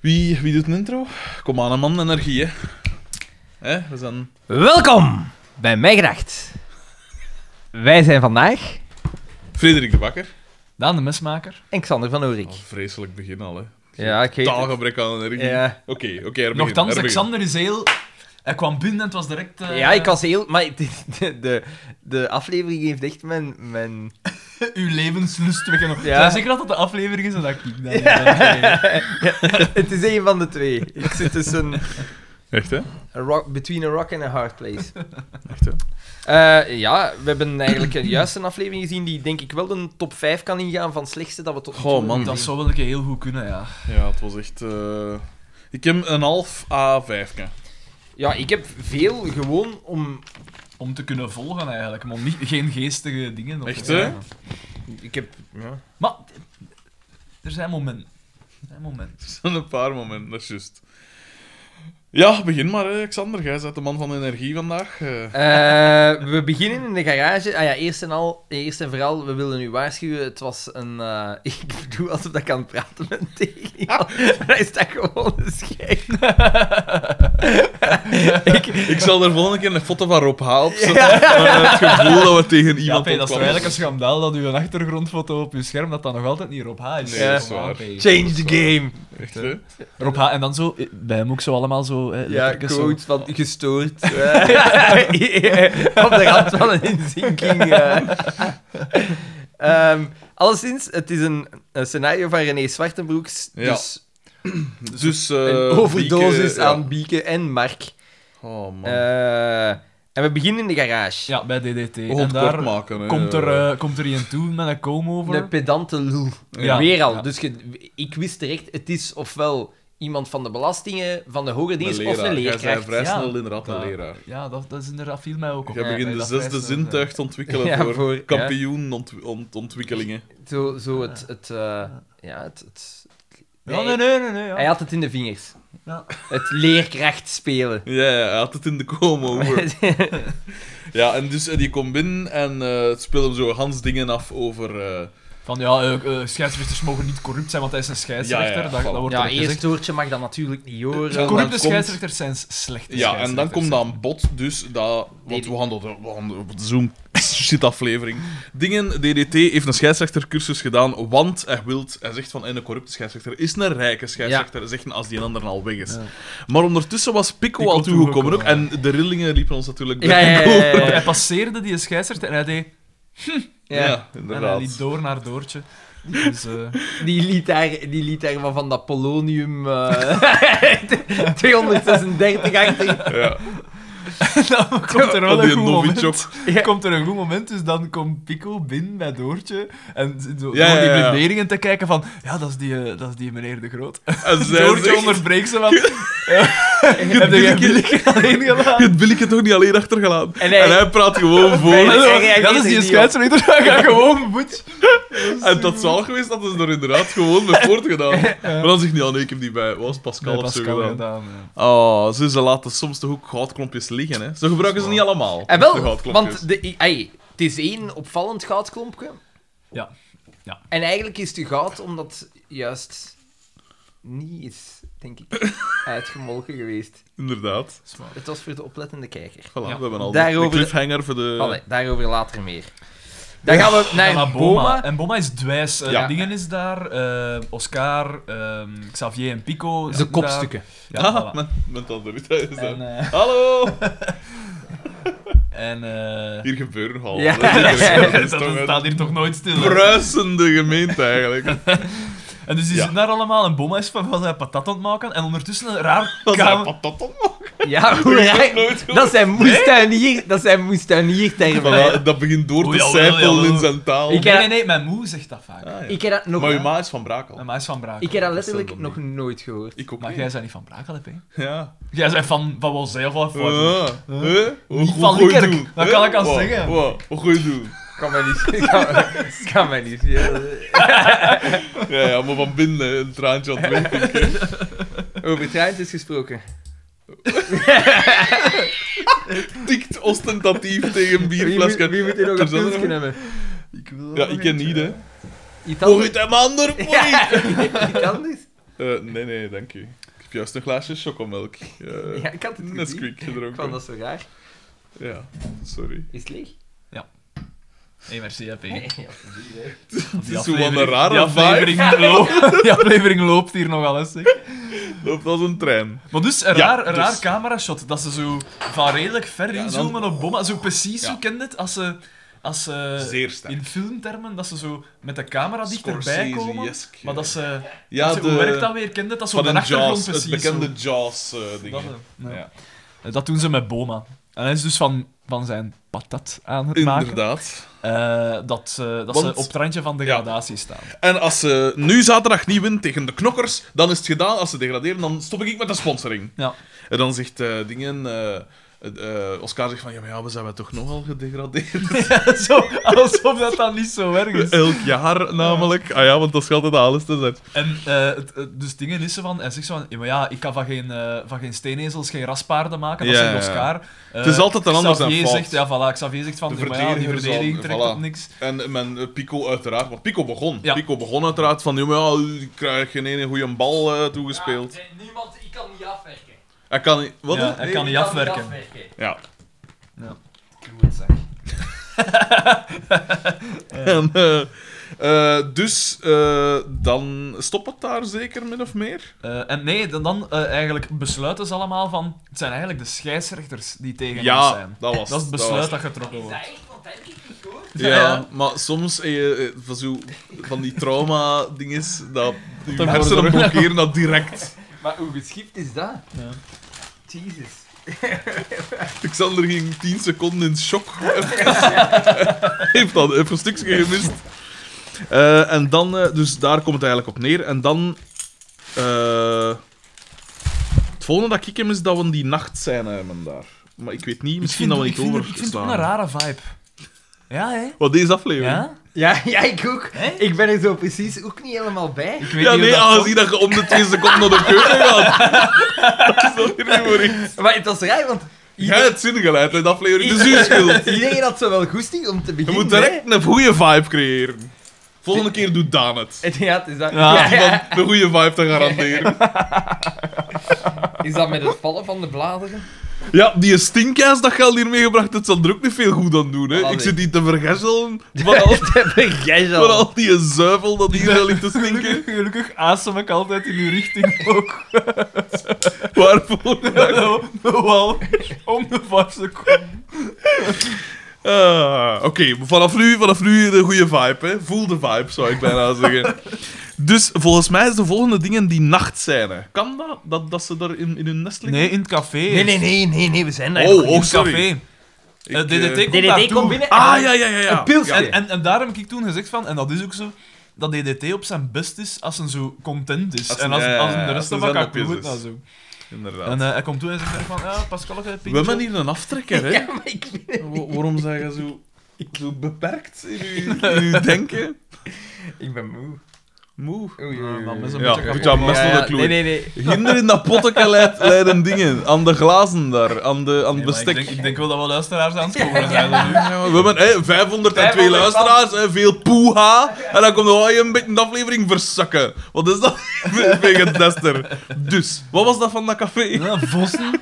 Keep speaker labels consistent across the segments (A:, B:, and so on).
A: Wie, wie doet een intro? Kom aan, hè, man, energie, hè. Hè, we zijn...
B: Welkom bij Mijn Gedacht. Wij zijn vandaag
A: Frederik de Bakker.
C: Daan de Mesmaker.
B: en Xander van Oerik.
A: Oh, vreselijk begin al, hè.
B: Ja, ik weet het.
A: Taalgebrek aan energie. Oké,
B: Ja.
A: oké, er begin,
C: Nochtans,
A: er begin.
C: Alexander is heel... Hij kwam binnen en het was direct... eh,
B: ja, ik was heel... Maar de, de, de, de aflevering heeft echt mijn... mijn...
C: Uw levenslust wekken.
B: Ja.
C: Ja. Zijn zeker dat dat de aflevering is en dat ik dat ja.
B: Het is een van de twee. Ik zit tussen
A: Echt, hè?
B: a rock, between a rock and a hard place.
A: Echt, hè?
B: Eh, ja, we hebben eigenlijk een, juist een aflevering gezien die denk ik wel de top 5 kan ingaan van slechtste dat we tot nu toe
A: Goh, Oh, man.
B: hebben
C: Dat
B: gezien.
C: zou wel een keer heel goed kunnen, ja.
A: Ja, het was echt... eh, Ik heb een half A5. -ke.
B: Ja, ik heb veel gewoon om...
C: Om te kunnen volgen eigenlijk, maar om niet, geen geestige dingen. op te
A: Echt, hè?
C: zeggen.
B: Ik heb... Ja.
C: Maar er zijn momenten. Er zijn momenten.
A: Er zijn een paar momenten, dat is juist. Ja, begin maar, hè, Alexander. Jij bent de man van energie vandaag. eh.
B: Eh, we beginnen in de garage. Ah ja, eerst en, al, eerst en vooral, we willen u waarschuwen. Het was een. eh, ik doe alsof ik aan het praten ben tegen iemand.
A: Ah.
B: Hij staat gewoon een schijn.
A: Ik zal er volgende keer een foto van Rob Haal op zetten.
B: Ja.
A: eh, Het gevoel dat we tegen
C: Ja,
A: iemand
C: P, dat is toch
A: opkwamen.
C: eigenlijk een schandaal dat u een achtergrondfoto op uw scherm, dat dat nog altijd niet Rob H. is.
A: Nee,
B: Ja.
A: dat is waar.
C: P.
B: Change the game.
A: Echt, hè?
C: Rob H. En dan zo, eh, bij hem ook zo allemaal zo... eh,
B: Ja,
C: lettertjes zo.
B: quote van gestoord. Eh, Op de rand van een inzinking. eh. Ehm, alleszins, het is een, een scenario van René Zwartenbroeks.
A: Ja.
B: Dus
A: Dus, eh,
B: een overdosis
A: Bieke, ja.
B: aan Bieke en Mark.
A: Oh man.
B: Eh, en we beginnen in de garage.
C: Ja, bij DDT.
A: we gaan
C: En
A: het
C: daar
A: kort maken. hè.
C: komt er, eh, komt er iemand toe met een comb-over.
B: Een pedante lul.
C: Ja.
B: Weer al.
C: Ja.
B: Dus je- ik wist direct, het is ofwel iemand van de belastingen, van de hogere dienst, of een
A: leraar. Jij zei
B: leerkracht.
A: vrij
C: Ja.
A: snel inderdaad een
C: Ja.
A: leraar.
C: Ja, dat, dat is inderdaad, viel mij ook op.
A: Je
B: Ja,
A: begint de
C: dat
A: zesde
C: wijst, eh,
A: zintuig te ontwikkelen
B: Ja,
A: voor,
B: voor- ja.
A: kampioenontwikkelingen.
B: Zo, zo het... het eh, ja, het... het- eh.
C: Ja, nee, nee, nee. nee, ja.
B: Hij had het in de vingers.
C: Ja.
B: Het leerkracht spelen.
A: Ja, ja, hij had het in de komen over. ja, en dus eh, die komt binnen en eh het speelt hem zo Hans dingen af over... eh,
C: Van ja, eh, eh, scheidsrechters mogen niet corrupt zijn, want hij is een scheidsrechter.
A: Ja, ja,
C: dat, dat
A: voilà.
C: wordt
B: ja,
C: er gezegd.
B: eerst hoortje mag dat natuurlijk niet
A: Ja,
B: horen.
A: dan
C: Corrupte
A: komt-
C: scheidsrechters zijn slechte
A: ja, en dan komt dat aan bod, dus dat...
B: Nee,
A: Want
B: die-
A: we gaan dat... we gaan dat- Zo'n shit-aflevering. Dingen, DDT heeft een scheidsrechtercursus gedaan, want hij wilt... Hij zegt van, en een corrupte scheidsrechter is een rijke scheidsrechter, zeggen als die ander al weg is.
C: Ja.
A: Maar ondertussen was Pico,
C: Pico
A: al toegekomen
C: toegekomen,
A: ook, en de rillingen liepen ons natuurlijk
B: Ja, ja, ja, ja,
C: Want
B: ja.
C: hij passeerde die scheidsrechter en hij deed...
A: Ja,
B: Ja.
C: En hij
A: inderdaad.
C: liet door naar Doortje. Dus, eh,
B: Die liet daar, die liet daar wat van dat polonium eh, 236 achter.
A: Ja.
C: dan komt er wel
A: die
C: een goed
A: Novichok.
C: moment. Komt er een goed moment, dus dan komt Pico binnen bij Doortje en zo, door
A: ja,
C: die
A: ja.
C: blunderingen te kijken van... Ja, dat is die, eh, dat is die meneer De Groot.
A: En zij
C: Doortje
A: zegt,
C: onderbreekt ze van... Heb je
A: billijke-
C: Billy alleen
A: Je
C: gelaten?
A: hebt Billeke toch niet alleen achtergelaten?
B: En hij-
A: En hij praat gewoon
B: En
A: voor.
B: hij- reageert
C: Dat is
B: er
C: die
B: niet
C: scheidsrechter, hij gaat gewoon boet.
A: En dat zal geweest dat ze er inderdaad gewoon mee voortgedaan. Maar dan zegt hij, ja, nee, ik heb die bij was Pascal of zo gedaan. Oh, ze, ze laten soms toch ook goudklompjes liggen, hè. Ze gebruiken ze niet allemaal,
B: En
A: de
B: Eh, wel,
A: goudklompjes.
B: want de, i- ai, het is één opvallend goudklompje.
C: Ja.
B: En eigenlijk is het goud omdat juist niet is, denk ik, uitgemolken geweest.
A: Inderdaad.
B: Het was voor de oplettende kijker.
A: Voilà, we hebben al
B: Daarover-
A: de cliffhanger voor de...
B: Allee, daarover later meer. Dan gaan we naar,
C: Naar Boma.
B: Boma.
C: En Boma is dwijs. Eh,
A: Ja.
C: Dingen is daar, eh, Oscar, ehm, Xavier en Pico.
B: De
C: zitten daar.
B: kopstukken.
C: Ja,
A: ah,
C: voilà.
A: met, met dat eruit, hè, is dat.
C: En, eh,
A: Hallo!
C: en eh,
A: Hier gebeuren al.
B: Ja.
A: Dat is
C: dat
A: toch een
C: staat hier toch nooit stil. hè?
A: bruisende gemeente, eigenlijk.
C: En dus die
A: Ja.
C: zitten daar allemaal en Boma is van van zijn patat aan het maken. En ondertussen een raar
A: Dat is een
C: kamer...
A: patat op.
B: Ja, hoe
A: Ik heb
B: raar.
A: dat nooit gehoord.
B: Dat zijn moestuinier, dat zijn moestuiniertermen.
A: Voilà, dat begint door
C: Oei,
A: te
C: jawel,
A: sijpelen
C: jawel.
A: in zijn taal.
B: Ik-
C: Nee, nee, nee, mijn moe zegt dat vaak.
A: Ah, ja.
B: Ik heb dat nog...
A: maar uw ma is van Brakel.
C: Mijn ma is van Brakel.
B: Ik heb dat
C: Dat is
B: letterlijk
C: dan
B: nog
C: niet.
B: nooit gehoord.
A: Ik ook
C: Maar
A: niet.
C: jij bent niet van Brakel, hè, P?
A: Ja.
C: Jij bent van, van Wolzij of wat?
A: Eh, eh, hoe-
C: Niet
A: hoe
C: van
A: ga je
C: Likkerk,
A: doen?
C: dat
A: Eh,
C: kan ik al
A: wat-
C: zeggen.
A: wat- Wat ga je doen?
B: Kan mij niet... Kan, kan mij niet...
A: Ja, ja, maar van binnen een traantje aan het wegpinken.
B: Over treintjes gesproken.
A: Tikt ostentatief tegen een
B: Wie moet,
A: bierflesje.
B: wie moet hier nog een
A: Er zijn er
B: pilsje
A: nog-
B: hebben?
C: Ik wil
A: Ja, ik ken niet, hè.
B: Iets
A: Mocht
B: anders?
A: het hem ander,
B: Ja, iets anders?
A: Eh, nee, nee, dank u. Ik heb juist een glaasje chocomelk. eh,
B: Ja, ik had het gezien.
A: Nesquik gedronken.
B: Ik vond dat zo raar.
A: Ja, sorry.
B: Is het leeg?
C: Hey, merci, AP.
B: Nee, ja, dat is niet leeg.
A: Het is gewoon een rare
C: die aflevering, loopt, die aflevering loopt hier nogal eens. zeg.
A: Loopt als een trein.
C: Maar dus, een
A: Ja,
C: raar, een
A: dus.
C: raar camerashot. Dat ze zo van redelijk ver
A: Ja,
C: inzoomen op bommen. Zo precies,
A: Ja.
C: hoe kent het? Als ze, als ze
A: Zeer sterk.
C: in filmtermen, dat ze zo met de camera dichterbij
A: Scorsese,
C: komen.
A: Jeske.
C: Maar dat ze...
A: Ja,
C: dat ze-
A: de...
C: Hoe werkt dat weer? Kent het? Dat ze op
A: van
C: de
A: een
C: achtergrond
A: Jaws, het
C: precies...
A: bekende
C: zo-
A: Jaws-ding.
C: dat, eh, ja.
A: ja.
C: Eh, dat doen ze met Boma. En hij is dus van, van zijn patat aan het maken.
A: Inderdaad.
C: eh, dat eh, dat ze
A: Want-
C: op het randje van degradatie staan.
A: En als ze nu zaterdag niet wint tegen de knokkers, dan is het gedaan. Als ze degraderen, dan stop ik met de sponsoring.
C: Ja.
A: En dan zegt eh, dingen... eh, eh, eh, Oscar zegt van, ja, maar ja, we zijn wel toch nogal gedegradeerd.
C: zo, alsof dat dan niet zo erg is.
A: Elk jaar namelijk. Ah ja, want dat geldt altijd alles te zijn.
C: En eh, het, het- dus dingen is ze van, en zegt ze van, ja, maar ja, ik kan van geen, eh van geen steenezels geen raspaarden maken, dat
A: Ja,
C: zijn
A: ja, ja.
C: Oscar. Eh,
A: Het is altijd een ander zijn
C: Xavier
A: fout.
C: zegt, ja, voilà, Xavier zegt van,
A: De
C: ja, maar ja, die
A: verdediger zal-
C: verdediging trekt
A: voilà.
C: op niks.
A: En men, eh, Pico uiteraard, want Pico begon.
C: Ja.
A: Pico begon uiteraard van, ja, maar ja, ik krijg geen ene goede bal eh, toegespeeld.
D: Ja, er is Ah, niemand, ik kan niet afwerken.
A: Hij kan niet... Wat?
C: Ja,
A: hè?
C: hij kan niet
D: Ik
C: afwerken.
D: afwerken.
A: Ja.
D: Klootzak.
A: En, eh, eh, dus eh, dan stopt het daar zeker min of meer.
C: Eh, en nee, dan, dan eh, eigenlijk besluiten ze allemaal van, het zijn eigenlijk de scheidsrechters die tegen ons
A: ja,
C: zijn.
A: dat was
C: Dat is het
A: was-
C: besluit dat,
D: Is
C: getrokken
D: dat
C: wordt.
D: echt? Want dat heb ik niet gehoord.
A: Ja,
C: Ja.
A: maar soms eh, eh, van, zo, van die trauma-dinges, dat je
C: worden
A: hersenen
C: er-
A: blokkeren dat direct.
B: Maar hoe geschikt is dat?
C: Ja.
B: Jesus.
A: Alexander ging 10 seconden in shock. Heeft dat even een stukje gemist. Eh, en dan, eh, dus daar komt het eigenlijk op neer. En dan. eh, het volgende dat ik hem is dat we die nacht zijn hebben daar. Maar ik weet niet, misschien dat we niet
C: ik vind,
A: over.
C: het- ik vind het ook een rare vibe. Ja, hè?
A: Wat deze aflevering?
C: Ja?
B: Ja, ja, ik ook.
C: Hè?
B: Ik ben er zo precies ook niet helemaal bij.
C: Ik weet
A: Ja,
C: niet
A: nee,
C: hoe dat
A: aangezien dat je om de twee seconden naar de keuken gaat. Dat is hier niet voor iets.
B: Maar het was raar, want
A: Jij hebt zin geleid in de aflevering, dus uw schuld.
B: iedereen had zo wel goesting om te
A: Je
B: beginnen.
A: moet
B: hè.
A: direct een goede vibe creëren. Volgende keer doet Daan het.
B: Het, ja, het is dat,
C: Ja.
A: Om dan een goede vibe te garanderen.
B: Is dat met het vallen van de bladeren?
A: Ja, die stinkijs dat geld hier meegebracht hebt, zal er ook niet veel goed aan doen. Hè.
C: Ah,
B: Voilà,
A: Ik
B: nee.
A: zit hier te vergezelen van al,
B: Jij
A: van al die zuivel dat hier ligt te stinken.
C: Gelukkig, gelukkig asem ik altijd in uw richting ook.
A: Waarvoor?
C: Nou, nou al om de vijf seconden.
A: Ah, Oké, vanaf nu, vanaf nu de goede vibe. Hè. Voel de vibe, zou ik bijna zeggen. Dus volgens mij is de volgende dingen die nacht zijn. Kan dat? Dat, dat ze daar in, in hun nest liggen?
C: Nee, in het café.
B: Nee, nee, nee, nee, nee, we zijn daar.
A: Oh,
B: nog
A: oh,
B: niet.
C: In het
A: sorry.
C: café.
A: Ik,
C: Eh, DDT
A: eh,
C: komt
B: DDT
C: daartoe.
B: komt binnen. en
A: Ah,
B: dan-
A: ja, ja, ja. ja.
B: Een pilsje.
A: Ja.
C: En, en, en daarom heb ik toen gezegd van, en dat is ook zo, dat DDT op zijn best is als een zo content is.
A: Als-
C: en als,
A: ja, ja,
C: als de
A: ja,
C: rest
A: als
C: van
A: een
C: elkaar
A: zendopjes
C: kloot,
A: is.
C: nou zo.
A: Inderdaad.
C: En eh, hij komt toe en zegt van, ja, Pascal, ga je
A: We hebben hier een aftrekker, hè?
B: Ja, maar ik vind het
A: Wa-
B: niet.
A: Waarom zijn je zo, zo beperkt in uw, in uw denken?
B: Ik ben moe.
A: Moe.
B: Oei,
C: Ah, man, met zo'n
A: Ja,
C: beetje
A: moet
C: kapot.
A: dat mes
B: Ja,
A: naar de
B: ja,
A: kloer.
B: Nee, nee, nee.
A: Hinder in dat potje leidt, leiden dingen. Aan de glazen daar, aan, de, aan het
C: Ik
A: bestek.
C: denk, ik denk wel dat we luisteraars aan het komen zijn. dat nu.
A: Ja, we hebben hè, 502
B: 500
A: luisteraars, hè, veel poeha. En dan komt nog een beetje de aflevering verzakken. Wat is dat? Wegen Dester. Dus, wat was dat van dat café?
C: Ja, vossen.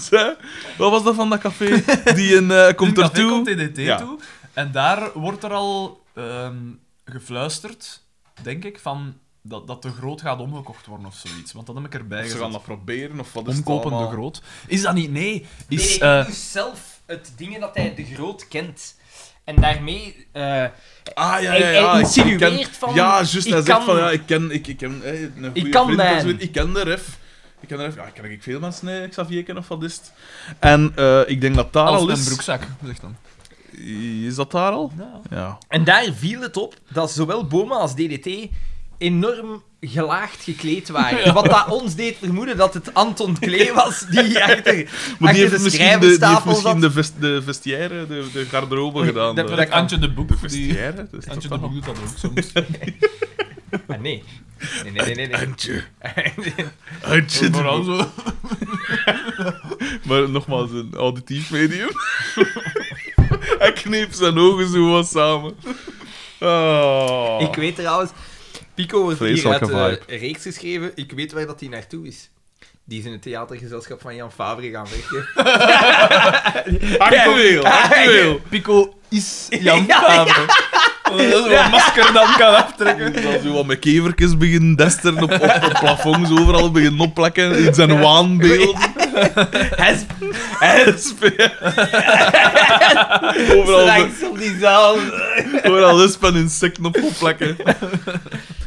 A: Zeg, Wat was dat van dat café? Die een, eh, komt
C: In het café
A: ertoe.
C: komt DDT
A: Ja.
C: toe. En daar wordt er al ehm, gefluisterd, denk ik, van dat, dat de groot gaat omgekocht worden of zoiets. Want dat heb ik erbij
A: Of ze gaan
C: gezet.
A: dat proberen, of wat is het
C: Omkopen de
A: allemaal?
C: groot. Is dat niet? Nee. Is,
B: Is,
C: eh,
B: zelf het dingen dat hij de groot kent. En daarmee... eh,
A: Ah, ja,
B: Hij-
A: ja,
B: hij
A: ja. ik
B: insinueert
A: ken-
B: van,
A: Ja, juist. Hij
B: ik
A: zegt
B: kan-
A: van, ja, ik ken... Ik, ik, ken, eh, een goede
B: kan
A: vriend of
B: mijn.
A: zoiets. Ik ken de ref. Ik ken de ref. Ja, ik ken ik veel mensen, eh, Xavier ken of wat is het. En eh, ik denk dat daar
C: als
A: al
C: een
A: is...
C: broekzak, zegt dan.
A: Is dat daar al? Ja.
B: En daar viel het op dat zowel Boma als DDT enorm gelaagd gekleed waren. Wat dat ons deed vermoeden dat het Anton Klee was die achter...
A: Maar die
B: Achter
A: heeft
B: de
A: misschien de, die heeft
B: schrijverstafel
A: misschien
B: zat-
A: de, vest, de vestiaire, de, de garderobe gedaan. eh.
B: dat-
A: de-
B: dat- kan.
C: Antje de Boek. die-
A: Vestiaire? Dat is
C: Antje
A: toch
C: de Boek
A: wel-
C: doet dat ook soms.
B: Ah, nee. Nee, nee, nee, nee. nee.
A: Antje. Antje de
C: Vooral
A: Boek.
C: zo.
A: Maar nogmaals, een auditief medium. Hij kneep zijn ogen zo wat samen. Ah.
B: Ik weet trouwens Pico wordt hier uit
A: Oh. Vreselijke
B: de reeks geschreven. Ik weet waar dat die naartoe is. Die is in het theatergezelschap van Jan Favre gaan werken.
A: Actueel, actueel.
C: Pico is Jan
B: Ja,
C: Fabre. Dat is een masker dan kan aftrekken.
A: Dan zo wat met kevertjes beginnen desteren op, op, op plafonds, overal beginnen opplakken in zijn waanbeeld.
B: Hij is
A: overal,
B: straks op die zaal.
A: overal wespen en insecten op opplakken.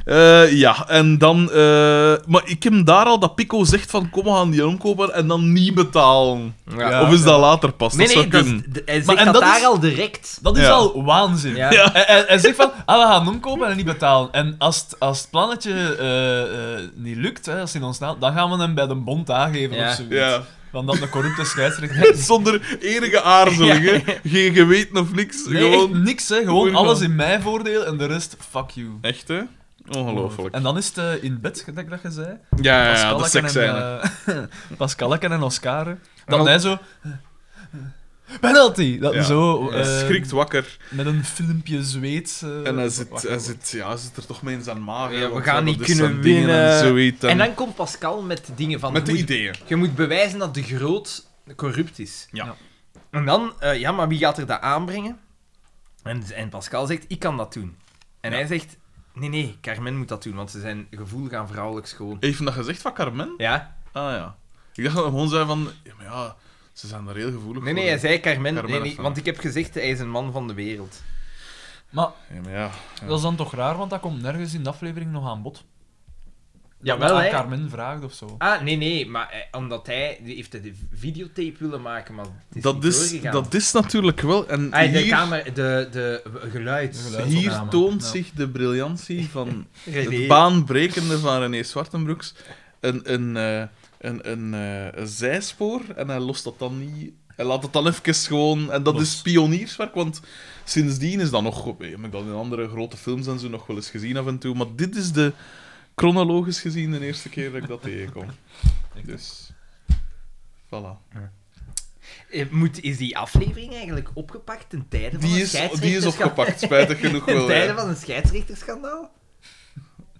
A: Eh, ja, en dan... eh, maar ik heb daar al dat Pico zegt van kom, we gaan die omkopen en dan niet betalen.
C: Ja.
A: of is dat later pas?
B: Nee,
A: dat
B: nee,
A: zou
B: dat is,
A: kunnen.
B: d- hij zegt
C: Maar- en
B: dat,
C: dat
B: daar
C: is-
B: al direct.
C: Dat is
A: Ja.
C: al waanzin.
B: Ja.
A: Ja.
C: En, en, en zeg van, ah, we gaan omkopen en niet betalen. En als het, als het plannetje eh, eh, niet lukt, hè, als hij ontstaat, dan gaan we hem bij de bond aangeven
B: Ja.
C: of zoiets.
A: Ja.
C: Want dat een corrupte scheidsrechter is.
A: Zonder enige aarzeling, hè. Geen geweten of niks.
C: Nee,
A: gewoon...
C: echt niks, hè. Gewoon
A: Gewoon
C: alles
A: van-
C: in mijn voordeel en de rest, fuck you.
A: Echt, hè? Ongelooflijk.
C: En dan is het eh, in bed, dat ik dat je zei.
A: Ja, ja, ja,
C: Pascal
A: de seks zijn.
C: en, eh, Pascalakken en Oscar.
A: Wel-
C: Dat hij zo... Penalty! Dat
A: Ja.
C: zo...
A: Hij
C: eh,
A: schrikt wakker.
C: Met een filmpje zweet. eh,
A: En hij zit,
C: wakker
A: hij
C: wordt.
A: zit, ja, hij zit er toch mee in zijn maag. hè,
B: Ja, we
A: want
B: gaan
A: dat
B: niet
A: is
B: kunnen
A: zijn dingen
B: winnen.
A: En, zoiets, en-
B: En dan komt Pascal met dingen van...
A: met de
B: je moet-
A: ideeën.
B: Je moet bewijzen dat de groot corrupt is.
A: Ja.
C: Ja.
B: En dan, eh, ja, maar wie gaat er dat aanbrengen? En, en Pascal zegt, ik kan dat doen. En hij zegt, nee, nee, Carmen moet dat doen, want ze zijn gevoelig aan vrouwelijk schoon.
A: Even dat gezegd van Carmen?
B: Ja?
A: Ah ja. Ik dacht dat hij gewoon zei van, ja, maar ja, ze zijn daar heel gevoelig
B: Nee,
A: voor.
B: nee, hij zei Carmen.
A: Carmen
B: nee,
A: is
B: nee,
A: van-
B: want ik heb gezegd, hij is een man van de wereld.
C: Maar
A: Ja, maar ja.
C: dat is dan toch raar, want dat komt nergens in de aflevering nog aan bod.
B: Jawel,
C: aan
B: hè?
C: Carmen vraagt of zo.
B: Ah, nee, nee, maar eh, omdat hij die heeft de videotape willen maken, maar het is
A: Dat
B: niet
A: is,
B: doorgegaan.
A: dat is natuurlijk wel... En
B: Ah, de
A: hier,
B: kamer, de, de geluid.
C: De geluid.
A: hier
C: Uitopname.
A: toont
C: Ja.
A: zich de briljantie van
B: René.
A: het baanbrekende van René Zwartenbroeks. Een, een, eh, een, een, eh, een zijspoor en hij lost dat dan niet. Hij laat het dan even gewoon... En dat
C: Los.
A: is pionierswerk, want sindsdien is dat nog... Heb ik dat in andere grote films en zo nog wel eens gezien af en toe. Maar dit is de... Chronologisch gezien de eerste keer dat ik dat tegenkom. Dus... Voilà.
B: Eh, Moet, is die aflevering eigenlijk opgepakt ten tijde van
A: Die
B: een
A: is, die is
B: scheidsrechterschap-
A: opgepakt, spijtig genoeg
B: Ten
A: wel. ja.
B: tijde van een scheidsrechterschandaal?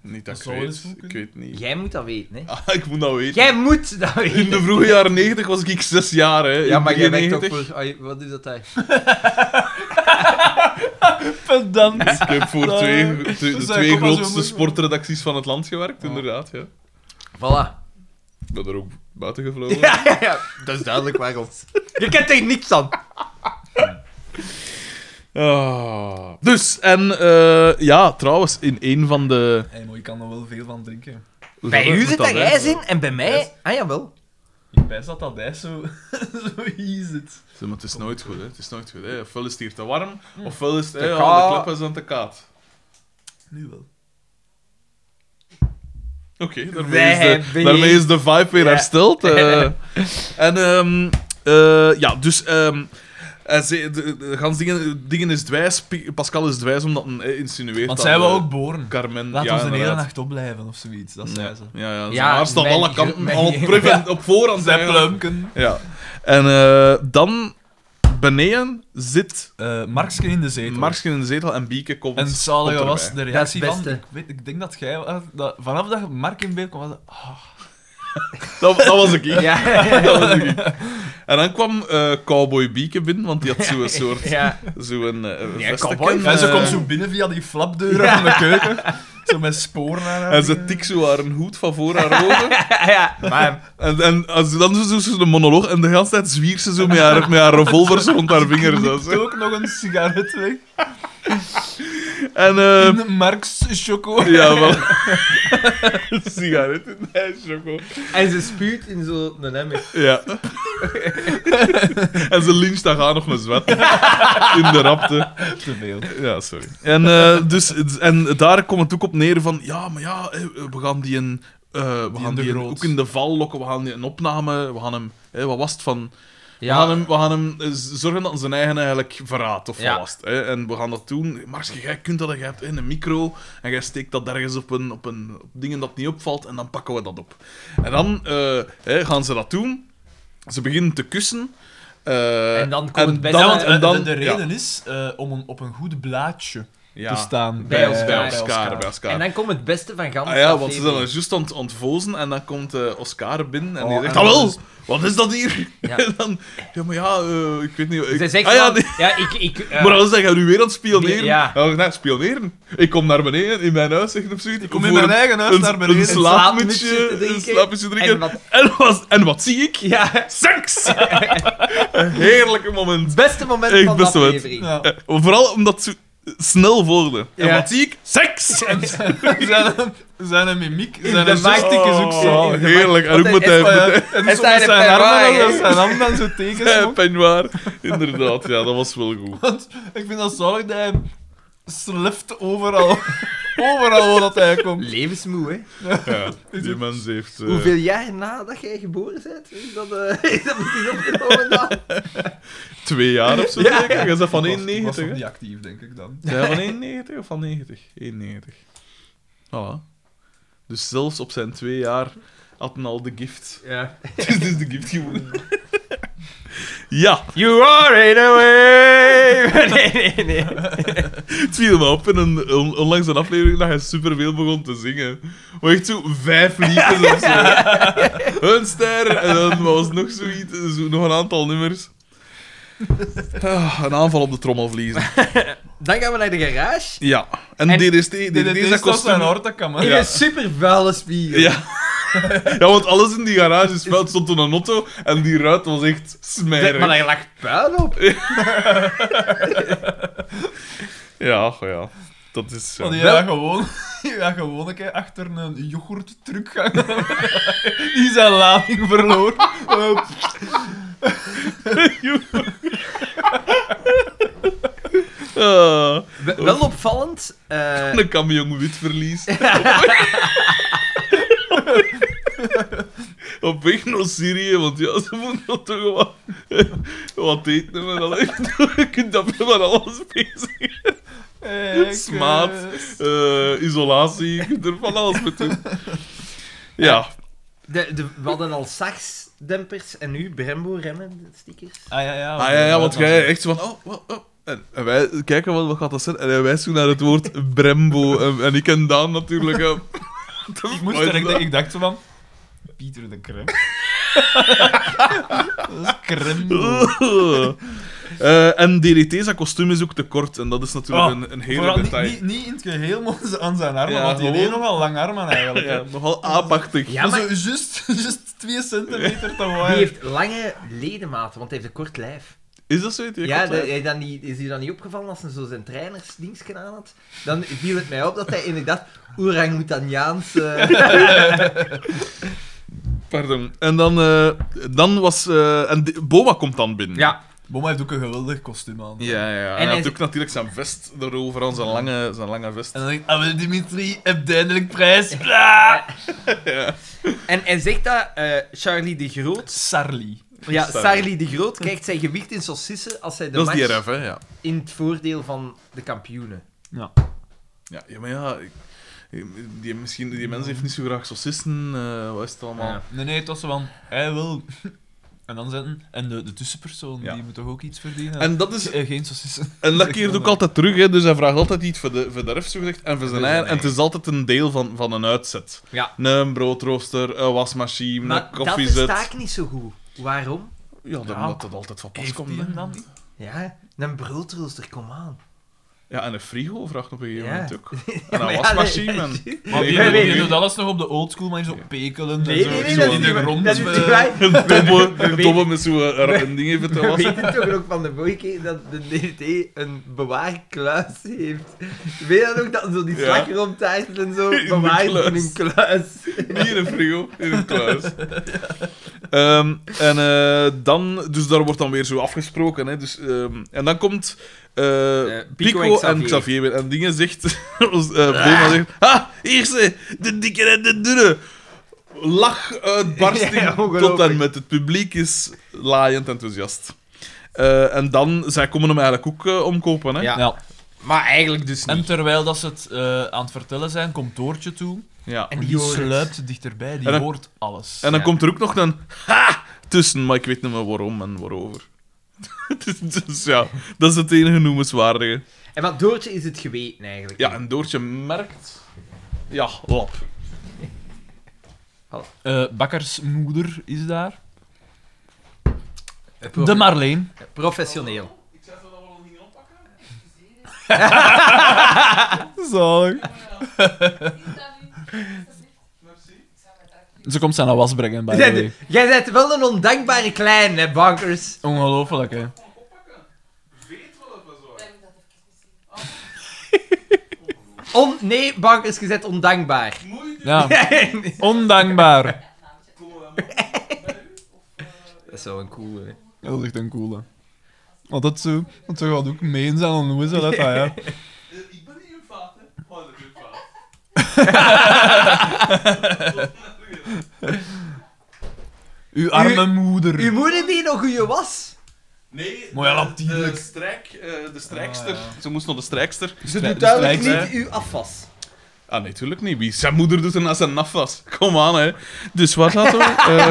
A: Niet dat ik
C: Zou eens
A: weet.
C: goed kunnen.
A: Ik weet niet.
B: Jij moet dat weten, hè?
A: Ah, ik moet nou weten.
B: Jij moet dat weten!
A: In de vroege jaren 90 was ik zes jaar, hè.
B: ja,
A: In
B: maar jij
A: begin
B: werkt
A: 90.
B: toch voor... Ai, wat is dat daar?
C: Pedant!
A: Dus Ik heb voor
C: Eh,
A: twee, twee-
C: dus
A: de
C: hij
A: twee
C: komt als
A: grootste
C: jongen.
A: sportredacties van het land gewerkt,
C: Ja.
A: inderdaad. Ja.
B: Voilà.
A: Ik ben er ook buiten gevlogen.
B: Ja, ja, ja. Dat is duidelijk waarom. Je kent er niks aan.
A: Ah. Dus, en eh, ja, trouwens, in een van de...
C: Hé, maar je kan er wel veel van drinken.
B: Bij
A: Moet
B: u zit
A: dat
B: daar ijs
A: zijn?
B: in en bij mij... Ah, jawel.
C: Ik wijs dat dat ijs zo, zo hier zit.
A: Zeg, maar het is nooit goed, hè. Het is nooit goed, hè. Ofwel is het hier te warm, ofwel is het...
B: Hm. Te
A: Hè, ja,
B: koud.
A: de klep is aan te koud.
C: Nu wel.
A: Oké,
B: Wij
A: daarmee, is de-
B: hebben
A: daarmee
B: je-
A: is de vibe weer
B: Ja.
A: hersteld. eh. en ehm, eh, ja, dus. ehm hij zei- de, de- gans dingen, dingen is dwijs. Pi- Pascal is dwijs omdat hij eh, insinueert.
C: Want
A: dat,
C: zij we
A: eh,
C: ook boren.
A: Carmen.
C: Laat
A: ja,
C: ons een hele
A: inderdaad.
C: nacht opblijven of zoiets, dat zei ze.
A: Ja, ja,
B: Ja,
A: ja haar staat
B: mijn-
A: alle kanten
B: mijn-
A: al op, prevent- op voorhand.
C: Zij
A: eigenlijk.
C: pluimken.
A: Ja. En eh, dan beneden zit
C: Eh Markske in de zetel.
A: Marsken in de zetel en Bieke komt.
C: En het zalige
A: komt erbij.
C: was de
B: Dat is
C: reactie
B: het
C: van...
B: beste.
C: Ik, weet, ik denk dat jij... was- Dat, vanaf dat Mark in beeld kwam, was dat... ah,
A: Dat, dat was ik.
B: Ja.
A: Dat was ik. En dan kwam eh, Cowboy Bieke binnen, want die had zo'n soort.
B: ja.
A: Zo'n eh
B: Ja,
A: vesteken,
B: cowboy.
A: eh,
C: En ze komt zo binnen via die flapdeuren van de keuken. Zo met sporen aan haar.
A: En ze tikt zo haar hoed van voor haar ogen.
B: ja. Maar...
A: En, en als, ze- dan doet ze de monoloog. En de hele tijd zwiert ze zo met haar, met haar revolvers rond haar vingers.
C: Knipt
A: Zo. zo.
C: ook nog een sigaret weg.
A: En... eh
C: In Marx Choco.
A: ja, wel. Sigaret in de choco.
B: En ze spuut in zo'n emmer.
A: Ja. en ze lyncht daar gaan nog een zwet. In de rapte.
C: Te veel.
A: Ja, sorry. En, eh, dus, en daar komt het ook op neer van... Ja, maar ja, eh, we gaan die een... eh, we gaan
C: de
A: die een-
C: groot.
A: ook in de val lokken. We gaan die een opname... We gaan hem... eh, wat was het van... We gaan hem, we gaan hem eh, z- zorgen dat hij zijn eigen eigenlijk verraadt of
B: Ja.
A: verlast. Hè? En we gaan dat doen. Marske, jij kunt dat, jij hebt in een micro en jij steekt dat ergens op, een, op, een, op dingen dat niet opvalt en dan pakken we dat op. En dan eh, hè, gaan ze dat doen. Ze beginnen te kussen. eh,
B: En dan komt het beste-
C: Ja,
B: Dan-
C: want eh,
A: en dan-
C: de, de
A: ja.
C: reden is eh, om een, op een goed blaadje
A: Ja.
C: te
B: dus
C: staan.
B: Bij elkaar.
A: bij Oscar. Bij Oscar.
B: En dan komt het beste van gans.
A: Ah ja, want ze
B: aflevering.
A: zijn er juist aan het ontvozen en dan komt eh, Oscar binnen en
B: Oh,
A: die zegt,
B: en
A: ah
B: dan
A: wel,
B: is-
A: wat is dat hier?
B: Ja.
A: En dan, ja maar ja, eh, ik weet niet... Ik...
B: Ze zegt
A: ah, ja,
B: van-
A: nee.
B: ja, ik... ik eh,
A: Maar dan zeggen we nu weer aan het spioneren.
B: Ja.
A: Ja. nou, spioneren. Ik kom naar beneden in mijn huis, zegt of zoiets. Ik
C: Kom in mijn eigen huis
A: een,
C: naar
A: Een
C: beneden.
B: sla-
A: slaapmutsje,
B: slaapmutsje drinken.
A: een slaapmutsje drinken.
B: En wat-
A: En wat, en wat zie ik?
B: ja,
A: Seks! een heerlijke moment.
B: het beste moment
A: Echt
B: van de
A: beste moment.
B: aflevering.
C: Ja.
A: Eh, vooral omdat ze snel volgde. En
B: Ja.
A: wat zie ik? Seks! Eh,
C: Zijn, zijn mimiek,
B: In
C: zijn
B: de
C: gestik
B: maak-
C: is ook zo.
A: Oh, heerlijk. En
B: Want
A: ook
B: hij-
A: met
B: hij-
A: hij,
C: Maar
A: met
C: ja, en
B: Hij
C: zo
B: staat
C: met
B: in
C: zijn armen
B: Ferrari.
C: en zijn handen en zo
A: hij-
C: tekens.
A: peignoir. Inderdaad, ja, dat was wel goed.
C: Want ik vind dat zalig dat hij sleft overal. Overal waar dat hij komt.
B: Levensmoe, hè?
A: Ja, die mens heeft... eh,
B: Hoeveel jaar nadat jij geboren bent, is dat, eh, is dat misschien opgenomen dan?
A: Twee jaar of zo,
B: Ja.
A: zeker? Hij is dat van
C: Ik was- Ik was
A: 91,
C: nog
A: hè?
C: niet actief, denk ik dan.
A: Ja, van 91 of van 90? 91. Voilà. Dus zelfs op zijn twee jaar had hij al de gift.
B: Ja.
A: Dus dit is de gift geworden. Ja,
B: You are in a wave! Nee, nee, nee.
A: het viel me op in een, on- onlangs een aflevering dat hij superveel begon te zingen. Maar echt zo vijf liedjes of zo. Een ster, en dan was nog zoiets, zo, nog een aantal nummers. Ah, een aanval op de trommelvliezen.
B: Dan gaan we naar de garage.
A: Ja, en,
B: En-
A: DDT, DDT,
C: Dit is
A: zijn
C: dat zijn
A: kostuum.
C: hart, dat kan
B: In
A: Ja.
B: een super vuile spiegel.
A: Ja. ja, want alles in die garage is vuil. Het stond toen een auto en die ruit was echt smerig.
B: maar daar lag puin op.
A: Ja, goh, ja. Dat is... eh,
C: Want je gaat gewoon, je gaat gewoon een keer achter een yoghurttruc gaan. Die zijn lading verloren. Eh,
A: eh,
B: We- Wel opvallend. eh,
A: een camion wit verlies. Op weg naar Syrië, want ja, ze moeten toch wat, wat eten en al. Je kunt dat met alles bezig.
C: eh, ik,
A: Smaad,
C: eh,
A: eh, isolatie, je kunt er van alles mee doen. Ja,
B: de, de, we hadden al Sachs-dempers en nu Brembo-remmen, stickers.
C: Ah ja, ja.
A: Ah ja, ja want jij echt zo van... Oh, oh, oh. En, en wij kijken wat, wat gaat dat zijn. En hij wijst toen naar het woord Brembo. En, en ik en Daan natuurlijk... eh,
C: Ik moest er, ik, ik dacht zo van... Pieter de Krem. dat is Krem.
A: Eh, en DDT, zijn kostuum is ook te kort. En dat is natuurlijk een, een hele
C: Oh, Vooral niet,
A: detail.
C: niet, niet in het geheel maar aan zijn armen,
A: Ja,
C: want die
A: gewoon-
C: heeft nogal lang armen eigenlijk.
A: Ja, nogal aapachtig.
B: Ja, maar
C: maar zo just, just twee centimeter te
B: die
C: waaien.
B: heeft lange ledematen, want hij heeft een kort lijf.
A: Is dat zo? Die
B: Ja,
A: kort
B: dat,
A: lijf?
B: hij dan niet, is hij dan niet opgevallen als hij zo zijn trainersdings gedaan had? Dan viel het mij op dat hij inderdaad Oerang-Moetaniaans...
A: Pardon. En dan, eh, dan was... eh, en di- Boma komt dan binnen.
C: Boma heeft ook een geweldig kostuum aan.
A: Ja, ja, ja. En
B: hij
A: hij had
B: is-
A: ook natuurlijk zijn vest erover aan, zijn lange, zijn lange vest.
C: En dan denk ik, ah, wel, Dimitri, heb je eindelijk prijs?
B: En hij zegt dat eh, Charlie de Groot...
C: Sarli.
B: Ja,
A: Sarli.
B: Charlie de Groot krijgt zijn gewicht in saucissen als hij de
A: dat is
B: match
A: die RF, hè? Ja.
B: in het voordeel van de kampioenen.
A: Ja, ja maar ja, ik- ik- die, misschien, die mensen heeft niet zo graag saucissen, eh, wat is het allemaal?
B: Ja.
C: Nee, nee, het was zo van, hij wil... En dan zetten. En de, de tussenpersoon,
A: Ja.
C: die moet toch ook iets verdienen?
A: En dat is...
C: Ge- eh, geen saucissen.
A: En dat keert ook altijd terug, hè, dus hij vraagt altijd iets voor de, voor de ref, zogezegd, en voor
B: dus
A: zijn
C: zijn
A: eigen. En het
C: eigen.
A: is altijd een deel van, van een uitzet.
B: Ja.
A: Een broodrooster, een wasmachine,
B: Maar
A: een
B: dat
A: koffiezet.
B: versta ik niet zo goed. Waarom?
A: Ja, dan
C: Ja.
A: omdat dat altijd van pas
C: Heeft
A: komt.
C: die
A: hè.
C: hem dan?
B: Ja, een broodrooster, kom aan.
A: Ja, en een frigo vraagt op een gegeven
B: Ja.
A: moment ook. En
B: maar
A: een
B: ja,
A: wasmachine.
B: nee.
A: en-
C: Maar die,
A: Nee,
C: die,
A: nee,
B: nee.
C: doet alles nog op de oldschool, maar zo pekelen en
B: Nee,
C: zo,
B: nee, nee,
C: zo
B: dat is
C: in de
B: niet waar.
C: grond.
B: Dat is
C: eh,
B: niet waar.
A: Een tobbe,
B: We
A: een
B: weten-
A: tobbe met zo'n rappen dingen even te
B: We
A: wassen.
B: weten toch ook van de vorige keer dat de DDT een bewaarkluis heeft. Weet je dat ook? Dat zo die
A: Ja.
B: slagroomtaart en zo
A: In de
B: bewaard in
A: kluis.
B: een kluis.
A: Niet in een frigo, in een kluis. Ehm, en eh, dan, dus daar wordt dan weer zo afgesproken. Hè, dus, ehm, en dan komt eh,
B: Eh, Pico
A: Pico,
B: en
A: en
B: Xavier.
A: Xavier weer. En dingen zegt, als, eh, Boma zegt, ha, hier ze, de dikke en de dunne. Lach uitbarsting
B: Ja, ongelooflijk.
A: tot en met het publiek is laaiend enthousiast. Eh, en dan, zij komen hem eigenlijk ook eh, omkopen. Hè?
B: Ja.
C: Ja.
B: Maar eigenlijk dus
C: En terwijl dat ze het eh, aan het vertellen zijn, komt Doortje toe.
A: Ja.
C: En
B: Die
C: die,
B: hoort het.
C: sluipt dichterbij, die
A: En dan-
C: hoort alles.
A: En dan
B: Ja.
A: komt er ook nog een ha tussen, maar ik weet niet meer waarom en waarover. dus, dus ja, dat is het enige noemenswaardige.
B: En maar Doortje is het geweten eigenlijk.
A: Ja, en Doortje merkt... Ja, lap.
C: Eh bakkersmoeder is daar. De Marleen.
B: Eh, Professioneel.
D: Ik zei dat we dat wel gingen oppakken.
C: Zalig.
D: Oh, Is dat nu?
A: Merci.
C: Ze komt zijn was brengen, by the
B: Jij-
C: way.
B: Jij bent wel een ondankbare klein, hè, bankers.
C: Ongelooflijk, hè.
A: Weet wel dat we zo.
D: Blijf dat even zien.
B: On nee, bankers, je bent ondankbaar.
A: Moeite.
C: Ja. Ondankbaar.
B: Dat is wel een coole. hè.
C: Ja, dat is echt een coole. Want dat zo, want ze gaat ook meen zijn aan hoe ze dat, ah, ja.
A: Eh, Ik ben niet een vaat, hè. Oh, dat is een vaat.
C: Uw arme moeder.
B: Uw moeder die nog uw was.
A: Nee, eh,
C: Maar ja,
A: de-
C: natuurlijk.
A: De, strijk, eh, de strijkster. Ze moest nog de strijkster.
B: Ah, Ze
C: strij-
B: doet
C: de
B: duidelijk
C: strijkster.
B: niet uw afwas.
A: Ah, nee, tuurlijk niet. Wie zijn moeder doet er naast zijn naf was. Kom aan, hè. Dus wat dat hoor.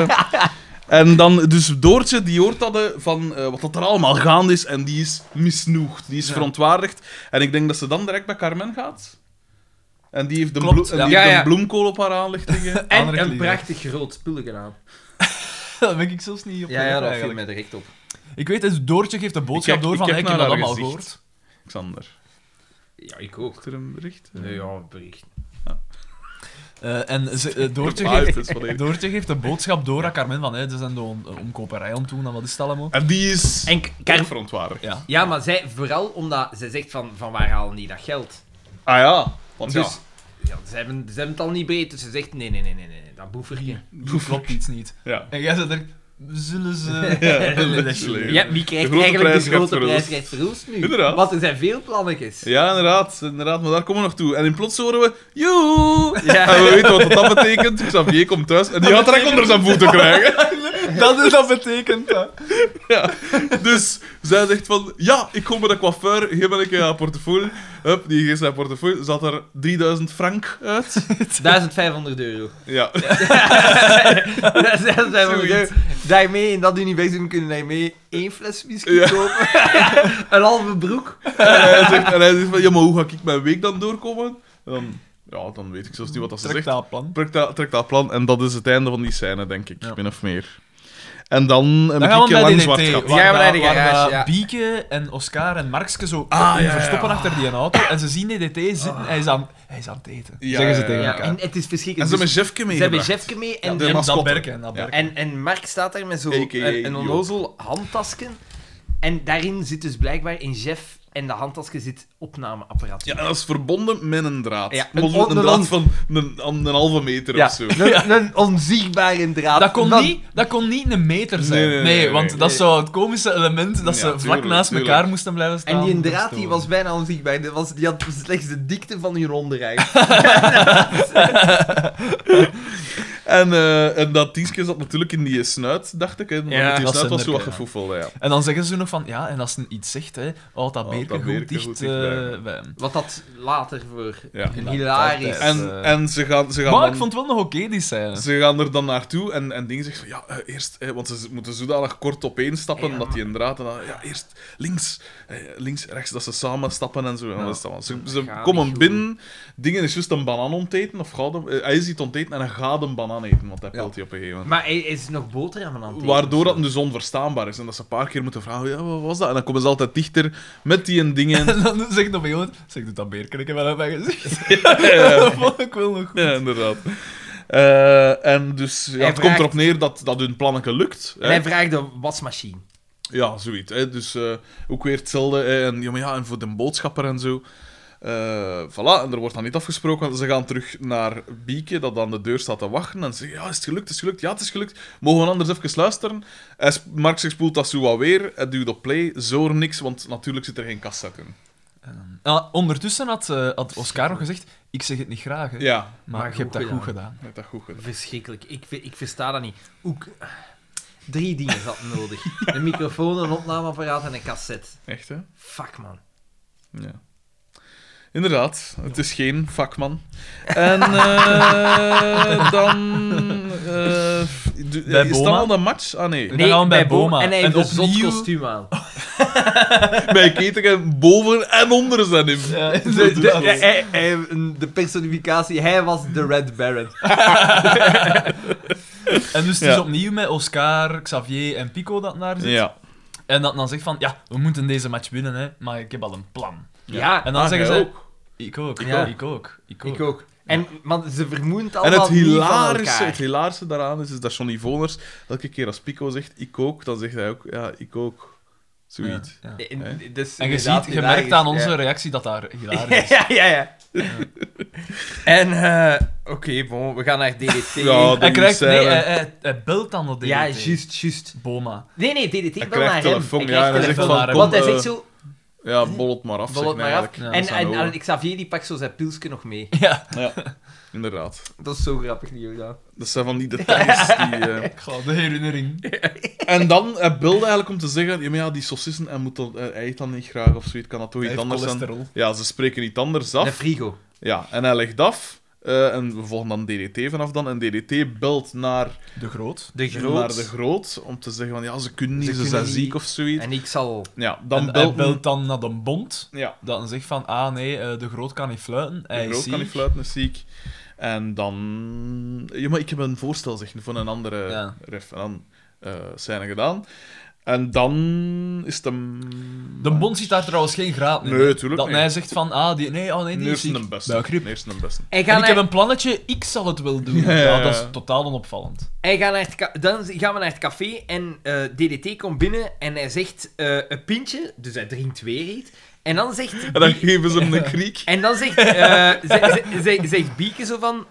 A: Eh, en dan, dus Doortje, die hoort dat eh, van eh, wat dat er allemaal gaande is. En die is misnoegd. Die is verontwaardigd. En ik denk dat ze dan direct bij Carmen gaat. En die heeft de,
C: Klopt,
A: bloem- en die
B: ja.
A: heeft een
B: Ja, ja.
A: bloemkool op haar aan liggen. liggen.
B: En
C: Andere
B: een
C: kleren.
B: prachtig groot spulletje aan.
C: Daar ben ik zelfs niet op
B: Ja, ja,
C: gelet,
B: dat viel
C: eigenlijk.
B: mij direct op.
C: Ik weet, dat Doortje geeft de boodschap
A: Ik kijk-
C: door van,
A: ik
C: ik,
A: kijk
C: ik heb
A: naar
C: dat
A: haar
C: allemaal
A: gezicht.
C: gehoord.
A: Xander,
B: Ja, ik ook.
A: is er een bericht?
B: Nee, ja, bericht.
C: Eh, en ze, eh, Doortje,
A: Ah,
C: geeft,
A: het is van één.
C: Doortje geeft de boodschap door aan Carmen van, hé, ze zijn de on- eh, omkoperij om toen, en wat is dat allemaal?
A: En die is
B: En
A: erg
B: Car
A: verontwaardigd.
C: Ja.
B: ja, maar zij, vooral omdat zij zegt van, van waar halen die dat geld?
A: Ah ja, want
B: Dus, ja, ze, hebben, ze hebben het al niet breed, dus ze zegt nee, nee, nee, nee, nee, nee, dat boeverje.
C: Hier klopt iets niet.
A: ja.
C: En jij zegt er, zullen ze...
A: Ja,
B: Ja,
A: De
B: wie krijgt
A: grote
B: eigenlijk
A: prijs
B: de grote
A: gaat
B: prijs
A: verroest.
B: krijgt verroest nu?
A: Inderdaad.
B: Want er zijn veel plannetjes.
A: Ja, inderdaad, inderdaad, maar daar komen we nog toe. En in plots horen we, joe!
B: Ja.
A: En we weten wat dat betekent. Xavier komt thuis en die gaat direct onder zijn voeten krijgen.
C: Dat is dat betekent, hè.
A: Ja. Dus zij zegt van, ja, ik kom bij de coiffeur, hier ben ik eh, haar portefeuille. Hup, die geeft zijn portefeuille, zat er 3000 frank uit.
B: 1500 euro.
A: Ja,
B: Dat is 1500
A: Zoiets.
B: euro. Daarmee, in dat universum, kunnen daarmee één fles whisky
A: Ja.
B: kopen, een halve broek.
A: en hij zegt, en hij zegt van, ja, maar hoe ga ik mijn week dan doorkomen? En dan, ja, dan weet ik zelfs niet wat dat ze
C: Trek
A: zegt.
C: dat plan.
A: Trek dat, trek dat plan en dat is het einde van die scène, denk ik,
C: Ja.
A: min of meer. En dan een
C: Dan gaan we
A: beetje
C: naar
A: lang
C: DDT,
A: zwart gat.
C: waar
B: Ja, we
C: dat-
B: naar de
C: waar
B: garage,
C: dat
B: ja.
C: Bieke en Oscar en Markske zo
A: Ah, ja, ja.
C: verstoppen achter die auto. En ze zien DDT zitten, hij, is aan, hij is aan het eten.
A: Ja,
C: zeggen ze
A: ja,
C: tegen
A: ja.
B: Ja,
C: elkaar.
B: en het is
A: En
B: verschrikkelijk.
A: ze hebben
B: Dus
A: Jeffke
B: ze hebben
A: meegebracht.
B: Jeffke mee en,
A: de
B: en,
C: en dat
A: mascotte.
C: berken, dat
A: Ja.
C: berken.
B: en, en Mark staat daar met zo'n
A: A.k.a.
B: een, een
A: Joop.
B: onnozel handtasken. En daarin zit dus blijkbaar in Jeff en de handtasken zit opnameapparaat.
A: Ja, en dat is verbonden met een draad.
B: Ja,
A: een,
B: een
A: een,
B: on- een
A: draad
B: on-
A: van een, een, een halve meter
B: Ja,
A: of zo.
B: Een, een onzichtbare draad.
C: Dat kon,
B: van-
C: niet, dat kon niet een meter zijn.
A: Nee,
C: Nee,
A: nee, nee,
C: want
A: nee.
C: dat is zo het komische element dat
A: Ja,
C: ze vlak
A: tuurlijk,
C: naast
A: tuurlijk.
C: elkaar moesten blijven staan.
B: En die
C: om te
B: draad die
C: storen.
B: was bijna onzichtbaar. Die, was, die had slechts de dikte van hun onderrij.
A: En, eh, en dat dienstje zat natuurlijk in die snuit, dacht ik. Hè. Want
B: Ja,
A: die snuit
C: dat
A: was
C: zinderke,
A: zo wat
C: ja.
A: gefoefeld, ja.
C: En dan zeggen ze nog van, ja, en als ze iets zegt, hè, oh, dat
A: Oh,
C: beerke
A: dat
C: goed
A: beerke
C: dicht,
A: goed
C: eh,
A: dicht
C: bij hem.
B: Wat dat later voor
A: Ja.
B: een hilarisch...
C: Dat
A: En,
C: is, eh,
A: en ze gaan, ze gaan,
C: Maar ik
A: dan-
C: vond het wel nog oké, die scène.
A: ze gaan er dan naartoe en, en Ding zegt van, ja, eh, eerst... eh, want ze z- moeten zodanig kort opeenstappen
B: Ja,
A: dat die een draad... En dan, ja, eerst links, eh, links, rechts, dat ze samen stappen en zo. En
C: Ja.
A: dat is dan- ze ze
B: gaat niet
A: komen
B: goed.
A: binnen, Dingen is juist een banaan onteten, of gaat hem- eh, hij is iets onteten en hij gaat een banaan eten, want hij
C: Ja.
A: pelt die op een gegeven moment.
B: Maar hij is nog boterhammen aan het eten.
A: Waardoor dat dus onverstaanbaar is. En dat ze een paar keer moeten vragen, ja, wat was dat? En dan komen ze altijd dichter met die en dingen.
C: En dan zegt nog een jongen, zeg, doet dat beerke wel aan mijn gezicht.
A: ja,
C: Dat vond ik wel nog goed.
A: ja, inderdaad. Eh, en dus ja,
B: Hij
A: het komt
B: vraagt-
A: erop neer dat, dat hun plannetje lukt.
B: En
A: Hè?
B: hij vraagt de wasmachine.
A: Ja, zoiets. Hè? Dus eh, ook weer hetzelfde. hè. En, ja, maar ja, en voor de boodschapper en zo. Eh voilà, en er wordt dan niet afgesproken. Ze gaan terug naar Bieke, dat aan de deur staat te wachten. En ze zeggen, ja, is het gelukt, is het gelukt, ja, het is gelukt. Mogen we anders even luisteren? Hij sp- Mark zich spoelt dat zo wat weer. Hij duwt op play, zoor niks, want natuurlijk zit er geen kastzak in.
C: Ah, ondertussen had, eh, had Oscar nog gezegd, ik zeg het niet graag, hè,
A: Ja,
C: maar,
B: Maar
C: je hebt dat
B: goed
C: goed gedaan.
A: dat dat goed gedaan.
B: Verschrikkelijk. Ik, ve- ik versta dat niet. Hoe... k- Drie dingen zat nodig. Een microfoon, een opnameapparaat en een cassette.
A: Echt, hè?
B: Fuck, man.
A: Ja. Inderdaad, het is geen vakman. En eh, dan. eh, f- d-
C: Bij
A: is het
C: Boma?
A: al de match? Ah nee.
C: gaan we bij
B: Bo-
C: Boma.
B: En hij
C: En
B: heeft een zot
C: opnieuw-
B: kostuum aan.
A: Mijn ketingen boven en onder zijn hem.
B: De, de, hij- hij- de personificatie, hij was de Red Baron.
C: En dus het
A: Ja.
C: is opnieuw met Oscar, Xavier en Pico dat naar zit.
A: Ja.
C: En dat dan zegt van, ja, we moeten deze match winnen, hè, maar ik heb al een plan.
B: Ja,
C: En dan zeggen
A: Ah, jij
C: ze, ik ook,
B: Ja.
C: ik ook, ik ook.
B: ik ook. En, maar ze vermoedt
A: En het
B: allemaal niet van
A: hilarische,
B: elkaar.
A: het hilarische daaraan is, is dat Johnny Voners elke keer als Pico zegt ik ook, dan zegt hij ook ja, ik ook. Zoiets.
C: Ja, ja.
B: En,
A: Hè?
B: dit is
C: En je,
B: inderdaad
C: ziet, je merkt
B: hilarisch,
C: aan onze
B: ja.
C: reactie dat daar hilarisch
B: Ja,
C: is.
B: ja, ja. En, eh, oké, bon, we gaan naar DDT.
A: Ja,
C: Hij, krijgt,
A: Die
C: nee,
A: scène.
C: hij, hij- hij belt dan dat DDT.
B: ja, juist, juist.
C: Boma.
B: Nee, nee, DDT,
A: Hij
B: wel naar
A: krijgt
B: hem.
A: telefoon,
B: krijgt
A: ja, en hij zegt
B: telefoon.
A: van
C: telefoon.
A: kom,
B: Want hij
A: eh,
B: zegt zo...
A: ja, bol het maar af,
B: Bol
A: zegt
B: het
A: hij
B: maar af.
A: eigenlijk.
C: Ja,
B: en,
A: dat zou
B: en,
A: wel.
B: en Xavier die pakt zo zijn pilsje nog mee.
C: Ja,
A: Ja, inderdaad.
B: Dat is zo grappig, Leo. Ja.
A: Dat zijn van die details die... eh,
C: ik ga de herinnering.
A: En dan, hij beelde eigenlijk om te zeggen, ja, maar ja, die saucissen, hij, moet dan, hij eet dan niet graag of zoiets, kan dat toch
C: Hij
A: iets
C: heeft
A: anders zijn?
C: cholesterol.
A: Ja, ze spreken iets anders
B: De
A: af.
B: frigo.
A: Ja, en hij legt af. eh, en we volgen dan DDT vanaf dan. En DDT belt naar
C: De groot.
B: De groot.
A: naar de groot om te zeggen van ja, ze kunnen niet,
B: Ze
A: ze,
B: kunnen
A: zijn
B: niet.
A: ziek of zoiets.
B: En ik zal...
A: Ja,
C: Dan
A: dan
C: en
A: belt,
C: hij belt dan naar de bond.
A: ja,
C: Dat dan zegt van, ah nee, eh, de groot kan niet fluiten.
A: de
C: Hij is
A: groot kan
C: ziek.
A: niet fluiten, is ziek. En dan... Ja, maar ik heb een voorstel zeggen van een andere
C: Ja.
A: ref. En dan eh, zijn er gedaan. En dan is het een...
C: De bond ziet daar trouwens geen graad in.
A: Nee,
C: hè.
A: tuurlijk
C: Dat
A: niet.
C: hij zegt van, ah nee, nee, oh, nee die is
A: Neersen
C: ziek.
A: en
C: Bij
A: besten.
C: griep.
A: Neersen en besten.
B: Hij
C: En
B: gaat,
C: ik heb
B: naar,
C: een plannetje, ik zal het wel doen.
A: Ja,
C: Ja,
A: ja, ja.
C: dat is totaal onopvallend.
B: hij gaat naar het ka- dan gaan we naar het café en eh, DDT komt binnen en hij zegt eh, een pintje, dus hij drinkt weer iets. En dan zegt...
A: En dan geven ze hem een kriek.
B: En dan zegt, eh, ze- ze- ze- zegt Bieke zo van...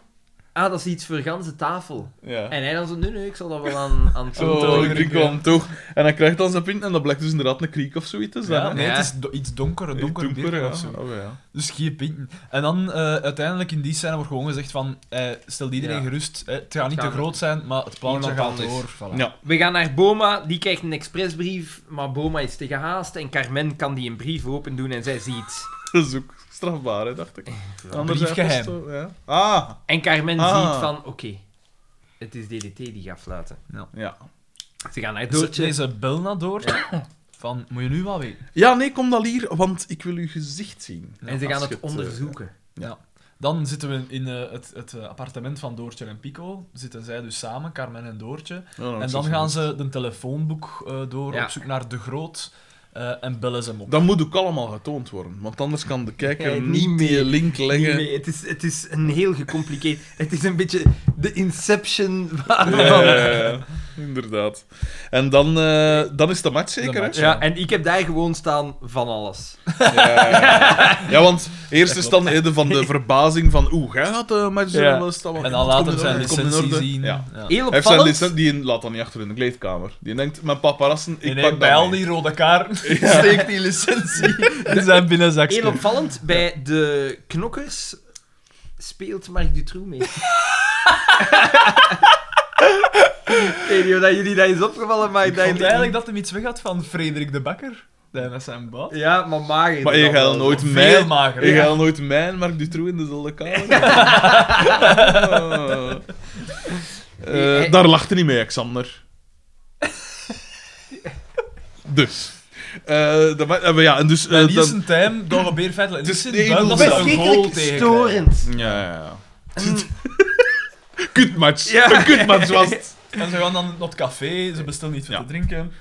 B: Ah, dat is iets voor ganse tafel.
A: Ja.
B: En hij dan zo... Nee, nee, ik zal dat wel aan, aan het
A: Zo,
B: controle
A: ik
B: doen.
A: drink wel hem toch. En dan krijgt hij zijn pint en dat blijkt dus inderdaad een kriek of zoiets te zijn.
C: Ja,
A: hè.
C: nee,
B: Ja.
C: het is do- iets donker, een donker,
A: Donker,
C: bier
A: ja.
C: of zo.
A: Oh, ja.
C: Dus geen pinten. En dan eh, uiteindelijk in die scène wordt gewoon gezegd van, eh, stel iedereen
B: Ja.
C: gerust, eh, het gaat niet
B: Het
C: te
B: gaat-
C: groot zijn, maar het plannetje
B: Niemand
C: gaat
B: anders.
C: door. Voilà.
A: Ja.
B: We gaan naar Boma, die krijgt een expressbrief, maar Boma is te gehaast en Carmen kan die een brief open doen en zij ziet.
A: Dat is ook strafbaar, hè, dacht ik.
C: Briefgeheim.
A: was het, ja. Ah,
B: En Carmen
A: Ah.
B: ziet van, oké, het is DDT die gaat fluiten.
A: ja.
B: Ze gaan naar
C: Ze-
B: Doortje.
C: Deze bel naar Doortje, van, moet je nu wat weten?
A: Ja, nee, kom dan hier, want ik wil uw gezicht zien.
B: En ze gaan
A: Als
B: het
A: je eh,
B: onderzoeken.
C: Dan zitten we in eh, het, het eh, appartement van Doortje en Pico. Zitten zij dus samen, Carmen en Doortje.
A: ja, nou,
C: En
A: ik
C: dan
A: zou
C: gaan
A: zeggen,
C: ze de telefoonboek eh, door,
B: Ja.
C: op zoek naar de groot. eh, en bellen ze hem op.
A: Dat moet ook allemaal getoond worden, want anders kan de kijker
B: Ja, niet
A: niet die
B: meer.
A: link leggen.
B: Nee, het is, het is een heel gecompliceerd... Het is een beetje de inception van...
A: Ja, ja, ja, Eh, inderdaad. En dan, eh, dan is de match zeker,
C: De match,
A: hè?
B: Ja, en ik heb daar gewoon staan van alles.
A: Ja, ja. ja, want eerst
C: Dat
A: is dan eh, de- van de verbazing van oeh, jij gaat de match
B: Ja.
A: doen, dus staan, maar
C: En dan
A: het komt
C: laten we
A: in
C: zijn
A: orde, het komt in
C: licentie
A: orde.
C: zien.
A: Ja.
C: Ja.
A: Hij
B: Heel
A: heeft zijn
B: opvallend.
A: licentie, die laat dan niet achter in de kleedkamer. Die denkt, mijn paparazzen, ik
C: Ik
A: pak dat
C: bij al
A: mee.
C: die rode kaarten steekt die licentie in zijn binnenzakje.
B: Heel opvallend, bij de knokkers speelt Marc Dutroux mee. Ik weet niet of dat jullie dat is opgevallen, maar
C: Ik vond
B: denk-
C: eigenlijk dat hem iets weg had van Frederik de Bakker. Dat met zijn baat.
B: Ja, maar mager.
A: Maar
B: dan
A: je gaat
B: wel.
A: nooit
C: Veel
A: mijn,
C: mager,
A: je
C: ja.
A: gaat nooit mijn Marc Dutroux in dezelfde kamer. Oh. Eh, daar lachte niet mee, Xander. dus. Eh, dat ma- eh, maar ja, en dus... eh,
C: En die is
A: dan-
C: een time, daar gebeurt feitelijk
A: Het
C: niks
A: is
C: in
A: één
C: buiten dat ze een goal
B: Verschrikkelijk
C: tegen
B: storend.
A: ja, ja, ja. Kutmatch.
B: Ehm. Ja.
A: Een kutmatch was het.
C: En ze gaan dan naar het café, ze bestellen iets voor
A: Ja.
C: te drinken.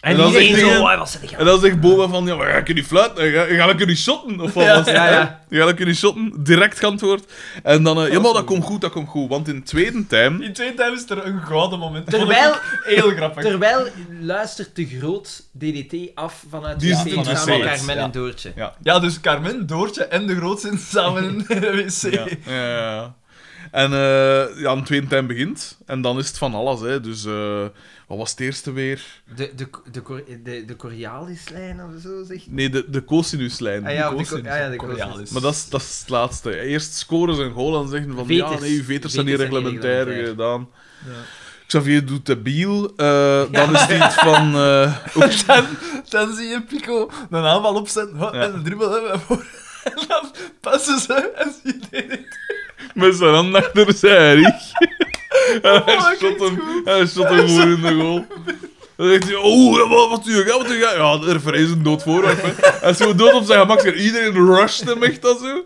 A: En dan zegt hij-
B: hij was "Oh, er
A: En dan zegt Boba van, ja, maar ga ik niet fluiten? Ga, ga ik niet shotten? Of wat
C: Ja,
A: was het,
B: ja,
A: hè?
B: ja.
A: Ga ik niet shotten? Direct geantwoord. En dan, eh, ja, maar dat komt goed, dat komt goed. Want in de tweede time...
C: In twee times is er een gouden moment.
B: Terwijl-
C: Vond ik Heel grappig.
B: Terwijl luistert de groot DDT af vanuit
A: Die
B: de
A: zit in
B: wc
A: de
B: samen
A: wc.
B: met Carmen
C: Ja.
B: en Doortje.
A: Ja.
C: Ja, dus Carmen, Doortje en de Groot zijn samen in de wc.
A: Ja, ja, ja. En eh ja, een tweede time begint. En dan is het van alles, hè. Dus eh, wat was het eerste weer?
B: De, de, de, Cor- de, de Coriolis-lijn of zo, zeg.
A: Nee, de, de cosinuslijn.
B: Ah, ja, de
C: De Koos
B: co-
C: in
B: ah, ja, de
C: Korealis.
B: Korealis.
A: Maar dat is, dat is het laatste. Eerst scoren ze een goal en zeggen van... Ja,
B: Veters.
A: nee, uw veters zijn niet
B: Veters zijn niet
A: reglementair
B: reglementair.
A: gedaan.
C: Ja.
A: Xavier doet de biel. eh, dan is het iets van... eh, oeps,
C: Dan zie je Pico een aanval opzetten huh,
A: Ja.
C: en een dribbel hebben voor. En dan passen ze en zie je dit.
A: met zijn hand achter zijn rug. En hij
C: Oh,
A: shot
C: kijk
A: hem, hij shot hem gewoon in de goal. Dan zegt hij, oh, wat, wat doe je? Wat doe je? Ja, er vrezen dood voorwerp. hè. En zo dood op zijn gemak. zeg, Iedereen rusht hem echt dat zo.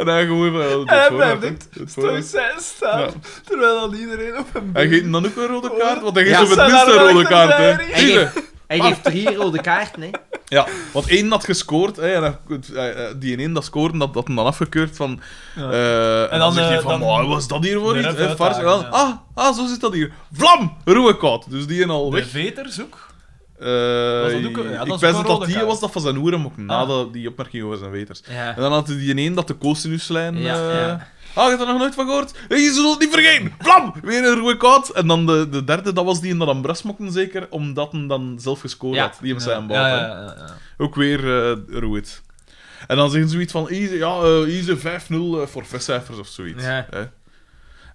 A: En hij gewoon van, ja, dood
C: En hij
A: voorwerp,
C: blijft
A: hè. Dood voorwerp.
C: stoïcijn staan, terwijl dan iedereen op hem
A: Hij geeft hem dan ook een rode kaart, want hij geeft
B: Ja,
A: hem het
C: zijn
A: minste
C: daar
A: een rode
C: wel
A: kaart.
C: echt
A: Hè.
C: een
A: Zie je?
B: Hij geeft drie rode kaarten, hè.
A: Ja, want één had gescoord, hè, en hij- eh, eh, die één dat scoorde, dat had hem dan afgekeurd van... eh, en,
C: En
A: dan
C: dan,
A: zegt hij
C: eh,
A: van,
C: dan-
A: maar was dat hier voor
C: De
A: iets?
C: ref
A: hè, Fars,
C: uitdagen,
A: En dan,
C: ja.
A: ah, ah, zo zit dat hier. Vlam! Ruwe koud. Dus die een al
C: De
A: weg.
C: veters ook.
A: Eh,
C: dat ook een- ja, dat is
A: ik
C: ook
A: wist
C: een
A: dat dat
C: rode
A: die
C: kaart.
A: was, dat van zijn hoeren ook, na
C: Ah.
A: de- die opmerking over zijn weters.
B: Ja.
A: En dan had hij die één dat de coasinuslijn...
B: Ja,
A: eh,
B: ja.
A: Ah, je hebt er nog nooit van gehoord? Hey, je zult het niet vergeten! Vlam! Weer een ruwe koud. En dan de, de derde, dat was die in dat aan Bras mokte, zeker, omdat hij dan zelf gescoord
B: Ja.
A: had. Die hem zijn bal.
C: ja,
A: hè.
C: ja, ja, ja, ja.
A: Ook weer eh roeit. En dan zeggen ze zoiets van, easy, ja, eh, easy 5-0 eh, voor vestcijfers of zoiets.
B: Ja.
A: Hè.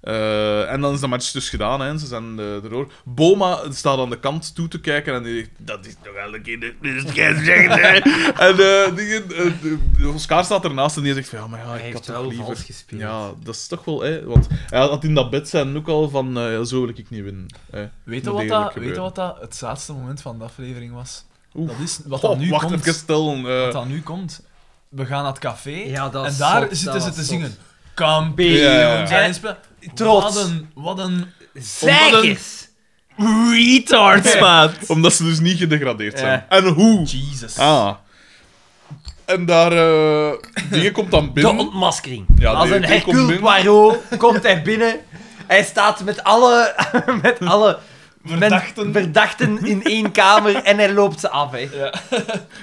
A: Eh, en dan is de match dus gedaan, hè, en ze zijn eh, erdoor. Boma staat aan de kant toe te kijken en die zegt, dat is toch wel een keer de dus scheidsrechter, hè." En eh, dingen, eh, de- Oscar staat ernaast en die zegt van, ja, maar ja, ik
B: Hij
A: had
B: heeft
A: toch
B: wel
A: liever...
B: vals gespeeld.
A: Ja, dat is toch wel, hè, want hij had in dat bed zijn ook al van, eh, ja, zo wil ik niet winnen. hè.
C: Weet je
A: Moet
C: wat,
A: degelijk
C: dat, weet je
A: gebeuren.
C: wat dat het zaadste moment van de aflevering was?
A: Oeh.
C: Dat is wat
A: Goh,
C: dat nu
A: wacht,
C: komt.
A: even stellen. eh.
C: Wat dat nu komt. We gaan naar het café
B: Ja, dat
C: en
B: is
C: daar
B: zot,
C: zitten
B: dat
C: ze
B: was
C: te
B: zot.
C: zingen. Kampioen.
A: Ja.
C: zijn spel-
B: Trots.
C: Wat een, wat een
B: Zegers!
C: retards, man.
A: Omdat ze dus niet gedegradeerd zijn.
B: Ja.
A: En hoe?
C: Jesus.
A: Ah. En daar... eh dingen komt dan
B: De
A: binnen.
B: ontmaskering.
A: Ja,
B: Als
A: die-
B: een
A: die komt
B: Hercule
A: binnen.
B: Poirot komt hij binnen. Hij staat met alle, met alle men-
C: Verdachten.
B: verdachten in één kamer en hij loopt ze af. Hè.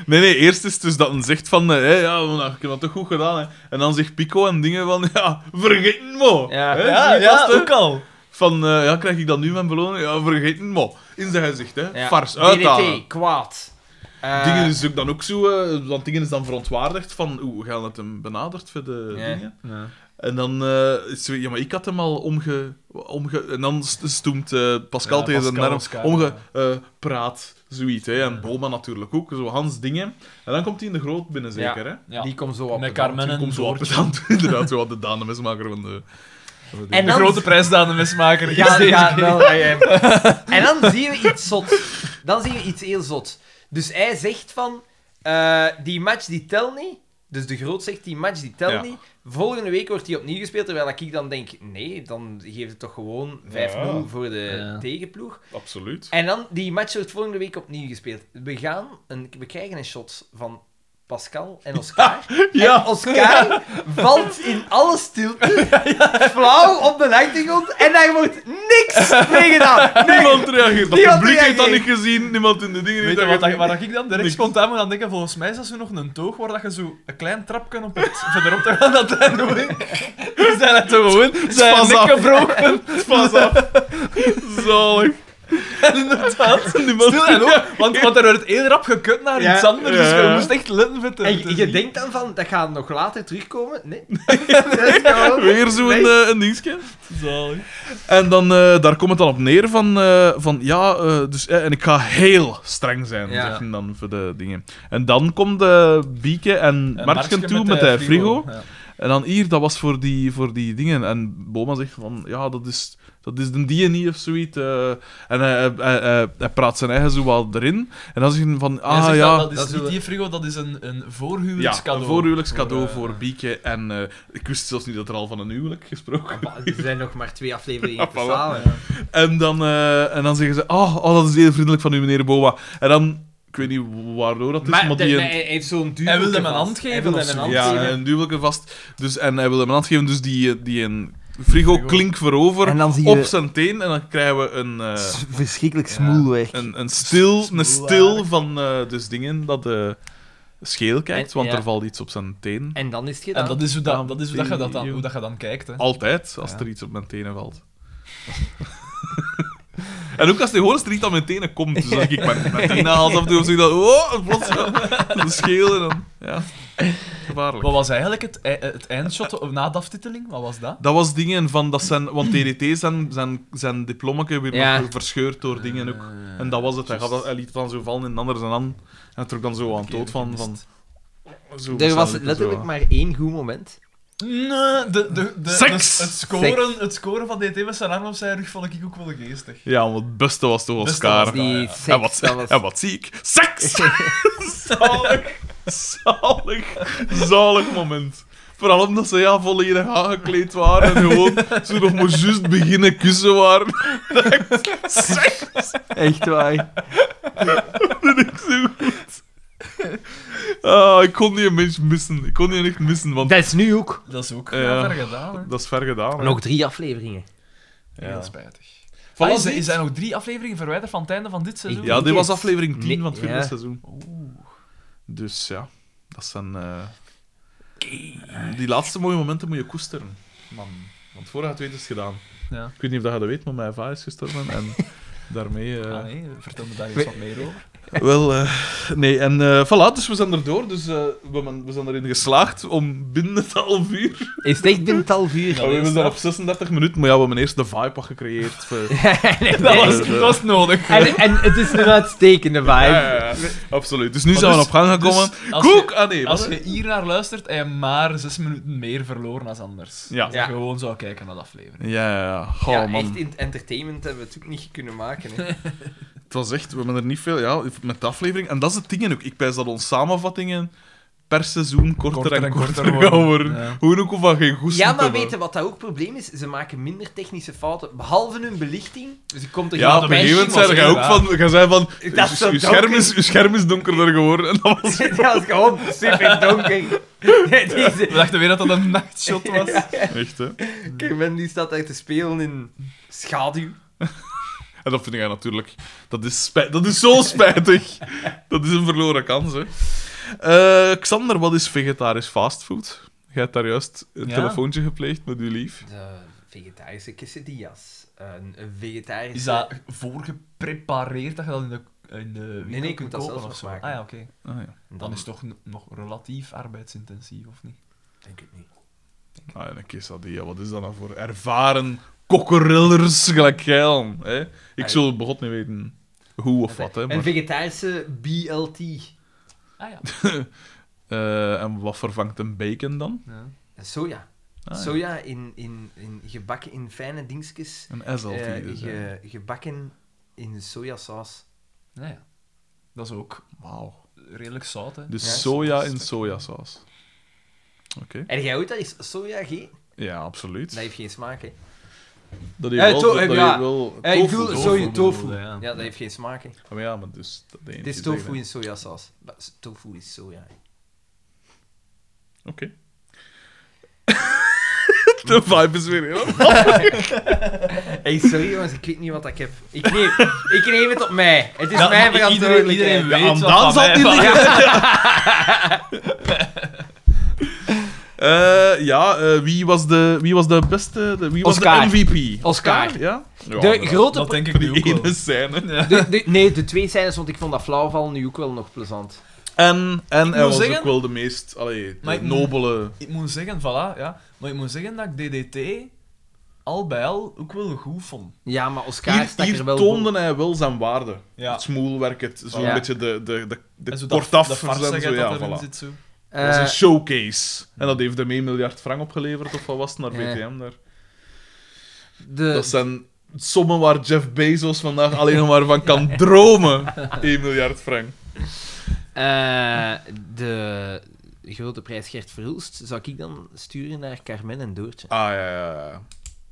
A: Nee, nee, eerst is het dus dat een zegt van... eh, Hé, ja, nou, ik heb dat toch goed gedaan, hè. En dan zegt Pico en dingen van... Ja, vergeten mo.
B: Ja.
A: Hè,
C: Ja,
A: die
C: ja,
A: gasten.
C: ook al.
A: Van, eh, ja, krijg ik dan nu mijn beloning? Ja, vergeten mo. In zijn gezicht, hè.
B: Ja.
A: Fars, uitdagen.
B: DDT, kwaad. Eh,
A: Dingen is ook dan ook zo... eh, want dingen is dan verontwaardigd van... Oeh, we gaan het hem benaderd voor de
B: Ja.
A: dingen. En dan eh, is zo, ja, maar ik had hem al omge... omge en dan st- stoemt eh, Pascal
C: Ja,
A: tegen zijn
C: Pascal,
A: arm
C: Oscar,
A: omgepraat, eh, zoiets. Hè. En Boma natuurlijk ook, zo Hans dingen. En dan komt hij in de groot binnen, zeker, hè?
C: Ja.
B: Die komt zo op.
C: Met
B: de hand.
C: Carmen
A: Die
C: en
A: komt zo op het
C: Doortje.
A: hand, inderdaad, zo wat de danenmesmaker van de... van de
B: En
A: dingen.
C: De
B: dan-
C: grote prijs aan de mismaker. is
B: Ja,
C: deze
B: ja,
C: keer.
B: wel, ja, ja. En dan zien we iets zot. Dan zien we iets heel zot. Dus hij zegt van, eh, die match die telt niet. Dus de groot zegt, die match die telt
A: Ja.
B: niet. Volgende week wordt die opnieuw gespeeld. Terwijl ik dan denk, nee, dan geeft het toch gewoon 5-0
A: Ja.
B: voor de
C: Ja.
B: tegenploeg.
A: Absoluut.
B: En dan, die match wordt volgende week opnieuw gespeeld. We gaan, een, we krijgen een shot van Pascal en Oscar.
A: Ja.
B: En Oscar valt in alle stilte, flauw op de achtergrond, en daar wordt niks mee gedaan. Nee.
A: Niemand reageert. Dat
B: Niemand
A: publiek heeft dat niet
B: reageert.
A: gezien, niemand in de dingen
C: Weet
A: heeft
C: je
A: dat
C: wat, dat-
A: gezien.
C: waar ik dan direct
A: Niks.
C: spontaan moet aan denken? Volgens mij is dat zo nog een toog waar dat je zo een klein trapje op hebt verderop te gaan dat Dus hij nog in. Die zijn het zo gewoon, zijn
A: Pas
C: nek
A: af.
C: gebroken.
A: Pas af. Zalig.
C: En inderdaad,
A: Niemand
C: stil en ook, want, want er werd heel rap gekut naar
B: Ja.
C: iets anders, dus je
A: Ja.
C: moest echt letten voor te-
B: En je,
C: te
B: je
C: zien.
B: denkt dan van, dat gaat nog later terugkomen. Nee. Dat is gewoon-
A: Weer zo'n
B: Nee.
A: eh, een dingetje.
C: Zalig.
A: En dan, eh, daar komt het dan op neer van, eh, van ja, eh, dus, eh, en ik ga heel streng zijn,
B: Ja.
A: zegt hij dan voor de dingen. En dan komt eh Bieke en
C: En eh,
A: Marksken
C: Marksken
A: toe met de frigo.
C: Ja.
A: En dan hier, dat was voor die, voor die dingen. En Boma zegt van, ja, dat is, dat is de die niet of zoiets. eh. en hij, hij, hij, hij- hij praat zijn eigen zo wel erin. En dan zegt hij van,
C: Hij
A: ah
C: zegt
A: ja...
C: dat, dat is
B: dat
C: niet
B: doen we.
C: die frigo, dat is een, een
A: ja,
C: voorhuwelijkscadeau.
A: een voorhuwelijkscadeau voor,
C: eh,
A: Bieke. En eh, ik wist zelfs niet dat er al van een huwelijk gesproken
B: Maar Er zijn nog maar twee afleveringen
A: voilà.
B: te samen.
A: En dan, eh, en dan zeggen ze: oh, oh, dat is heel vriendelijk van u, meneer Boma. En dan, ik weet niet waardoor dat is, maar,
B: Maar de-
A: die.
B: maar hij heeft zo'n duur.
C: Hij wilde hem een hand geven
B: Hij wilde
C: of
B: hem een
C: zo.
B: hand
A: ja,
B: geven.
A: een duwelke vast. Dus, en hij wil hem een hand geven, dus die, eh, die een frigo klink voorover
B: En dan eh, zie je-
A: op zijn teen. En dan krijgen we een, eh,
B: Verschrikkelijk
C: smoelwerk.
A: een, een stil, een
C: Smoel
A: stil
C: eigenlijk.
A: van eh, dus dingen dat eh scheel kijkt,
B: En-
A: want
B: ja.
A: er valt iets op zijn teen.
B: En dan is het gedaan.
C: En dat is hoe, dat, dat is hoe, dat je, dat dan, hoe dat je dan kijkt. Hè.
A: Altijd, als
C: Ja.
A: er iets op mijn tenen valt. en ook als die hoort, er iets aan mijn tenen komt. Dus als ik mijn, mijn tenen haal af doe, dan zeg ik dat... Oh, plots. De scheel en dan... Ja. Gevaarlijk.
C: Wat was eigenlijk het, ei- het eindshot op- na de aftiteling? Wat was dat?
A: Dat was dingen van... Dat zijn, want DDT zijn, zijn, zijn diplommaken weer
B: Ja.
A: nog verscheurd door dingen ook.
C: Eh,
A: En dat was het. Hij, gaf
C: juist.
A: dat, hij liet het dan zo vallen in de ander zijn hand. En hij trok dan zo aan het dood van... van zo,
B: Er
A: zijn
B: was
A: lippen
B: letterlijk
A: zo.
B: maar één goed moment.
C: Nee, de, de, de,
A: Seks!
C: de- het, scoren, het scoren van DT met zijn arm op zijn rug vond ik ook wel geestig.
A: Ja, want het beste was toch
C: Beste was
A: Oscar.
C: die
A: Ja, ja.
B: seks,
A: en, wat,
B: dat was-
A: en wat zie ik? Seks! zalig, zalig, zalig moment. Vooral omdat ze ja, volledig aangekleed waren en gewoon ze nog maar juist beginnen kussen waren. Seks!
B: Echt waar.
A: Ah, ik kon die mens missen. Ik kon die echt missen, want
B: Dat is nu ook.
C: Dat is ook
A: Ja.
C: ja. ver gedaan, hè.
A: dat is ver gedaan. hè.
B: Nog drie afleveringen.
C: Heel spijtig.
A: Voilà,
C: Voilà,
A: dit.
C: er zijn nog drie afleveringen verwijderd van het einde van dit seizoen.
A: Ja, dit was aflevering 10
B: Nee,
A: van het vierde
B: ja.
A: seizoen. Dus ja, dat zijn... eh, die laatste mooie momenten moet je koesteren, man. Want voordat je het weet is het gedaan.
C: Ja.
A: Ik weet niet of dat je dat weet, maar mijn vader is gestorven en daarmee... eh,
C: Ah, nee, vertel me daar eens wat meer over.
A: Wel, eh, nee, en eh voilà, dus we zijn erdoor. Dus eh, we, men- we zijn erin geslaagd om binnen het half uur...
B: Is het echt binnen het half uur?
A: we hebben daar op 36 minuten, maar ja, we hebben eerst de vibe wat gecreëerd. voor-
B: Nee,
C: Dat
B: nee.
C: was, dat was nodig.
B: En, en het is een uitstekende vibe.
A: Ja, ja, ja, absoluut. Dus nu
C: Maar
A: zijn we
C: dus-
A: op gang gekomen.
C: dus als
A: Koek!
C: je-
A: ah nee,
C: Als
A: wat?
C: je hier naar luistert, heb je maar zes minuten meer verloren als anders.
A: Ja.
C: Als je
B: Ja.
C: gewoon zou kijken naar de aflevering.
A: Ja, ja, ja. Goh,
B: ja,
A: Oh, man.
B: echt in het entertainment hebben we het ook niet kunnen maken. Hè.
A: Het was echt, we hebben er niet veel, ja, met de aflevering. En dat is het ding ook. Ik pijs dat onze samenvattingen per seizoen korter,
C: Korter
A: en,
C: en
A: korter,
C: korter
A: gaan
C: worden.
A: worden.
C: Ja.
A: Hoe ook of van geen goesting
B: Ja, maar
A: te
B: weet je
A: hebben.
B: wat dat ook het probleem is? Ze maken minder technische fouten, behalve hun belichting. Dus ik kom er
A: Ja,
B: geen
A: op een gegeven moment
B: wijziging
A: zei jij ook
C: Ja.
A: van, jij zei van,
B: Dat is
A: "Uw-
B: zo
A: uw scherm
B: donker."
A: is, uw scherm is donkerder geworden. En dat was
B: op. Dat was gewoon super donker. Het
C: We
B: is-
C: dachten weer dat dat een nachtshot was.
A: echt, hè.
B: Carmen die staat daar te spelen in schaduw.
A: En dat vind jij natuurlijk, dat is, spij- dat is zo spijtig. Dat is een verloren kans, hè. Eh, Xander, wat is vegetarisch fastfood? Jij hebt daar juist een
C: Ja.
A: telefoontje gepleegd met uw lief.
B: De vegetarische quesadillas. Een een vegetarische...
C: Is dat voorgeprepareerd dat je dat in de, in de winkel
B: nee, ik
C: kunt
B: moet dat
C: kopen
B: zelf
C: of zo?
B: nog
C: Ah
B: maken.
C: ja, oké.
A: Ah, ja.
B: Dan,
C: Dan is het toch n- nog relatief arbeidsintensief, of niet?
B: Denk ik niet.
A: Ah, en een quesadilla, wat is dat nou voor ervaren kokkerillers gelijk jij dan, hè?
B: Ah,
A: Ik zou begot niet weten hoe of wat, hè.
B: Een
A: Maar,
B: vegetarische BLT.
C: Ah ja.
A: eh, en wat vervangt een bacon dan?
C: ja.
B: Soja.
A: Ah, ja.
B: Soja in, in, in, gebakken in fijne dingetjes.
A: Een SLT
B: eh,
A: dus, hè.
B: ge- gebakken in sojasaus.
C: Nou ja. Dat is ook
A: Wauw.
C: redelijk zout, hè.
A: Dus
B: Ja,
A: soja
C: is-
A: in sojasaus. Oké.
B: En jij ooit dat is soja geen?
A: Ja, absoluut.
B: Dat heeft geen smaak, hè?
A: Dat
B: Eh,
A: heeft
B: to-
A: wel... dat
B: eh,
A: heeft
B: ja.
A: wel
B: Eh, ik
A: tofu,
B: bedoel,
A: tofu.
B: sorry,
C: bedoelde,
B: tofu.
C: ja.
B: Ja, dat heeft geen smaak, hè?
A: Maar ja, maar dus... Dat de
B: Het
A: ene
B: is
A: tegen-
B: tofu in sojasaus. Maar s- Tofu is soja. hè.
A: Oké. de vibe is weer heel...
B: Hey, sorry jongens, ik weet niet wat ik heb. Ik neem, ik neem het op mij. Het is
C: Ja,
B: mijn
C: maar iedereen-
B: verantwoordelijkheid.
C: iedereen
A: Ja,
C: weet
A: aan
C: wat
A: Daan
C: van
A: zal
C: mij
A: het niet
C: valt.
A: Eh, ja, eh, wie, was de, wie was de beste... De, wie was
B: Oscar.
A: de MVP?
B: Oscar.
A: ja? Ja,
B: De
A: maar-
B: grote...
C: Dat denk ik
A: Voor
C: nu
A: die
C: ook wel.
A: ene scène.
B: de- de- nee, de twee scènes, want ik vond dat flauwval nu ook wel nog plezant.
A: En, en
C: moet
A: hij was
C: zeggen-
A: ook wel de meest allee,
C: Maar ik-
A: de nobele...
C: Ik moet zeggen, voilà, ja. Maar ik moet zeggen dat ik DDT al bij al ook wel goed vond.
B: Ja, maar Oscar
A: Hier,
B: stak er
A: hier
B: wel...
A: toonde hij wel zijn waarde.
C: Ja.
A: Het smoelwerk, het, zo'n
B: Ja.
A: beetje de, de, de,
C: En zo
A: de
C: dat-
A: kortaffers
C: dat
A: en zo.
C: farsigheid
A: Ja,
C: dat erin
A: voilà.
C: zit, zo.
B: bo-
A: dat is
B: Eh,
A: een showcase. En dat heeft hem 1 miljard frank opgeleverd, of wat was het, naar
B: Ja.
A: BTM daar.
B: de,
C: Eh,
A: Dat zijn sommen waar Jeff Bezos vandaag alleen nog maar van kan dromen. 1 miljard frank.
B: eh, de grote prijs Gert Verhulst zou ik dan sturen naar Carmen en Doortje.
A: Ah, ja, ja, ja.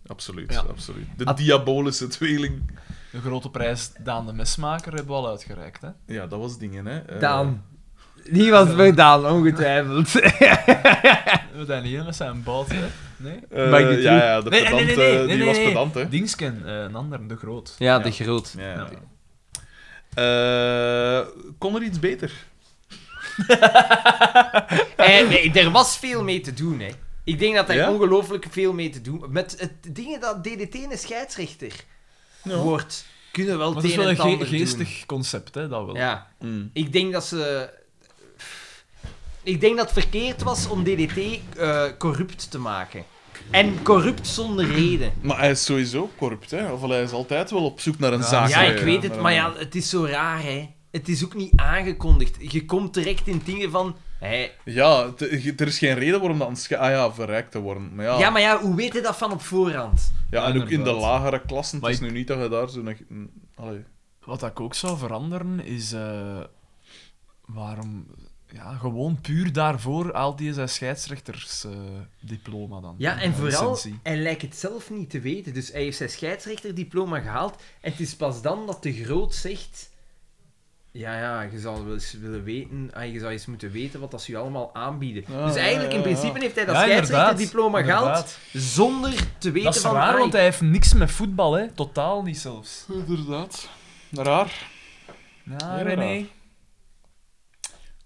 A: Absoluut,
C: Ja.
A: absoluut. De
B: Ad-
A: diabolische tweeling.
C: De grote prijs Daan de Mesmaker hebben we al uitgereikt, hè.
A: Ja, dat was dingen, hè. Eh,
B: Daan. Die was voor Daan, ongetwijfeld.
C: We zijn hier met zijn bout, hè. Nee?
A: eh,
B: Mag ik dit
A: ja,
B: doen?
A: ja, de
C: Nee, nee,
A: pedant,
C: nee, nee,
A: eh, die
C: nee,
A: was
C: nee.
A: pedant, hè.
C: Dingsken, eh, een ander, de groot.
B: Ja,
A: de
B: de groot.
A: Ja, ja.
C: Ja.
A: Eh, kon er iets beter?
B: Eh, nee, er was veel mee te doen, hè. Ik denk dat er
A: Ja?
B: ongelooflijk veel mee te doen... Met het dingen dat DDT een scheidsrechter
A: Ja.
B: wordt, kunnen wel
C: Maar het is
B: tegen
C: wel een
B: het
C: ge-
B: ander
C: geestig concept, hè, dat wel.
B: doen. Ja.
A: Hmm.
B: Ik denk dat ze... Ik denk dat het verkeerd was om DDT eh, corrupt te maken. En corrupt zonder reden.
A: Maar hij is sowieso corrupt, hè? Of hij is altijd wel op zoek naar een
C: Ja,
A: zaak.
B: Ja, ik
C: ja,
B: weet het, maar ja, het is zo raar, hè. Het is ook niet aangekondigd. Je komt direct in dingen van...
E: Hij...
A: Ja, t- er is geen reden waarom dat aan scha- ah ja, verrijkt te worden. Maar ja,
E: Ja, maar ja, hoe weet je dat van op voorhand?
A: ja, en ook in de
C: inderdaad.
A: lagere klassen, het
C: Maar
A: is
C: ik-
A: nu niet dat je daar zo'n... echt- mm, Allee.
C: Wat dat ik ook zou veranderen is. eh, waarom. Ja, gewoon puur daarvoor haalt hij zijn scheidsrechtersdiploma dan.
E: Ja, en
C: eh,
E: vooral,
C: licentie.
E: hij lijkt het zelf niet te weten. Dus hij heeft zijn scheidsrechterdiploma gehaald. En het is pas dan dat de groot zegt... Ja, ja, je zou wel eens willen weten... ah, je zou eens moeten weten wat dat ze je allemaal aanbieden.
A: Ja,
E: dus eigenlijk,
A: ja, ja,
E: in principe,
A: ja.
E: heeft hij dat
C: Ja, inderdaad,
E: scheidsrechterdiploma gehaald
C: inderdaad.
E: zonder te weten
C: Dat is
E: van...
C: raar,
E: ah,
C: want hij heeft niks met voetbal, hè? Totaal niet zelfs.
A: Inderdaad. Raar.
C: Ja,
A: Heel
C: René.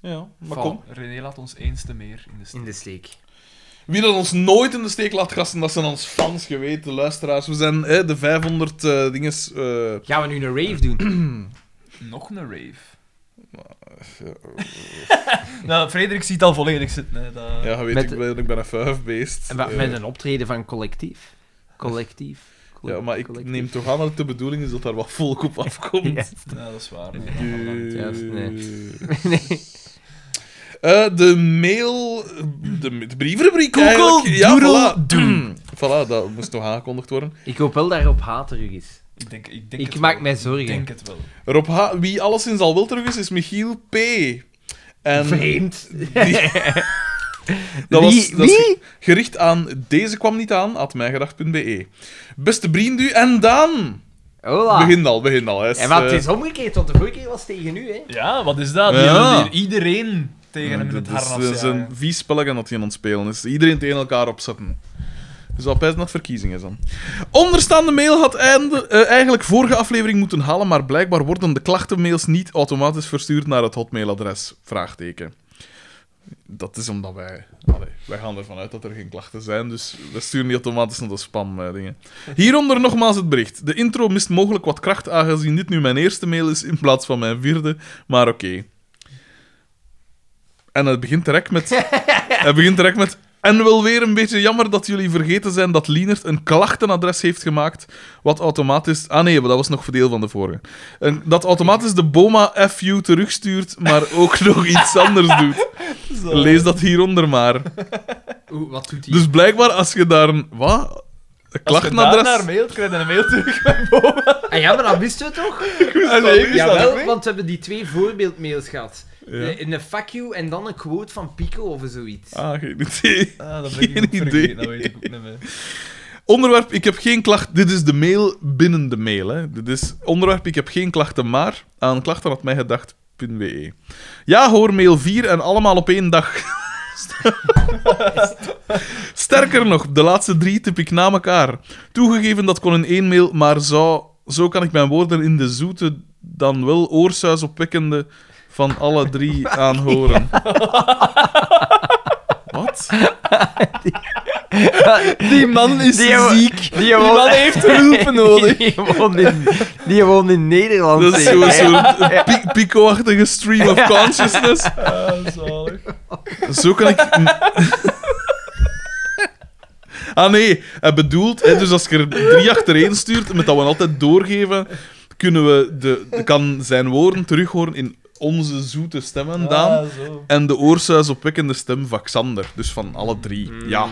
A: Ja, maar
C: Val.
A: kom.
C: René laat ons eens te meer in de
E: In
C: steek.
E: de steek.
A: Wie dat ons nooit in de steek laat gasten, dat zijn ons fans geweten, luisteraars. We zijn hè, de 500 eh dinges... eh,
E: Gaan we nu een rave doen?
C: Nog een rave. nou, Frederik ziet al volledig zitten. Hè, dat...
A: ja, je weet,
E: Met-
A: ik, ben, ik ben een fuifbeest.
E: En wa-
A: Eh,
E: met een optreden van collectief? Collectief? colle-
A: Ja, maar ik
E: collectief.
A: neem toch aan dat het de bedoeling is dat daar wat volk op afkomt.
E: Ja.
C: Ja, dat is waar. hè.
E: juist, nee.
A: Eh,
E: Nee.
A: eh, de mail... De, de brievenrubriek
E: Google
A: eigenlijk.
E: Doodle
A: voilà.
E: Doom.
A: voilà, dat moest nog aangekondigd worden.
E: Ik hoop wel daarop haat er u is.
C: Ik denk, ik denk
E: Ik
C: het
E: maak
C: wel.
E: mij
C: Ik
E: zorgen.
C: denk het wel.
A: Rob H. Wie alleszins al wel terug is, is Michiel P. En
E: Vreemd.
A: dat was,
E: Wie-
A: dat is
E: wie?
A: ge- gericht aan deze kwam niet aan, at mijgedacht.be. E. Beste vriendu en Daan.
E: Hola.
A: Begin al, begin al. Hè.
E: En wat het
A: Eh,
E: is omgekeerd, want de vorige keer was het tegen u, hè?
C: Ja, wat is dat? Die
A: Ja.
C: wil hier iedereen tegen hem
A: dat
C: in het
A: is- eh,
C: harnas
A: Dat dus is
C: jagen.
A: een vies spelletje dat hij aan het spelen is. Iedereen tegen elkaar opzetten. Dus al bijna dat verkiezingen dan. Onderstaande mail had einde- eh, eigenlijk vorige aflevering moeten halen, maar blijkbaar worden de klachtenmails niet automatisch verstuurd naar het hotmailadres. Vraagteken. Dat is omdat wij... Allee, wij gaan ervan uit dat er geen klachten zijn, dus we sturen niet automatisch naar de spam-dingen. Hieronder nogmaals het bericht. De intro mist mogelijk wat kracht, aangezien dit nu mijn eerste mail is in plaats van mijn vierde, maar oké. En het begint direct met... het begint direct met... En wel weer een beetje jammer dat jullie vergeten zijn dat Lienert een klachtenadres heeft gemaakt, wat automatisch... Ah nee, maar dat was nog verdeel van de vorige. En dat automatisch de BOMA FU terugstuurt, maar ook nog iets anders doet. Lees dat hieronder maar.
E: Oeh, wat doet hij?
A: Dus blijkbaar als je daar een... Wat? Een
C: Als je daar naar
A: klachtenadres?
C: mailt, krijg je een mail terug.
E: Ah ja, maar dat wisten we toch?
C: Ah, nee, ik wist dat ook
E: Jawel,
C: niet.
E: want we hebben die twee voorbeeldmails gehad.
A: Ja.
E: Eh, Een fuck you en dan een quote van Pico of zoiets.
A: Ah, geen idee.
C: Ah, dat
A: Geen
C: ben ik ook
A: idee.
C: vergeten, dat weet ik ook niet meer.
A: Onderwerp, ik heb geen klacht. Dit is de mail binnen de mail. Hè. Dit is onderwerp, ik heb geen klachten, maar aan klachten had mij gedacht.be. e. Ja hoor, mail 4 en allemaal op één dag. Sterker nog, de laatste drie typ ik na elkaar. Toegegeven dat kon in één mail, maar zo, zo kan ik mijn woorden in de zoete, dan wel oorsuis opwekkende van alle drie aanhoren. Wat?
E: Die man is ziek. Die,
A: Oh,
E: man heeft hulp nodig. Die woont in, die woont in Nederland.
A: Dat is
E: zeker,
A: zo'n
E: hè?
A: soort pi- pico-achtige stream of consciousness.
C: Ah, zalig.
A: Zo kan ik. Ah nee, hij bedoelt, hè, dus als je er drie achtereen stuurt, met dat we altijd doorgeven, kunnen we de, kan zijn woorden terughoren in onze zoete stemmen, Daan.
C: Ah, zo.
A: En de oorsuis opwekkende stem van Xander. Dus van alle drie, ja.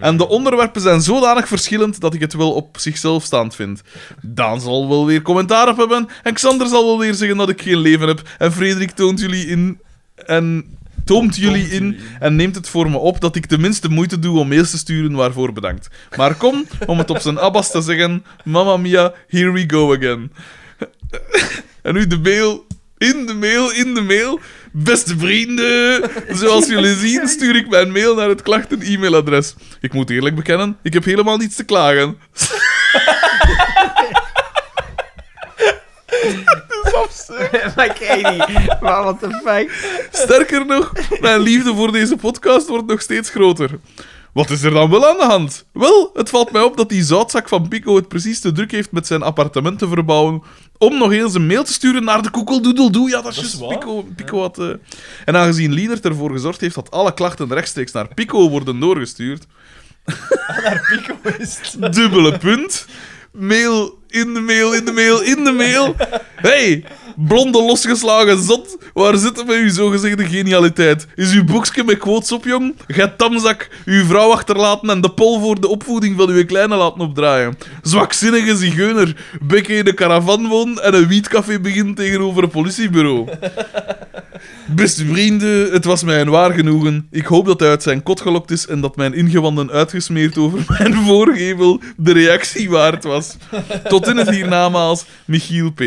A: En de onderwerpen zijn zodanig verschillend dat ik het wel op zichzelf staand vind. Daan zal wel weer commentaar op hebben. En Xander zal wel weer zeggen dat ik geen leven heb. En Frederik toont jullie in. En toomt jullie in.
C: jullie in.
A: En neemt het voor me op dat ik tenminste moeite doe om mails te sturen waarvoor bedankt. Maar kom, om het op zijn abbas te zeggen: Mamma mia, here we go again. En nu de mail. In de mail, in de mail. Beste vrienden, zoals jullie zien stuur ik mijn mail naar het klachten-e-mailadres. Ik moet eerlijk bekennen, ik heb helemaal niets te klagen.
E: maar kijk niet. Maar what the fuck.
A: Sterker nog, mijn liefde voor deze podcast wordt nog steeds groter. Wat is er dan wel aan de hand? Wel, het valt mij op dat die zoutzak van Pico het precies te druk heeft met zijn appartement te verbouwen. om nog eens een mail te sturen naar de koekeldoedeldoe. Ja, dat is
C: Dat is
A: juist.
C: waar.
A: Pico, Pico had. eh, En aangezien Lienert ervoor gezorgd heeft dat alle klachten rechtstreeks naar Pico worden doorgestuurd.
C: Pico is het.
A: Dubbele punt. Mail, in de mail, in de mail, in de mail. hey, blonde losgeslagen zot. Waar zitten we uw zogezegde genialiteit? Is uw boekje met quotes op, jong? Gaat tamzak uw vrouw achterlaten en de pol voor de opvoeding van uw kleine laten opdraaien. Zwakzinnige zigeuner. Bekken in de caravan wonen en een wietcafé begint tegenover een politiebureau. Beste vrienden, het was mij een waar genoegen. Ik hoop dat hij uit zijn kot gelokt is en dat mijn ingewanden uitgesmeerd over mijn voorgevel de reactie waard was. Tot in het hiernamaals, Michiel P.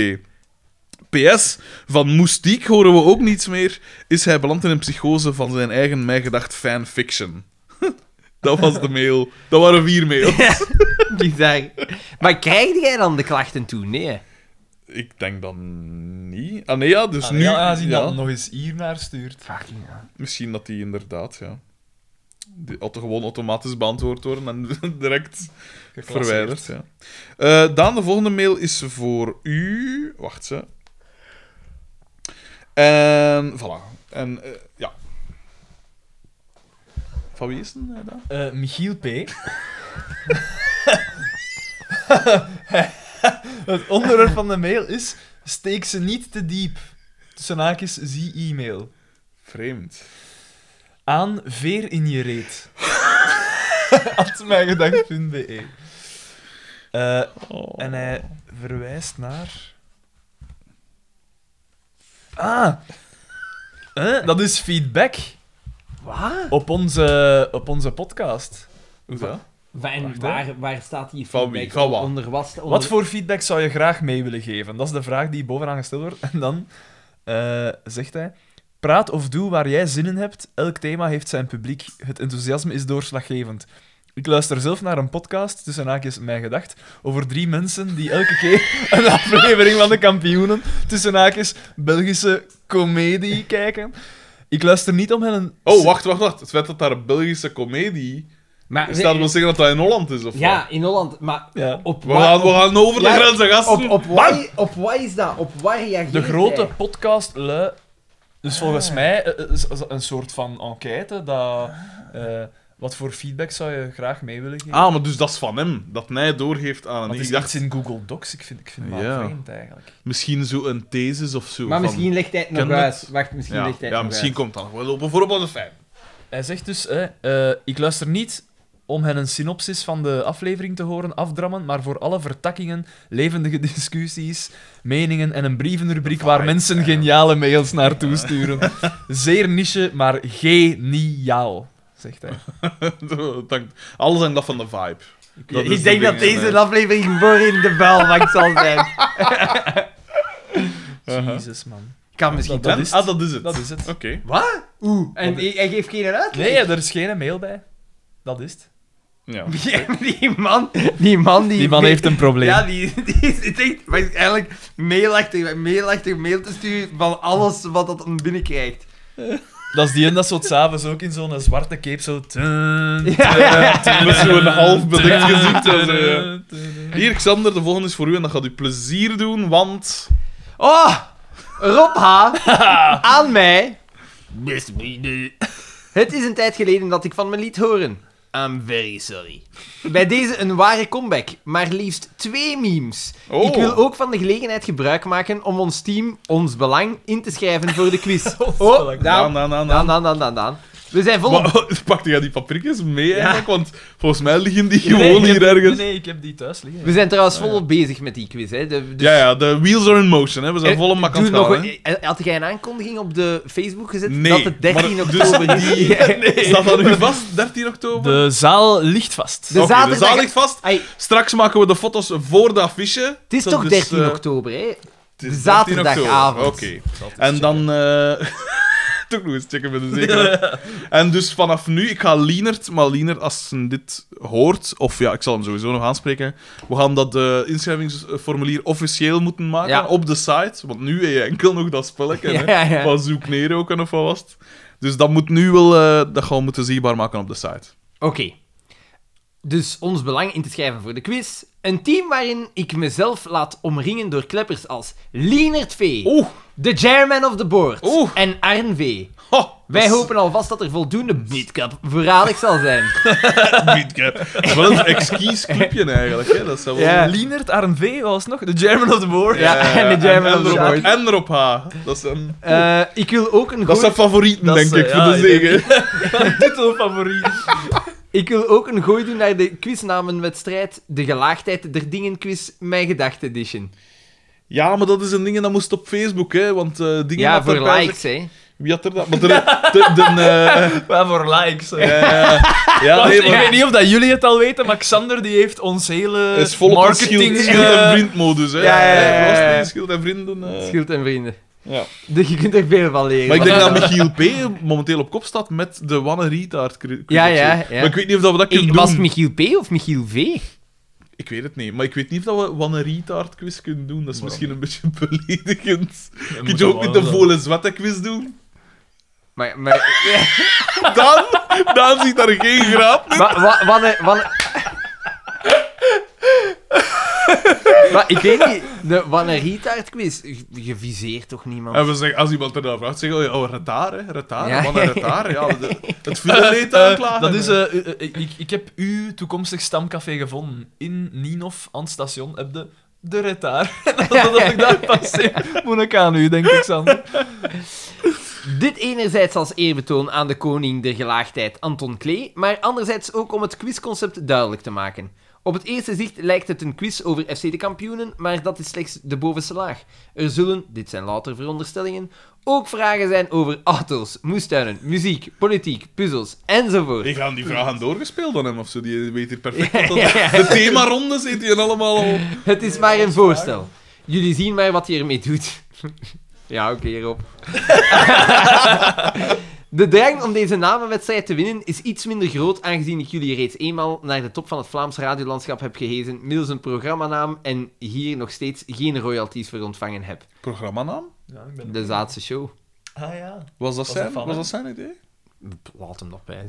A: PS, van Moestiek horen we ook niets meer. Is hij beland in een psychose van zijn eigen mijgedacht fanfiction? Dat was de mail. Dat waren vier mails.
B: Bizar. Maar krijg jij dan de klachten toe? Nee.
A: Ik denk dan niet. Ah nee, ja, dus
C: Ah,
A: nu...
C: ja, aangezien
A: ja.
C: dat nog eens hier naar stuurt.
B: Fucking ja.
A: Misschien dat die inderdaad, ja. Die auto gewoon automatisch beantwoord worden en direct verwijderd. Ja. Eh, Daan, de volgende mail is voor u. Wacht ze. En voilà. En eh, ja. Van wie is het, eh, Daan?
C: Eh, Michiel P. het onderwerp van de mail is: steek ze niet te diep. Tussen haakjes, zie e-mail.
A: Vreemd.
C: Aan veer in je reet. At mijgedacht.be. Eh,
A: Oh.
C: en hij verwijst naar. Ah! Eh, dat is feedback
E: Wat?
C: op onze, op onze podcast.
A: Hoe dat?
E: En
C: Wacht, hè.
E: waar, waar staat die
A: Van
E: feedback
A: wie? Van wat?
E: Onder wat? sta-
C: Wat
E: onder-
C: voor feedback zou je graag mee willen geven? Dat is de vraag die bovenaan gesteld wordt. En dan eh, zegt hij: Praat of doe waar jij zin in hebt. Elk thema heeft zijn publiek. Het enthousiasme is doorslaggevend. Ik luister zelf naar een podcast, tussen haakjes Mijn Gedacht, over drie mensen die elke keer een aflevering van de kampioenen, tussen haakjes Belgische comedie kijken. Ik luister niet om hen een...
A: Oh, wacht, wacht, wacht. Het feit dat daar een Belgische komedie
E: Maar,
A: is, dat wil zeggen dat dat in Holland is, of wat?
E: Ja, in Holland. Maar
C: Ja.
E: op
A: We
E: wat-
A: gaan, we gaan over de
E: Ja,
A: grenzen, gasten.
E: Op, op, wat, op wat is dat? Op wat reageert
C: De grote
E: hij?
C: podcast lui. Dus volgens mij eh, eh, is is een soort van enquête dat. eh, wat voor feedback zou je graag mee willen geven?
A: Ah, maar dus dat is van hem. Dat mij doorgeeft aan een...
C: Want het
A: Ik
C: is
A: dacht,
C: iets in Google Docs. Ik vind, ik vind het
A: Ja.
C: wel vreemd eigenlijk.
A: misschien zo'n thesis of zo.
E: Maar
A: van-
E: misschien legt hij het
A: Ken
E: nog
A: het?
E: uit. Wacht, misschien
A: Ja,
E: legt hij het
A: ja
E: nog
A: misschien
E: uit.
A: komt dat nog wel op. Bijvoorbeeld een fijn.
C: Hij zegt dus: eh, eh, Ik luister niet om hen een synopsis van de aflevering te horen afdrammen, maar voor alle vertakkingen, levendige discussies, meningen en een brievenrubriek waar mensen geniale mails naartoe sturen. Zeer niche, maar geniaal, zegt hij.
A: Dank- Alles hangt af van de vibe. Dat is
B: ik denk
A: de
B: dat
A: ding,
B: deze
A: hè.
B: aflevering voor in de vuilbak zal zijn.
A: Aha.
C: Jezus, man.
B: Kan misschien
C: Dat
A: En-
C: is het.
A: ah, dat is het.
C: Dat is het.
A: Oké.
E: Oeh, en hij, hij geeft geen uit?
C: Nee, er is geen mail bij. Dat is het.
A: Ja.
B: Die man, die man die...
C: een probleem.
B: Ja, die, die zit echt waarschijnlijk mailachtig, mailachtig mail te sturen van alles wat dat hem binnenkrijgt.
C: Dat is die en dat zo 's avonds ook in zo'n zwarte cape zo...
A: Met zo'n half bedekt gezicht. en zo, ja. Hier, Xander, de volgende is voor u en dat gaat u plezier doen, want...
B: Oh, Rob H. aan mij. Beste vrienden. Het is een tijd geleden dat ik van mijn liet horen. I'm very sorry. Bij deze een ware comeback, maar liefst twee memes.
A: Oh.
B: Ik wil ook van de gelegenheid gebruik maken om ons team, ons belang, in te schrijven voor de quiz. Oh,
A: Daan, Daan,
B: Daan,
A: Daan,
B: Daan,
A: Daan.
B: Daan, Daan, Daan, Daan. We zijn volop
A: Maar, pakte nou. jij die paprikjes mee eigenlijk? Want volgens mij liggen die gewoon hier
C: Nee,
A: ergens.
C: nee, ik heb die thuis liggen.
B: We zijn trouwens volop bezig met die quiz. Hè. De, dus-
A: Ja, ja, de wheels are in motion. Hè. We zijn
B: Eh,
A: volle mak aan het
B: Doe nog
A: gaan, hè.
B: een- eh, Had jij een aankondiging op de Facebook gezet
A: Nee,
B: dat het 13
A: maar dus
B: oktober is?
A: die-
B: Ja, nee.
A: Staat dat nu vast, 13 oktober?
C: De zaal ligt vast.
B: De-
A: Oké, de
B: zaterdag-
A: zaal ligt vast.
B: Ai,
A: Straks maken we de foto's voor de affiche.
B: het is
A: Dat
B: toch 13
A: eh,
B: oktober, hè?
A: Het is 13 oktober.
B: Zaterdagavond.
A: Oké. En dan... eh toch nog eens checken met de zekerheid. en dus vanaf nu, ik ga Lienert, maar Lienert, als ze dit hoort, of ja, ik zal hem sowieso nog aanspreken, we gaan dat eh, inschrijvingsformulier officieel moeten maken
B: Ja.
A: op de site, want nu heb je enkel nog dat spelletje, hè,
B: Ja, ja.
A: van zoek neerroken of wat was het. Dus dat moet nu wel, eh, dat gaan we moeten zichtbaar maken op de site.
B: Oké. Dus ons belang in te schrijven voor de quiz. Een team waarin ik mezelf laat omringen door kleppers als Lienert V,
A: Oeh,
B: de chairman of the board
A: Oeh.
B: en Arn V. Wij hopen alvast dat er voldoende meetkap voorradig zal zijn.
A: Meatcap. Dat is wel een exquis clubje eigenlijk. Hè. Dat zou wel...
B: Ja.
C: Lienert, RNV was nog de German of the Board.
B: Ja, en de German
A: en
B: of the
A: erop-
B: Board.
A: En erop H. Dat is, een,
B: Eh, ik wil ook een
A: dat is
B: gooi-
A: zijn favorieten,
C: Dat is,
A: denk ik,
C: eh,
A: voor
C: ja,
A: de
C: ik
A: zegen.
C: Titelfavoriet.
B: ik wil ook een gooi doen naar de quiznamenwedstrijd De Gelaagdheid der Dingen Quiz Mijn Gedachte Edition.
A: Ja, maar dat is een ding en dat moest op Facebook, hè. Want eh dingen
B: Ja,
A: had
B: voor
A: er bij-
B: likes, hè.
A: Wie had er dat? Maar de... de, de, eh,
C: Wat voor likes. hè.
A: eh, ja,
C: Want
A: nee,
C: ik
A: maar...
C: weet niet of dat jullie het al weten, maar Xander die heeft ons hele
A: Het is volop aan
C: marketing...
A: schild, schild
C: eh,
A: en vriendmodus, hè.
B: eh, Ja, ja, ja, ja, ja.
A: Was het niet schild en vrienden. eh,
B: Schild en vrienden.
A: ja.
B: Dus je kunt er veel van leren.
A: Maar ik denk
B: Want-
A: dat Michiel P. momenteel op kop staat met de Wanne Rietaard. cri-
B: Ja,
A: cri-
B: ja,
A: cri-
B: ja.
A: Maar ik weet niet of dat we dat
B: Ik-
A: kunnen doen.
B: was het Michiel P. of Michiel V?
A: Ik weet het niet, maar ik weet niet of dat we Wanne Rietaard quiz kunnen doen. Dat is
C: Waarom
A: misschien een beetje beledigend.
C: Ja,
A: Kun
C: moet
A: je ook
C: wel
A: niet de
C: zo.
A: volle zwette quiz doen?
B: Maar, maar,
A: Dan, dan ziet daar geen grap.
B: maar wa- wanneer... wanneer- maar ik weet niet, de Wanneer Retard quiz, je- je viseert toch niemand?
A: En we zeggen, als iemand ernaar vraagt, zeggen we, oh, Retaar, hè, Retaar,
B: Ja.
A: Wanne Retaar. Ja, de- het
C: Eh,
A: vuurleed
C: eh,
A: aanklagen.
C: dat is, eh, eh, eh, ik, ik heb uw toekomstig stamcafé gevonden. In Ninov, aan het station, heb de, de retaar. dat, dat ik daar passeer, moet ik aan u, denk ik, Xander.
B: Dit enerzijds als eerbetoon aan de koning der gelaagdheid Anton Klee, maar anderzijds ook om het quizconcept duidelijk te maken. Op het eerste zicht lijkt het een quiz over FC de kampioenen, maar dat is slechts de bovenste laag. Er zullen, dit zijn louter veronderstellingen, ook vragen zijn over auto's, moestuinen, muziek, politiek, puzzels enzovoort.
A: Ik ga aan die vragen doorgespeeld aan hem of zo. Die weet hier perfect
B: Ja,
A: wat dat...
B: ja, ja.
A: De themaronde zit hier allemaal al...
B: Het is maar een voorstel. Jullie zien maar wat je ermee doet. Ja, oké, Rob. De drang om deze namenwedstrijd te winnen is iets minder groot, aangezien ik jullie reeds eenmaal naar de top van het Vlaams radiolandschap heb gehezen, middels een programmanaam en hier nog steeds geen royalties voor ontvangen heb.
A: Programmanaam?
C: Ja, ik ben...
B: De Zaadse show.
C: Ah ja.
A: Was dat,
C: Was
A: zijn,
C: dat van
A: was
C: hem?
A: dat zijn idee?
B: Laat hem nog bij.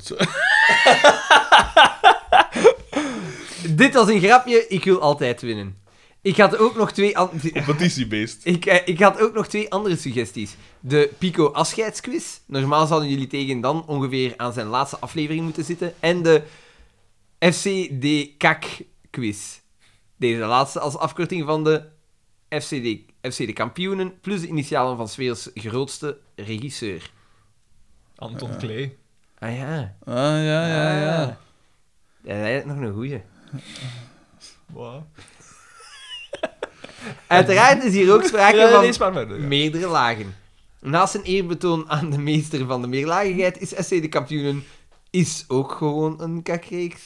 B: Dit was een grapje, ik wil altijd winnen. Ik had ook nog twee... an-
A: Competitiebeest.
B: Ik, eh, ik had ook nog twee andere suggesties. De Pico afscheidsquiz. Normaal zouden jullie tegen dan ongeveer aan zijn laatste aflevering moeten zitten. En de FCD kak quiz. Deze laatste als afkorting van de FCD, FC de kampioenen plus de initialen van 's werelds grootste regisseur.
C: Anton Klee.
B: Ah ja, Ah.
A: Ah, ja, ja, ja.
B: dat is eigenlijk nog een goeie.
C: Wow.
B: Uiteraard is hier ook sprake
C: Ja,
B: van...
C: lees maar verder. ja.
B: meerdere lagen. Naast een eerbetoon aan de meester van de meerlagigheid is SC de kampioenen is ook gewoon een kakreeks.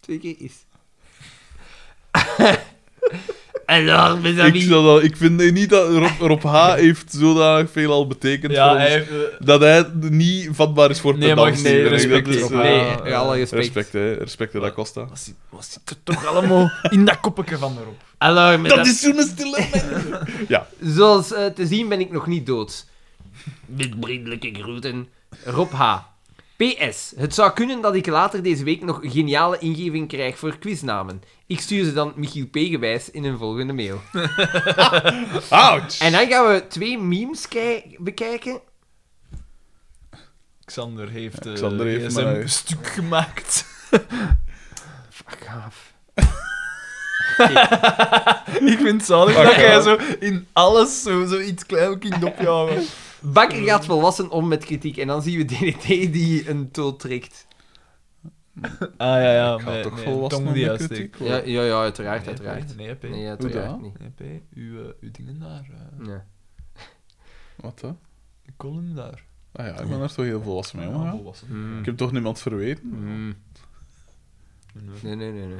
B: Twee keer is. Alors, mes
A: Ik,
B: amis.
A: zou dat- ik vind nee, niet dat Rob, Rob H. heeft zodanig veel al betekend
C: Ja,
A: voor ons,
C: hij heeft... eh,
A: dat hij niet vatbaar is voor
C: Nee, maar
A: pedantie.
C: nee,
A: Ik denk
C: respect
A: dat is,
C: is-
A: eh,
B: Nee,
C: Ah,
B: eh, alle respect.
A: respect, hè. Respect, hè, dat Costa.
C: Wat zit, wat zit er toch allemaal in dat koppetje van erop?
B: Alors, mes
A: Dat
B: am-
A: is zo'n stille
B: Zoals eh, te zien ben ik nog niet dood. Met vriendelijke groeten. Rob H. PS. Het zou kunnen dat ik later deze week nog geniale ingeving krijg voor quiznamen. Ik stuur ze dan Michiel P. gewijs in een volgende mail.
A: Ouch!
B: En dan gaan we twee memes kei- bekijken.
C: Xander heeft, eh
A: Xander heeft
C: GSM
A: mij-
C: stuk gemaakt.
B: Fuck af.
C: ik vind het zalig
A: Fuck
C: dat jij
A: ja.
C: zo in alles zo, zo iets klein kind opjouwen.
B: Bakker gaat volwassen om met kritiek. En dan zien we DDT die een tool trekt.
C: Ah ja, ja.
A: Ik ga
C: met-
A: toch
C: met
A: volwassen
C: tong
A: om
C: die
A: de
C: uitsteekt.
A: kritiek?
B: Ja,
A: hoor.
B: ja, ja uiteraard,
C: Nee,
B: uiteraard.
C: Nee, P.
B: Nee,
C: Nee,
B: uiteraard
A: dat?
B: niet.
C: P. Uw, eh, uw dingen daar. eh
B: Ja.
A: Wat, hè?
C: uw column daar. Ah,
A: Ah ja, ik ben daar toch heel volwassen mee,
C: Ja,
A: omgegaan.
C: volwassen.
B: Hmm.
A: Ik heb toch niemand verweten?
B: Mm. Nee, nee, nee, nee.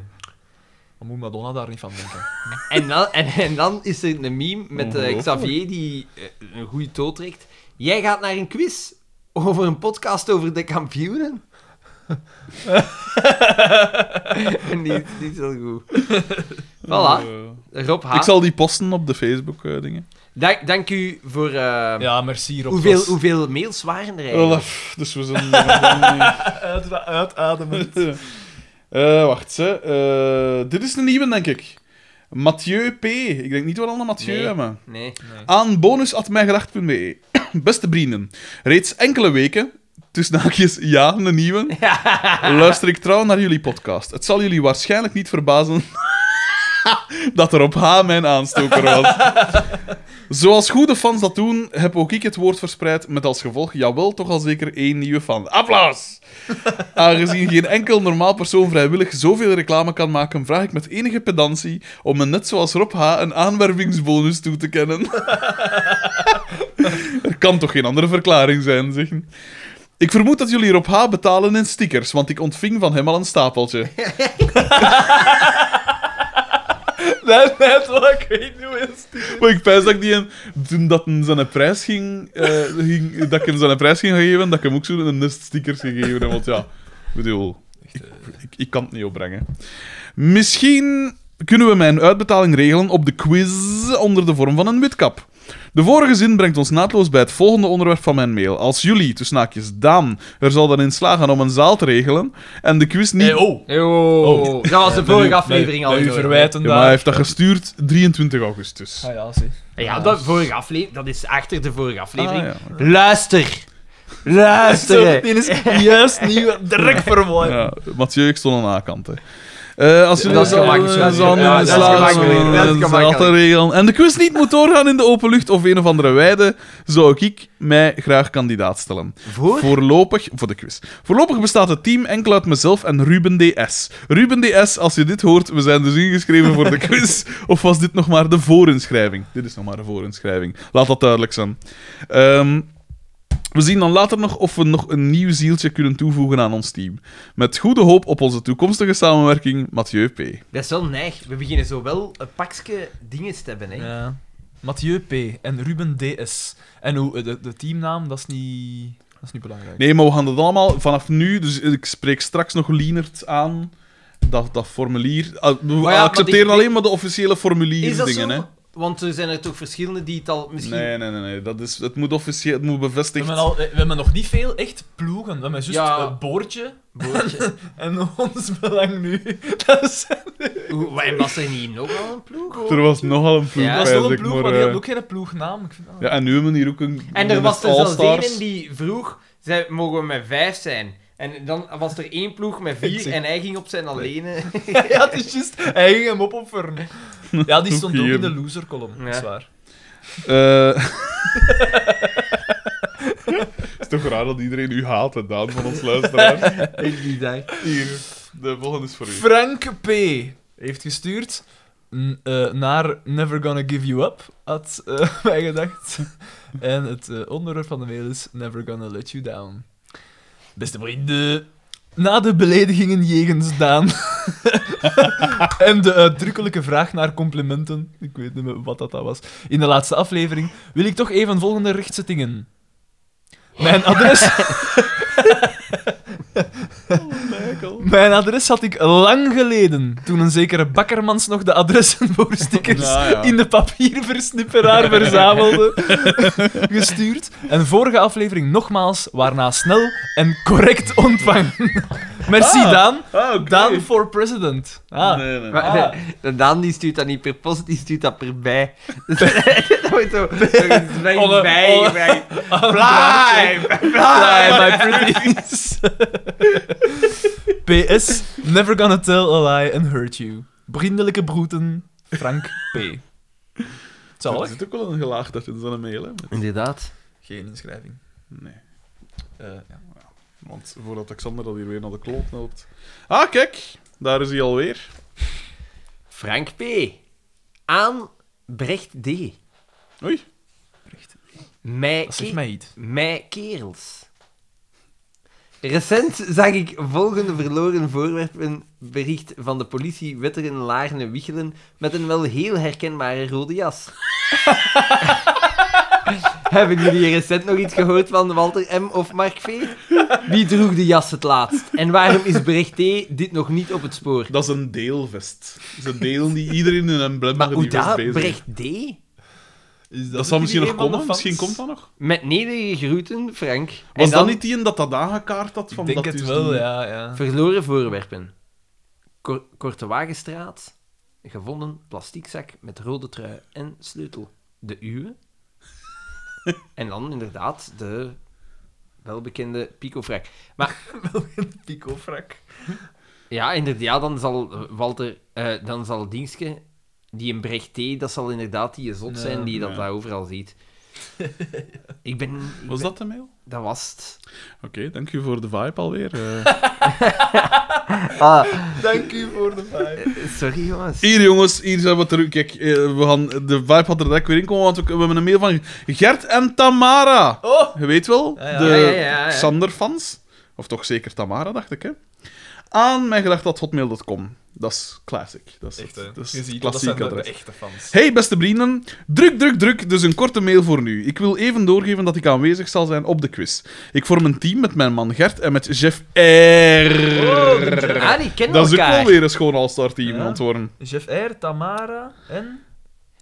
C: Dan moet Madonna daar niet van denken.
B: En dan, en, en dan is er een meme met eh,
A: Ongelooflijk.
B: Xavier die eh, een goede tool trekt. Jij gaat naar een quiz over een podcast over de kampioenen. en die, die is wel goed. Voilà,
A: Eh,
B: Rob H.
A: ik zal die posten op de eh, Facebook-dingen.
B: Dank, dank u voor... eh,
C: ja, merci Rob.
B: hoeveel,
C: Dat was-
B: hoeveel mails waren
A: Wel,
B: er eigenlijk?
A: eh, dus we zijn... we zijn-
C: Uit, uitademen.
A: Eh, wacht, ze. Eh, dit is een nieuwe, denk ik. Mathieu P. Ik denk niet wat allemaal Mathieu
E: Nee.
A: hebben.
E: Nee.
A: Aan bonus.mijgedacht.be. E. Beste vrienden, reeds enkele weken, tussen haakjes ja, een nieuwe, luister ik trouw naar jullie podcast. Het zal jullie waarschijnlijk niet verbazen dat er op H mijn aanstoker was. Zoals goede fans dat doen, heb ook ik het woord verspreid met als gevolg, jawel, toch al zeker één nieuwe fan. Applaus! Aangezien geen enkel normaal persoon vrijwillig zoveel reclame kan maken, vraag ik met enige pedantie om me net zoals Rob H. een aanwervingsbonus toe te kennen. er kan toch geen andere verklaring zijn, zeggen. Ik vermoed dat jullie Rob H. betalen in stickers, want ik ontving van hem al een stapeltje.
C: Dat is net wat ik weet nu is.
A: Maar ik pijs dat ik die hem, toen dat hem zijn prijs ging, eh, ging- dat ik hem zijn prijs ging geven, dat ik hem ook zo een nest stickers gegeven heb. Want ja, ik bedoel, ik, ik, ik kan het niet opbrengen. Misschien kunnen we mijn uitbetaling regelen op de quiz onder de vorm van een witkap. De vorige zin brengt ons naadloos bij het volgende onderwerp van mijn mail. Als jullie, tussen haakjes Daan, er zal dan in slagen om een zaal te regelen en de quiz niet...
C: oh.
B: Oh. Dat was de vorige aflevering al.
C: U
B: door.
C: verwijten
A: Ja, maar hij
C: daar.
A: heeft dat gestuurd 23 augustus.
C: Ah ja, zie.
B: Ja, dat, vorige aflevering, dat is achter de vorige aflevering.
A: Ah,
B: Luister. Luister.
C: Die is juist nieuw, direct vermoord.
A: Ja, Mathieu, ik stond aan de A-kant. hè. Eh, als jullie
B: dat is gemakkelijk,
A: eh,
B: dat is
A: zouden
B: gemakkelijk.
A: slaan,
B: Ja, dat is gemakkelijk,
A: eh,
B: dat is
A: zouden
B: gemakkelijk.
A: altijd regelen. En de quiz niet moet doorgaan in de open lucht of een of andere weide, zou ik mij graag kandidaat stellen.
B: Voor?
A: Voorlopig, voor de quiz. Voorlopig bestaat het team enkel uit mezelf en Ruben DS. Ruben DS, als je dit hoort, we zijn dus ingeschreven voor de quiz. Of was dit nog maar de voorinschrijving? Dit is nog maar de voorinschrijving. Laat dat duidelijk zijn. Ehm, we zien dan later nog of we nog een nieuw zieltje kunnen toevoegen aan ons team. Met goede hoop op onze toekomstige samenwerking, Mathieu P.
B: Dat is wel neig. We beginnen zo wel een pakje dingen te hebben. Hè.
C: Ja. Mathieu P. en Ruben DS. En hoe, de, de teamnaam, dat is niet, dat is niet belangrijk.
A: Nee, maar we gaan dat allemaal vanaf nu. Dus ik spreek straks nog Lienert aan. Dat, dat formulier. Ah, We
B: maar die-
A: accepteren
B: die-
A: alleen maar de officiële
B: Is dat
A: formulierdingen,
B: zo?
A: hè?
B: Want er zijn er toch verschillende die het al misschien...
A: Nee, nee, nee, nee. Dat is, het moet officieel, het moet
C: We
A: bevestigd.
C: hebben, al, we hebben nog niet veel echt ploegen. We hebben juist
B: Ja.
C: een boordje
B: Boordje.
C: en ons belang nu. Dat is,
B: Hoe- Waarom was er niet nog wel een ploeg?
A: Er was nogal een ploeg,
B: Ja,
C: dat is wel
A: pijs
C: een
A: ik,
C: ploeg,
A: maar,
C: maar die
A: eh,
C: had ook geen ploegnaam. Ik vind dat...
A: Ja, en nu hebben we hier ook een.
B: En er was dus er zelfs
A: All-Stars.
B: één die vroeg, zei, mogen we met vijf zijn? En dan was er één ploeg met
C: Ik
B: vier
C: zie-
B: en hij ging op zijn alleen.
C: ja, het is juist. Hij ging hem opofferen. Ja, die stond ook in de
A: Hoekieren.
C: loser column.
B: Ja.
C: Dat is waar.
A: Eh, Het is toch raar dat iedereen u haat, hè, Daan, van ons luisteraar.
B: Ik die dag.
A: Hier, de volgende is voor u.
C: Frank P. heeft gestuurd n- eh, naar Never Gonna Give You Up, had eh, mij gedacht. en het eh, onderwerp van de mail is Never Gonna Let You Down. Beste vrienden, na de beledigingen jegens Daan en de uitdrukkelijke vraag naar complimenten, ik weet niet meer wat dat dat was, in de laatste aflevering, wil ik toch even volgende rechtzettingen. Mijn adres... Mijn adres had ik lang geleden, toen een zekere Bakkermans nog de adressen voor stickers
A: Ja, ja.
C: in de papierversnipperaar verzamelde, gestuurd. En vorige aflevering nogmaals, waarna snel en correct ontvangen. Merci
A: Ah,
C: Daan.
A: Ah, oké.
C: Daan for president. Ah,
A: Nee, nee.
B: Maar, de Daan die stuurt dat niet per post, die stuurt dat per bij. Dus dat wordt zo. Er is bij,
C: Alle-
B: bij,
C: alle-
B: bij.
C: Fly, fly, my pretties. PS, never gonna tell a lie and hurt you. Vriendelijke broeten, Frank P.
A: Er
C: Zalig?
A: zit ook wel een gelaagdheid in zo'n mail, hè?
B: Inderdaad.
C: Geen inschrijving.
A: Nee.
C: Eh, ja.
A: Want voordat Alexander dat hier weer naar de kloot loopt. Ah, kijk, daar is hij alweer.
B: Frank P. Aan Brecht D.
A: Oei.
B: Mij
C: Dat zegt
B: ke-
C: mij iets.
B: Mij kerels. Recent zag ik volgende verloren voorwerpen bericht van de politie Wetteren Laarne Wichelen met een wel heel herkenbare rode jas. Hebben jullie recent nog iets gehoord van Walter M. of Mark V? Wie droeg de jas het laatst? En waarom is bericht T dit nog niet op het spoor?
A: Dat is een deelvest. Ze delen die iedereen in een emblem
B: Maar
A: die
B: hoe
A: vest
B: dat?
A: bezig.
B: Bericht D?
C: Is
A: Dat zal misschien nog komen.
C: nog
A: Misschien komt dat nog.
B: Met nederige groeten, Frank. En
A: Was dat
B: dan
A: niet die een dat dat aangekaart had? Van
C: Ik denk
A: dat
C: het
A: dus
C: wel,
A: die-
C: ja, ja.
B: Verloren voorwerpen. Kor Korte Wagenstraat. Gevonden plastiekzak met rode trui en sleutel. De uwe. en dan inderdaad de welbekende picofrak.
C: Picofrak.
B: Ja, inderdaad, ja, dan zal eh, Walter, eh, dan zal Dienstke, die een Brecht T, dat zal inderdaad die zot zijn die dat
A: ja.
B: daar overal ziet. ik ben... ik
A: Was
B: ben-
A: dat de mail?
B: Dat was het.
A: Oké, dank u voor de vibe alweer. eh.
C: Dank u voor de vibe.
B: Sorry, jongens.
A: Hier Eh, jongens, hier zijn we terug. Kijk, eh, we gaan, de vibe had er direct weer in komen, want we, we hebben een mail van Gert en Tamara.
C: Oh!
A: Je weet wel,
C: Ja, ja.
A: de
C: Ja,
B: ja, ja, ja.
A: Sander-fans. Of toch zeker Tamara, dacht ik, hè. Aan mijn hotmail.com. Dat is classic. Dat is,
C: Echt, hè.
A: het- dat is
C: Je
A: het
C: ziet, dat
A: klassieke
C: zijn de, de
A: adres.
C: echte fans.
A: Hey beste vrienden, druk, druk, druk, dus een korte mail voor nu. Ik wil even doorgeven dat ik aanwezig zal zijn op de quiz. Ik vorm een team met mijn man Gert en met Jeff R.
B: Ah, die kennen
A: dat is ook
B: elkaar.
A: wel weer een schoon all-star team
C: Ja.
A: ontworpen.
C: Jeff R, Tamara en...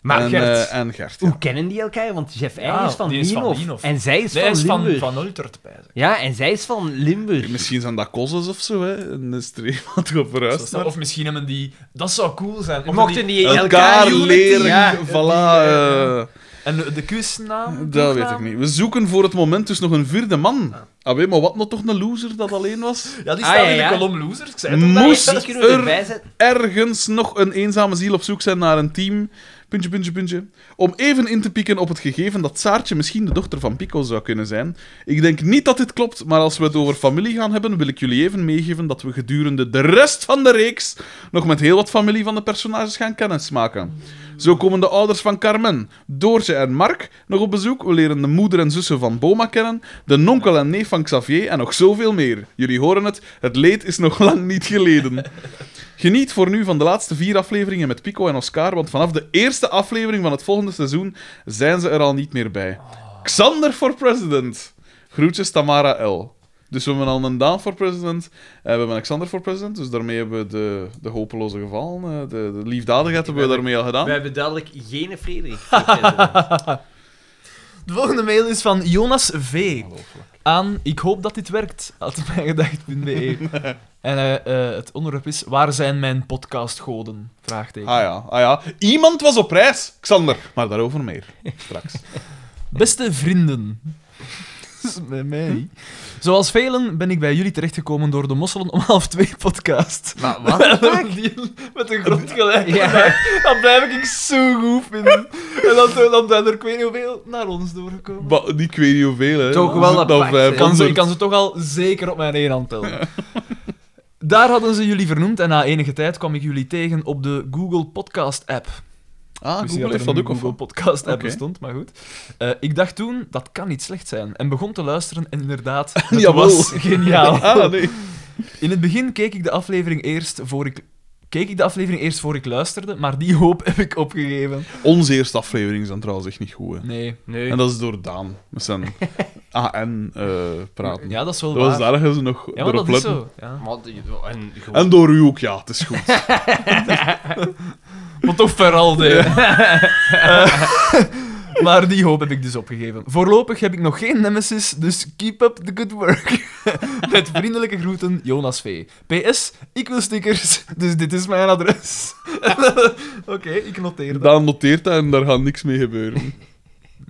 B: Maar
A: en,
B: Gert,
A: eh, en Gert, ja.
B: hoe kennen die elkaar? Want Jeff R
C: Ja,
B: is van
C: die is van
B: Lienhof.
C: Lienhof.
B: En zij is
C: Nee, hij
B: van
C: is van,
B: Limburg.
C: van Ultert, bij ze.
B: Ja, en zij is van Limburg.
A: Misschien zijn dat kozes of zo, hè. Een streep wat erop vooruit.
C: Zo- Of misschien hebben die... Dat zou cool zijn. Of
B: Mochten
C: die-
B: die
A: elkaar
B: unity-
A: leren.
B: Ja.
A: Voilà.
C: Die,
A: eh,
C: En de kusnaam?
A: dat weet ik niet. We zoeken voor het moment dus nog een vierde man. Ah, weet maar wat nog toch een loser dat alleen was?
C: Ja, die
B: Ah,
C: staan
B: ja,
C: in de
B: ja. Mm.
C: kolom losers. Ik zei het al.
A: Moest
B: Die kunnen we
A: er
B: erbij zetten.
A: ergens nog een eenzame ziel op zoek zijn naar een team? Puntje, puntje, puntje. Om even in te pikken op het gegeven dat Saartje misschien de dochter van Pico zou kunnen zijn. Ik denk niet dat dit klopt, maar als we het over familie gaan hebben, wil ik jullie even meegeven dat we gedurende de rest van de reeks nog met heel wat familie van de personages gaan kennismaken. Zo komen de ouders van Carmen, Doortje en Mark nog op bezoek. We leren de moeder en zussen van Boma kennen, de nonkel en neef van Xavier en nog zoveel meer. Jullie horen het, het leed is nog lang niet geleden. Geniet voor nu van de laatste vier afleveringen met Pico en Oscar, want vanaf de eerste aflevering van het volgende seizoen zijn ze er al niet meer bij. Xander voor president. Groetjes Tamara L. Dus we hebben al een Daan voor president en we hebben een Xander voor president. Dus daarmee hebben we de, de hopeloze gevallen, eh, de, de liefdadigheid hebben we daarmee al
B: We
A: gedaan.
B: hebben duidelijk geen Frederik. gekend.
C: De volgende mail is van Jonas V. Aan ik hoop dat dit werkt, atmijngedacht.be. E. en eh, eh, het onderwerp is: Waar zijn mijn podcastgoden? Vraagteken.
A: Ah ja, ah ja. Iemand was op reis, Xander. Maar daarover meer, straks.
C: Beste vrienden. Dat is Bij mij. niet. Zoals velen ben ik bij jullie terechtgekomen door de Mosselen om half twee podcast.
B: maar wat?
C: Die met een grond gelijk. Dat blijf ik zo goed vinden. En dan, dan zijn er ik weet niet hoeveel naar ons doorgekomen.
A: Ba- ik weet niet hoeveel, hè. eh,
B: Toch
A: We
B: wel
A: zitten
B: apart,
A: op
B: hè.
A: 500.
C: kan ze, ik kan ze toch al zeker op mijn één hand tellen. Daar hadden ze jullie vernoemd en na enige tijd kwam ik jullie tegen op de Google Podcast app.
A: Ah,
C: Ik wist niet
A: Google
C: er
A: heeft dat
C: een
A: ook, of
C: Google Podcast app
A: Oké.
C: bestond, maar goed. Eh, ik dacht toen, dat kan niet slecht zijn. En begon te luisteren en inderdaad, het
A: Jawel.
C: was geniaal.
A: Ah, nee.
C: In het begin keek ik de aflevering eerst voor ik... Keek ik de aflevering eerst voor ik luisterde, maar die hoop heb ik opgegeven.
A: Onze eerste aflevering zijn trouwens echt niet goed, hè.
C: Nee.
B: Nee.
A: En dat is door Daan, met zijn AN-praten.
C: Ja, dat is wel
A: dat was
C: waar.
A: daar ergens nog
C: Ja, maar
A: erop
C: dat is
A: letten.
C: zo. Ja.
B: Maar die- en gewoon-
A: En door u ook, ja, het is goed.
C: Wat toch vooral deed. maar die hoop heb ik dus opgegeven. Voorlopig heb ik nog geen nemesis, dus keep up the good work. Met vriendelijke groeten, Jonas V. PS, ik wil stickers, dus dit is mijn adres. Oké, ik noteer dat.
A: Daan noteert dat en daar gaat niks mee gebeuren.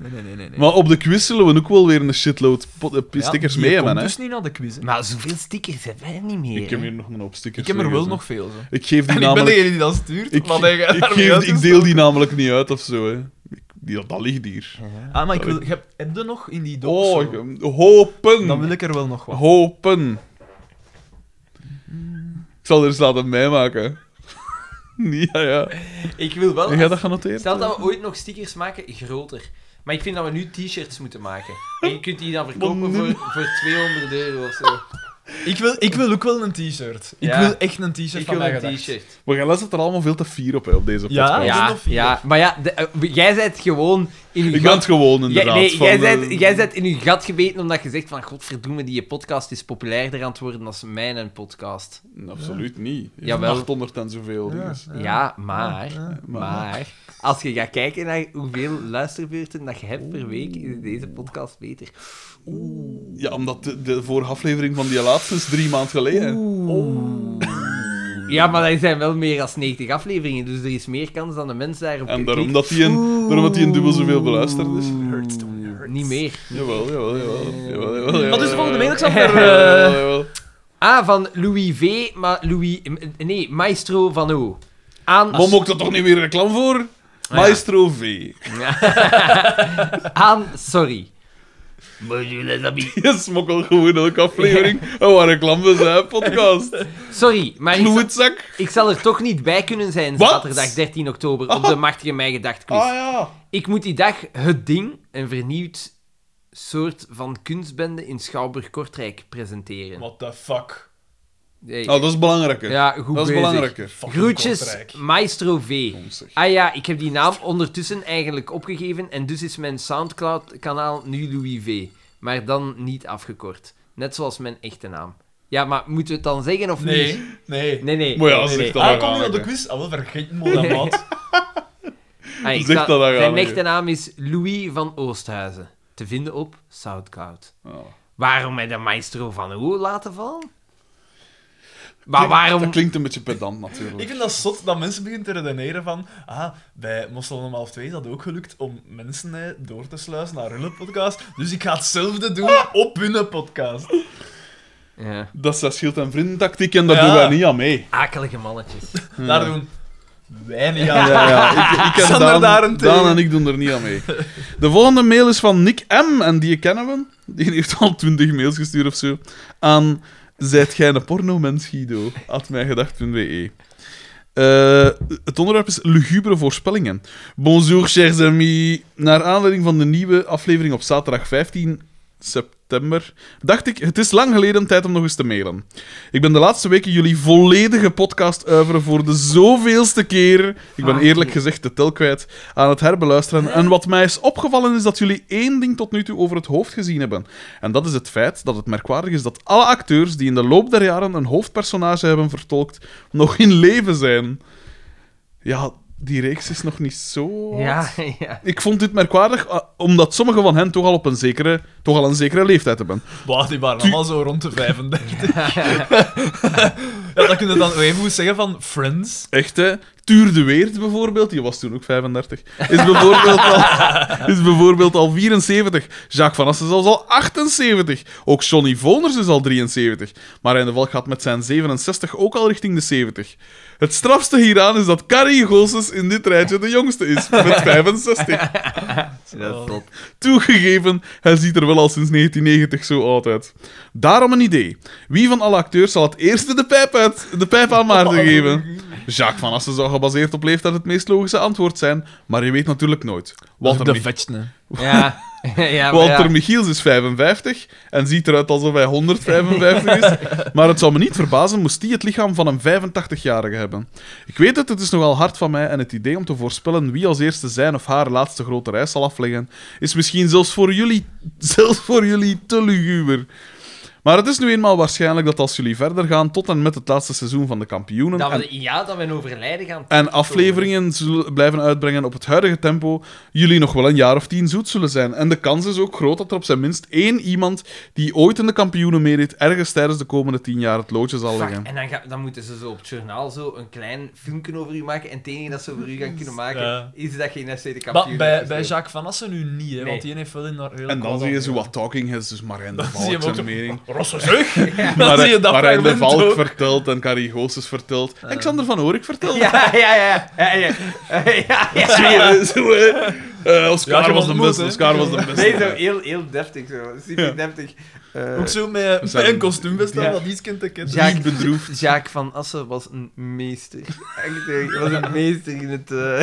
C: Nee, nee, nee. nee, nee.
A: Maar op de quiz zullen we ook wel weer een shitload pot- eh,
C: Ja,
A: stickers
C: die
A: mee hebben,
C: komt
A: hè. Nou,
C: dus niet naar de quiz. hè.
B: Maar zoveel stickers hebben wij niet meer.
A: Ik heb
B: hè.
A: hier nog een hoop
C: Ik
A: stickers.
C: heb er wel
A: liggen,
C: nog veel. Zo.
A: zo. Ik geef die
C: En ik ben
A: namelijk...
C: degene die dat stuurt.
A: Ik,
C: want hij gaat
A: ik,
C: daarmee
A: geef,
C: uit
A: die- ik
C: te
A: deel
C: staan.
A: die namelijk niet uit of zo, hè. Ik- Die, dat, dat ligt hier.
C: Ah, maar ik wil, heb, heb je nog in die doos?
A: Oh,
C: zo?
A: ik- hopen.
C: Dan wil ik er wel nog wat.
A: Hopen. Ik zal er eens laten meemaken. ja, ja.
B: Ik wil wel...
A: Heb jij dat genoteerd?
B: Stel dat we ooit nog stickers maken, groter. Maar ik vind dat we nu t-shirts moeten maken. En je kunt die dan verkopen voor, voor 200 euro of zo.
C: Ik wil, ik wil ook wel een t-shirt. Ik
B: Ja.
C: wil echt een t-shirt
B: Ik
C: van
B: wil
C: mij
B: een
C: gedacht.
B: t-shirt.
A: Maar jij zit er allemaal veel te fier op, hè, op deze
C: Ja?
A: podcast.
C: Ja.
B: Ja,
C: Ah, of vier?
B: ja, maar ja, de- eh, jij bent gewoon in uw
A: Ik ben
B: gat...
A: het gewoon,
B: Jij,
A: inderdaad.
B: nee,
A: van,
B: jij,
A: eh,
B: bent, jij bent in uw gat gebeten omdat je zegt van godverdomme, die podcast is populairder aan het worden dan mijn podcast.
A: Absoluut niet. Je
B: Jawel.
A: hebt 800 en zoveel.
C: Ja.
A: dus.
B: Ja, maar, maar...
A: maar-
B: als je gaat kijken naar hoeveel luisterbeurten dat je hebt per week, is deze podcast beter.
A: Ja, omdat de, de vorige aflevering van die laatste is drie maanden geleden.
B: Oeh.
A: uur.
B: Ja, maar er zijn wel meer dan 90 afleveringen, dus er is meer kans dan de mens daarop
A: En
B: klikt.
A: daarom dat hij een, daarom dat hij een dubbel zoveel beluisterd is.
B: Niet meer.
A: Jawel, jawel, jawel. jawel, jawel,
C: Wat is de volgende mail, Xander?
A: Jawel, jawel.
B: Ah, van Louis V, maar Louis... Nee, Maestro van O. Aan,
A: Mom ook dat toch niet weer reclame voor?
C: Ah,
A: Maestro V.
B: aan sorry.
A: Je smokkel gewoon elke aflevering. En waar reclame zijn podcast.
B: Sorry, maar ik, zal-
A: Kloetzak.
B: ik zal er toch niet bij kunnen zijn
A: Wat?
B: zaterdag 13 oktober op de Machtige Mij Gedacht quiz.
A: Ah ja.
B: Ik moet die dag Het Ding, een vernieuwd soort van kunstbende in Schouwburg-Kortrijk presenteren.
C: What the fuck?
B: Hey,
A: Nou, dat is belangrijker.
B: ja, goed
A: dat is
B: bezig.
A: belangrijker.
C: Fucking
B: Groetjes,
C: Kortrijk.
B: Maestro V.
A: Kom, zeg.
B: Ah ja, ik heb die naam ondertussen eigenlijk opgegeven en dus is mijn Soundcloud-kanaal nu Louis V. Maar dan niet afgekort. Net zoals mijn echte naam. Ja, maar moeten we het dan zeggen of niet?
C: Nee, nee.
B: Nee, nee.
A: Maar ja,
B: nee,
A: zeg
B: nee.
A: dat
C: Ah,
A: dan
C: kom je op de
A: aan, hè.
C: quiz? Ah, wel, vergeet me dat, maat.
B: Ah, ik
A: Zeg
B: sta-
A: dat dan
B: Zijn
A: gaan,
B: echte naam is Louis van Oosthuizen. Te vinden op Soundcloud.
A: Ah.
B: Waarom mij de maestro van hoe laten vallen? Maar waarom...
A: Dat klinkt een beetje pedant, natuurlijk.
C: Ik vind dat zot dat mensen beginnen te redeneren van... Ah, bij Mossel om half twee is dat ook gelukt om mensen eh, door te sluizen naar hun podcast. Dus ik ga hetzelfde doen
A: Ah!
C: op hun podcast.
B: Ja.
A: Dat is dat schild- en vriendentactiek en daar
C: Ja.
A: doen wij niet aan mee.
B: Akelige mannetjes.
C: Daar doen wij niet aan.
A: Ja, ja. Ik, ik en
C: Sander
A: Daan,
C: daarentegen.
A: Daan en ik doen er niet aan mee. De volgende mail is van Nick M. En die kennen we. Die heeft al twintig mails gestuurd of zo. Aan Zijt gij een pornomens, Guido? At mijgedacht.be. E. Eh, het onderwerp is lugubere voorspellingen. Bonjour, chers amis. Naar aanleiding van de nieuwe aflevering op zaterdag 15 september dacht ik, het is lang geleden tijd om nog eens te mailen. Ik ben de laatste weken jullie volledige podcast uiveren voor de zoveelste keer. Ik ben eerlijk gezegd de tel kwijt aan het herbeluisteren. En wat mij is opgevallen is dat jullie één ding tot nu toe over het hoofd gezien hebben. En dat is het feit dat het merkwaardig is dat alle acteurs die in de loop der jaren een hoofdpersonage hebben vertolkt, nog in leven zijn. Ja, die reeks is nog niet zo. oud.
B: Ja, ja.
A: Ik vond dit merkwaardig, eh, omdat sommige van hen toch al op een zekere, toch al een zekere leeftijd hebben.
C: Bah, die waren allemaal zo rond de 35. ja, dan kun je dan nog even goed zeggen van Friends.
A: Echt, hè? Tuur de Weert bijvoorbeeld, die was toen ook 35, is bijvoorbeeld al, is bijvoorbeeld al 74. Jacques Van Assen is zelfs al 78. Ook Johnny Voners is al 73. Marijn de Valk gaat met zijn 67 ook al richting de 70. Het strafste hieraan is dat Carrie Goossens in dit rijtje de jongste is, met 65.
B: Dat is top.
A: Toegegeven, hij ziet er wel al sinds 1990 zo oud uit. Daarom een idee. Wie van alle acteurs zal het eerste de pijp, uit, de pijp aan Maarten geven? Jacques van Assen zou gebaseerd op leeftijd het meest logische antwoord zijn, maar je weet natuurlijk nooit. Walter, Mich-
C: vetste.
B: Ja. ja, maar
A: Walter
B: ja.
A: Michiels is 55 en ziet eruit alsof hij 155 is. Maar het zou me niet verbazen moest die het lichaam van een 85-jarige hebben. Ik weet het, het is nogal hard van mij en het idee om te voorspellen wie als eerste zijn of haar laatste grote reis zal afleggen, is misschien zelfs voor jullie, zelfs voor jullie te luguber. Maar het is nu eenmaal waarschijnlijk dat als jullie verder gaan tot en met het laatste seizoen van de kampioenen...
B: Dat
A: en-
B: we, ja, dat we een overlijden gaan...
A: en afleveringen zullen blijven uitbrengen op het huidige tempo, jullie nog wel een jaar of tien zoet zullen zijn. En de kans is ook groot dat er op zijn minst één iemand die ooit in de kampioenen meedeed, ergens tijdens de komende tien jaar het loodje zal
B: Fuck,
A: leggen.
B: en dan, ga- dan moeten ze zo op het journaal zo een klein filmpje over u maken. En het enige dat ze over u gaan kunnen maken,
C: Ja.
B: is dat je in FC de kampioen
C: Maar bij,
B: hebt
C: bij
B: gespeeld.
C: Jacques Van Assen nu niet, hè,
B: Nee.
C: want die heeft wel in haar hele
A: En dan
C: kwaad
A: zie je zo
C: afgegaan.
A: wat talking heads, dus Marijn de
C: Dan zie
A: Valk
C: je hem ook
A: zijn mening.
C: zo... Rosse zeg! Dan zie je
A: Marijn,
C: dat
A: Marijn de
C: fragment
A: Valk
C: ook. Eh.
A: vertelt en Carrie Goossens vertelt. En Xander van Oorik vertelt.
B: Ja, ja, ja. ja, ja, ja, ja.
A: Zo, hè, zo, hè. Eh,
C: Ja,
A: Oscar
C: ik heb
A: was de
C: ontmoet,
A: beste,
C: hè.
A: Oscar was de beste.
B: Nee, zo heel, heel deftig zo. Super deftig. Eh,
C: Ook zo met, met
A: Zijn-
C: een kostuumvest aan,
B: Ja.
C: dat iets kind te kennen.
B: Jacques-
A: Niet bedroefd.
B: Jacques van Assen was een meester. Echt,
E: eh,
B: hij was een meester in het... eh,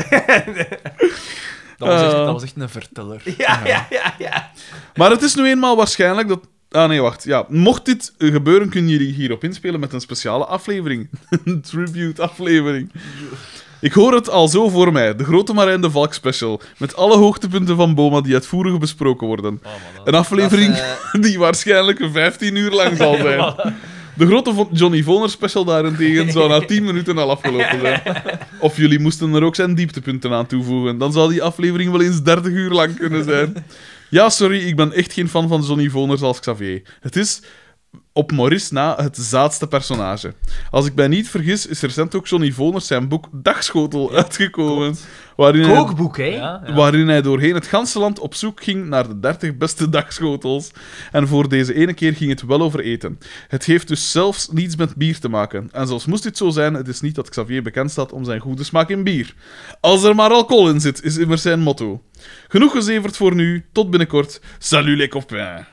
C: Dat, was echt,
A: Eh.
C: dat was echt een verteller.
B: ja, ja, ja, ja.
A: Maar het is nu eenmaal waarschijnlijk dat. Ah nee, wacht. Ja. Mocht dit eh, gebeuren, kunnen jullie hierop inspelen met een speciale aflevering. een tribute-aflevering. Ik hoor het al zo voor mij. De Grote Marijn de Valk special. Met alle hoogtepunten van Boma die uitvoerig besproken worden. een aflevering
B: Dat, eh,
A: die waarschijnlijk 15 uur lang zal zijn. De grote Vo- Johnny Voner special daarentegen zou na 10 minuten al afgelopen zijn. Of jullie moesten er ook zijn dieptepunten aan toevoegen. Dan zou die aflevering wel eens 30 uur lang kunnen zijn. Ja, sorry, ik ben echt geen fan van Johnny Voners als Xavier. Het is op Maurice na het zaadste personage. Als ik mij niet vergis, is recent ook Johnny Voners zijn boek Dagschotel uitgekomen, waarin hij,
E: Kookboek, hè?
C: Ja, ja.
A: waarin hij doorheen het ganse land op zoek ging naar de 30 beste dagschotels. En voor deze ene keer ging het wel over eten. Het heeft dus zelfs niets met bier te maken. En zelfs moest dit zo zijn, het is niet dat Xavier bekend staat om zijn goede smaak in bier. Als er maar alcohol in zit, is immers zijn motto. Genoeg gezeverd voor nu, tot binnenkort. Salut les copains.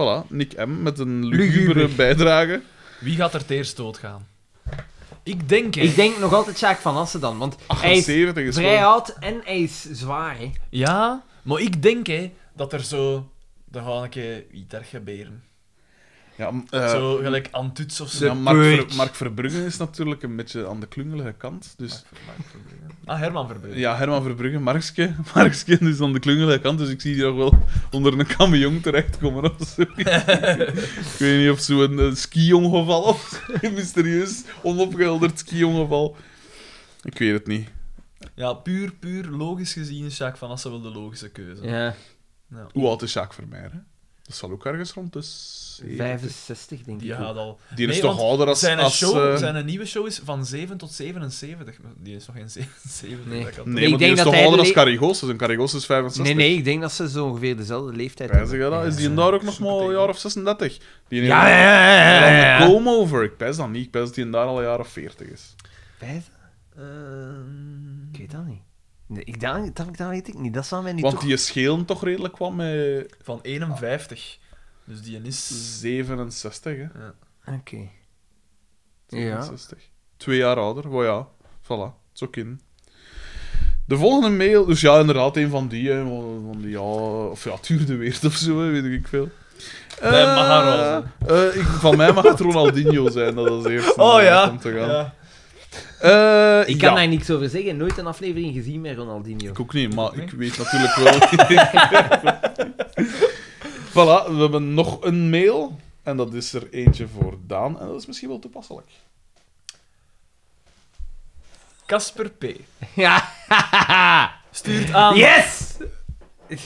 A: Voilà, Nick M. met een lugubere
E: Luguber.
A: bijdrage.
C: Wie gaat er het eerst doodgaan? Ik denk, hè.
E: Ik denk nog altijd Sjaak van Assen dan, want hij is
A: 78 is
E: vrij
A: gewoon...
E: oud en hij is zwaar, hè?
C: Ja, maar ik denk, hè, dat er zo... Dan ga ik eh, iets er gebeuren.
A: Ja, m- eh,
C: zo gelijk Antuts of zo. Ah,
A: ja, Mark, Ver-
E: Purge.
A: Mark Verbrugge is natuurlijk een beetje aan de klungelige kant. Dus
C: Ah, Herman Verbrugge.
A: Ja, Herman Verbrugge, Markske. Markske is aan de klungelige kant, dus ik zie die nog wel onder een camion terechtkomen of zo. ik weet niet of zo'n een ski-ongeval of een mysterieus onopgehelderd ski-ongeval. Ik weet het niet.
C: Ja, puur, puur logisch gezien is Sjaak van Assen wel de logische keuze.
E: Ja,
A: Hoe oud is Jacques Vermeer? hè? Dat zal ook ergens rond de 70.
E: 65 denk ik.
C: Die
E: ook.
C: gaat al...
A: Die is
C: Nee,
A: toch
C: want
A: ouder als...
C: zijn,
A: als
C: show,
A: eh,
C: zijn een nieuwe show is van 7 tot 77. Maar Die is nog geen 77.
E: Nee.
C: dat kan
A: Nee,
C: toch-
E: ik
A: maar die
E: denk
A: is
E: dat
A: toch
E: hij
A: ouder als
E: le-
A: Carrie Goossens. En Carrie Goossens is 65.
E: Nee, nee, ik denk dat ze zo ongeveer dezelfde leeftijd
A: Pijs
E: hebben.
A: ik dat? Is die daar ook nog maar een jaar of 36? Die heeft
E: Ja, ja, ja, ja, ja, ja.
A: een come over. Ik pijs dat niet. Ik pijs dat die daar al een jaar of 40 is.
E: Vijf? Ik weet dat niet. Nee, ik, dat, dat, dat weet ik niet. Dat zou mij nu
A: Want
E: toch...
A: die schelen toch redelijk wat met
C: Van 51. Dus die is...
A: 67, hè?
E: Oké. Ja.
A: 67. Twee jaar ouder, maar ja, voilà, het is ook in. De volgende mail, dus ja, inderdaad, een van die, hè, van die ja, of ja, het duurde weer of zo, hè, weet ik veel. Eh,
C: Nee, mag haar wel
A: eh, ik, van mij mag het Ronaldinho zijn, dat is eerst
C: Oh ja.
A: om te gaan.
C: ja.
A: Eh,
E: Ik kan
A: ja.
E: daar niks over zeggen. Nooit een aflevering gezien met Ronaldinho.
A: Ik ook niet, maar
C: Nee.
A: ik weet natuurlijk wel. voilà, we hebben nog een mail. En dat is er eentje voor Daan. En dat is misschien wel toepasselijk.
C: Casper P.
E: Ja.
C: Stuurt aan...
E: Ehm, Yes!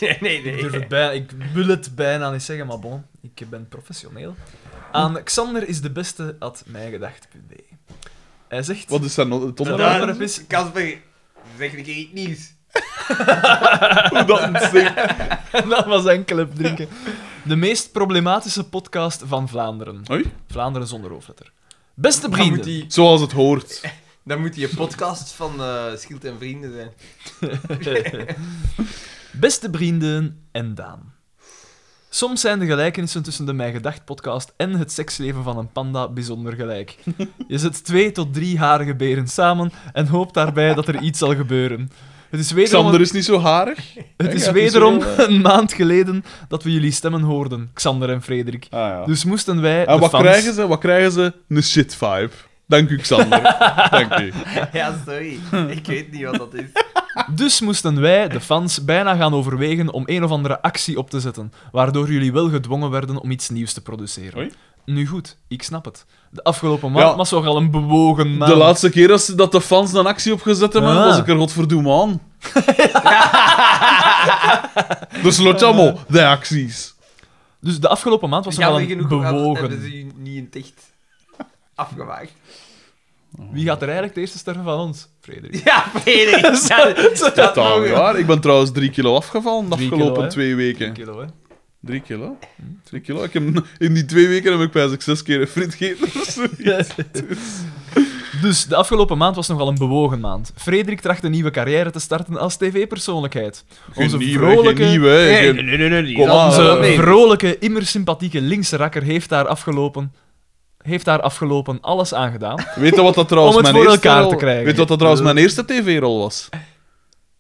E: Nee, nee,
C: Ik, durf
E: nee.
C: het bijna, ik wil het bijna niet zeggen, maar bon, ik ben professioneel. Aan Xander is de beste at mijgedacht.be. Hij zegt...
A: Wat is dan het
C: Zijn
A: onderwerp?
C: onderwerp is...
B: Kasper, zeg een keer iets nieuws.
A: Hoe dat ontsteekt.
C: En dat was enkele drinken. De meest problematische podcast van Vlaanderen.
A: Oei.
C: Vlaanderen zonder hoofdletter. Beste
B: Dan moet,
C: vrienden.
B: die,
A: Zoals het hoort.
B: dan moet die een podcast van eh Schild en Vrienden zijn.
C: Beste vrienden en Daan. Soms zijn de gelijkenissen tussen de Mijn Gedacht podcast en het seksleven van een panda bijzonder gelijk. Je zet twee tot drie harige beren samen en hoopt daarbij dat er iets zal gebeuren. Het is wederom,
A: Xander is niet zo harig.
C: het is
A: Ja,
C: wederom
A: zo, eh.
C: een maand geleden dat we jullie stemmen hoorden, Xander en Frederik.
A: Ah, ja.
C: Dus moesten wij.
A: en
C: de
A: wat
C: fans-
A: krijgen ze? Wat krijgen ze? Een shit vibe. Dank u, Xander. Dank u.
B: Ja, sorry. Ik weet niet wat dat is.
C: Dus moesten wij, de fans, bijna gaan overwegen om een of andere actie op te zetten, waardoor jullie wel gedwongen werden om iets nieuws te produceren.
A: Oei.
C: Nu goed, ik snap het. De afgelopen maand
A: Ja.
C: was toch al een bewogen maand.
A: De laatste keer dat ze- dat de fans een actie opgezet hebben,
C: Ah.
A: was ik er godverdomme aan. dus lot allemaal,
C: Eh.
A: de acties.
C: Dus de afgelopen maand was toch al
B: Jammer
C: een
B: genoeg hadden- hebben
C: bewogen.
B: ze u niet in het echt afgewaakt.
C: Wie gaat er eigenlijk de eerste sterven van ons? Frederik.
B: Ja, Frederik. dat
A: Totaal
B: mogen
A: niet
B: we.
A: waar. Ik ben trouwens drie kilo afgevallen de
C: Drie kilo,
A: afgelopen
C: hè?
A: twee weken.
C: Kilo, hè?
A: Drie kilo? Drie kilo? Ik heb, in die twee weken heb ik bij zes keer een frit gegeten of zoiets.
C: Dus de afgelopen maand was nogal een bewogen maand. Frederik tracht een nieuwe carrière te starten als tv-persoonlijkheid.
A: Geen nieuwe, geen nieuwe. hè.
E: Nee,
A: Geen-
E: nee, nee, nee, nee.
A: Kom aan,
C: Onze
A: eh.
C: vrolijke, immer sympathieke linkse rakker heeft daar afgelopen, heeft daar afgelopen alles aan gedaan.
A: Weet je wat dat trouwens
C: Om het
A: mijn
C: voor
A: eerste
C: elkaar
A: rol-
C: te krijgen.
A: Weet je wat dat trouwens mijn eerste tv-rol was?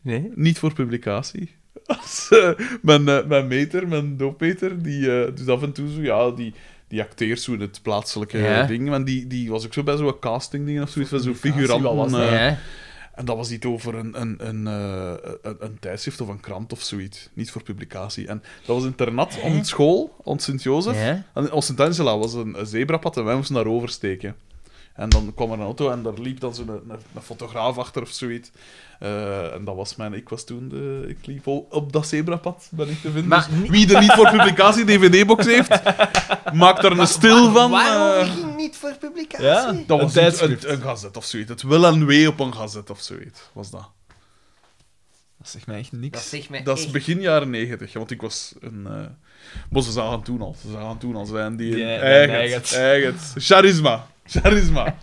E: Nee?
A: Niet voor publicatie. Als, eh, mijn, eh, mijn meter, mijn doopmeter, die eh, dus af en toe zo, ja, die, die acteert zo in het plaatselijke
E: Ja.
A: ding. Want die, die was ook zo bij zo'n castingdingen of zoiets, van zo'n figurant. eh,
C: wat was dat?
E: Ja.
A: En dat was iets over een, een, een, eh, een, een tijdschrift of een krant of zoiets. Niet voor publicatie. En dat was internat aan school, aan Sint-Jozef.
E: Ja.
A: En Aan Sint-Angela was een, een zebrapad en wij moesten daar oversteken. En dan kwam er een auto en daar liep dan zo'n een, een fotograaf achter of zoiets. Eh, en dat was mijn... Ik was toen... De, ik liep al op dat zebrapad, ben ik te vinden.
B: Maar
A: Dus wie de niet voor publicatie DVD-box heeft, maakt er een stil van.
B: Waarom
A: eh.
B: ging niet voor publicatie?
C: Ja,
A: dat was
C: een
A: een,
C: tijdschrift.
A: een, een gazet of zoiets. Het wel en wee op een gazet of zoiets, was dat.
C: Dat zegt mij echt
B: Dat
C: niks.
B: zegt mij
A: Dat is
B: echt
A: begin jaren negentig, want ik was een... eh maar ze zagen toen al, ze zagen toen al zijn die...
C: Die, eh,
A: eigen,
C: eigen.
A: het, eigen. het. Charisma, charisma.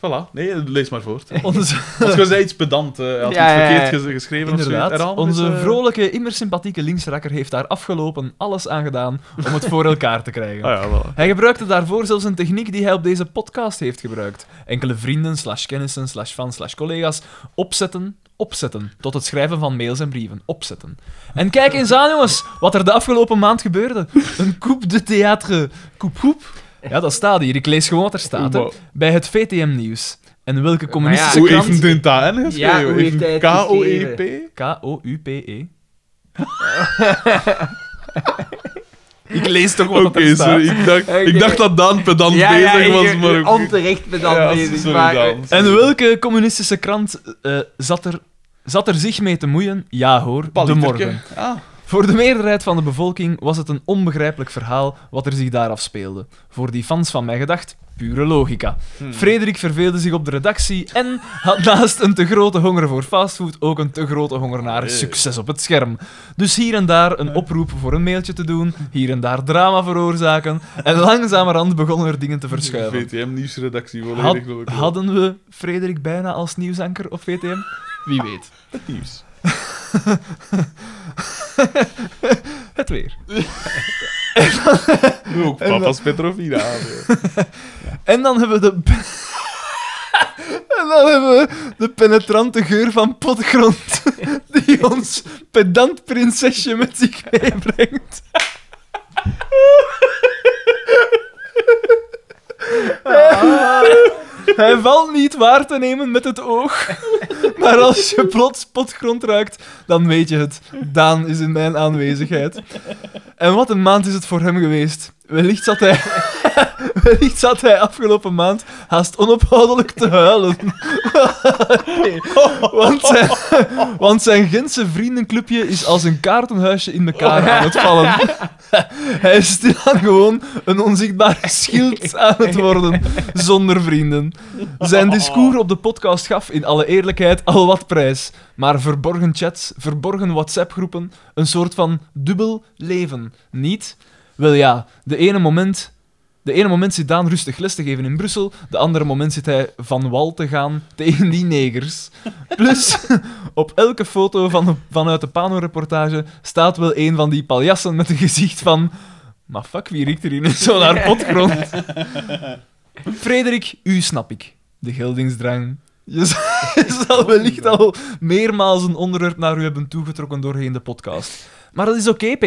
A: voilà, nee, lees maar voort.
C: Onze,
A: Als je zei iets pedant, eh, hij had
B: Ja,
A: iets
B: ja, ja.
A: verkeerd gez- geschreven of zo.
C: inderdaad,
A: Herhaal maar eens,
C: onze
A: eh.
C: vrolijke, immer sympathieke linksrakker heeft daar afgelopen alles aan gedaan om het voor elkaar te krijgen.
A: Ah ja, voilà.
C: Hij gebruikte daarvoor zelfs een techniek die hij op deze podcast heeft gebruikt. Enkele vrienden, slash kennissen, slash fans, slash collega's opzetten, opzetten. Tot het schrijven van mails en brieven, opzetten. En kijk eens aan, jongens, wat er de afgelopen maand gebeurde. Een coupe de théâtre. Coupe, coupe. Ja, dat staat hier. Ik lees gewoon wat er staat. hè.
A: Maar
C: Bij het VTM-nieuws. En welke communistische
A: Nou Hoe
C: krant...
A: heeft hij het aan geschreven? E
B: Ja, hoe heeft hij het
A: K-O-E-P?
C: K-O-U-P-E.
A: Ik lees toch wel. Oké,
C: er staat.
A: sorry. Ik dacht, ik
B: Oké.
A: dacht dat Daan pedant
B: Ja, ja,
A: bezig was,
B: ik-
A: maar... ook-
B: onterecht met dat
A: Ja,
B: bezig.
A: sorry,
B: maar,
A: Daan,
B: eh,
A: sorry.
C: En welke communistische krant eh, zat, er, zat er zich mee te moeien? Ja hoor, de
A: Paliterke.
C: morgen.
A: Ah.
C: Voor de meerderheid van de bevolking was het een onbegrijpelijk verhaal wat er zich daar afspeelde. Voor die fans van mij gedacht, pure logica.
B: Hmm.
C: Frederik verveelde zich op de redactie en had naast een te grote honger voor fastfood ook een te grote honger naar
A: Nee.
C: succes op het scherm. Dus hier en daar een oproep voor een mailtje te doen, hier en daar drama veroorzaken en langzamerhand begonnen er dingen te verschuiven.
A: VTM-nieuwsredactie,
C: Had-
A: volledig door.
C: hadden we Frederik bijna als nieuwsanker op VTM? Wie weet.
A: het nieuws.
C: Het weer.
A: Ook papa's eh. Petrovina. hè.
C: En dan hebben we de. En dan hebben we de penetrante geur van potgrond die ons pedant prinsesje met zich meebrengt. Hij valt niet waar te nemen met het oog, maar als je plots potgrond ruikt, dan weet je het. Daan is in mijn aanwezigheid. En wat een maand is het voor hem geweest. Wellicht zat hij Wellicht zat hij afgelopen maand haast onophoudelijk te huilen. Nee, want, zijn, want zijn Gentse vriendenclubje is als een kaartenhuisje in elkaar aan het vallen. Hij is stilaan gewoon een onzichtbaar schild aan het worden, zonder vrienden. Zijn discours op de podcast gaf in alle eerlijkheid al wat prijs. Maar verborgen chats, verborgen WhatsApp-groepen, een soort van dubbel leven. Niet? Wel ja, de ene moment de ene moment zit Daan rustig les te geven in Brussel, de andere moment zit hij van wal te gaan tegen die negers. Plus, op elke foto van, vanuit de Pano-reportage staat wel een van die paljassen met een gezicht van... Maar fuck, wie riekt er hier nu zo naar potgrond? Frederik, u snap ik. De geldingsdrang. Je zal, je zal wellicht al meermaals een onderwerp naar u hebben toegetrokken doorheen de podcast. Maar dat is oké, P.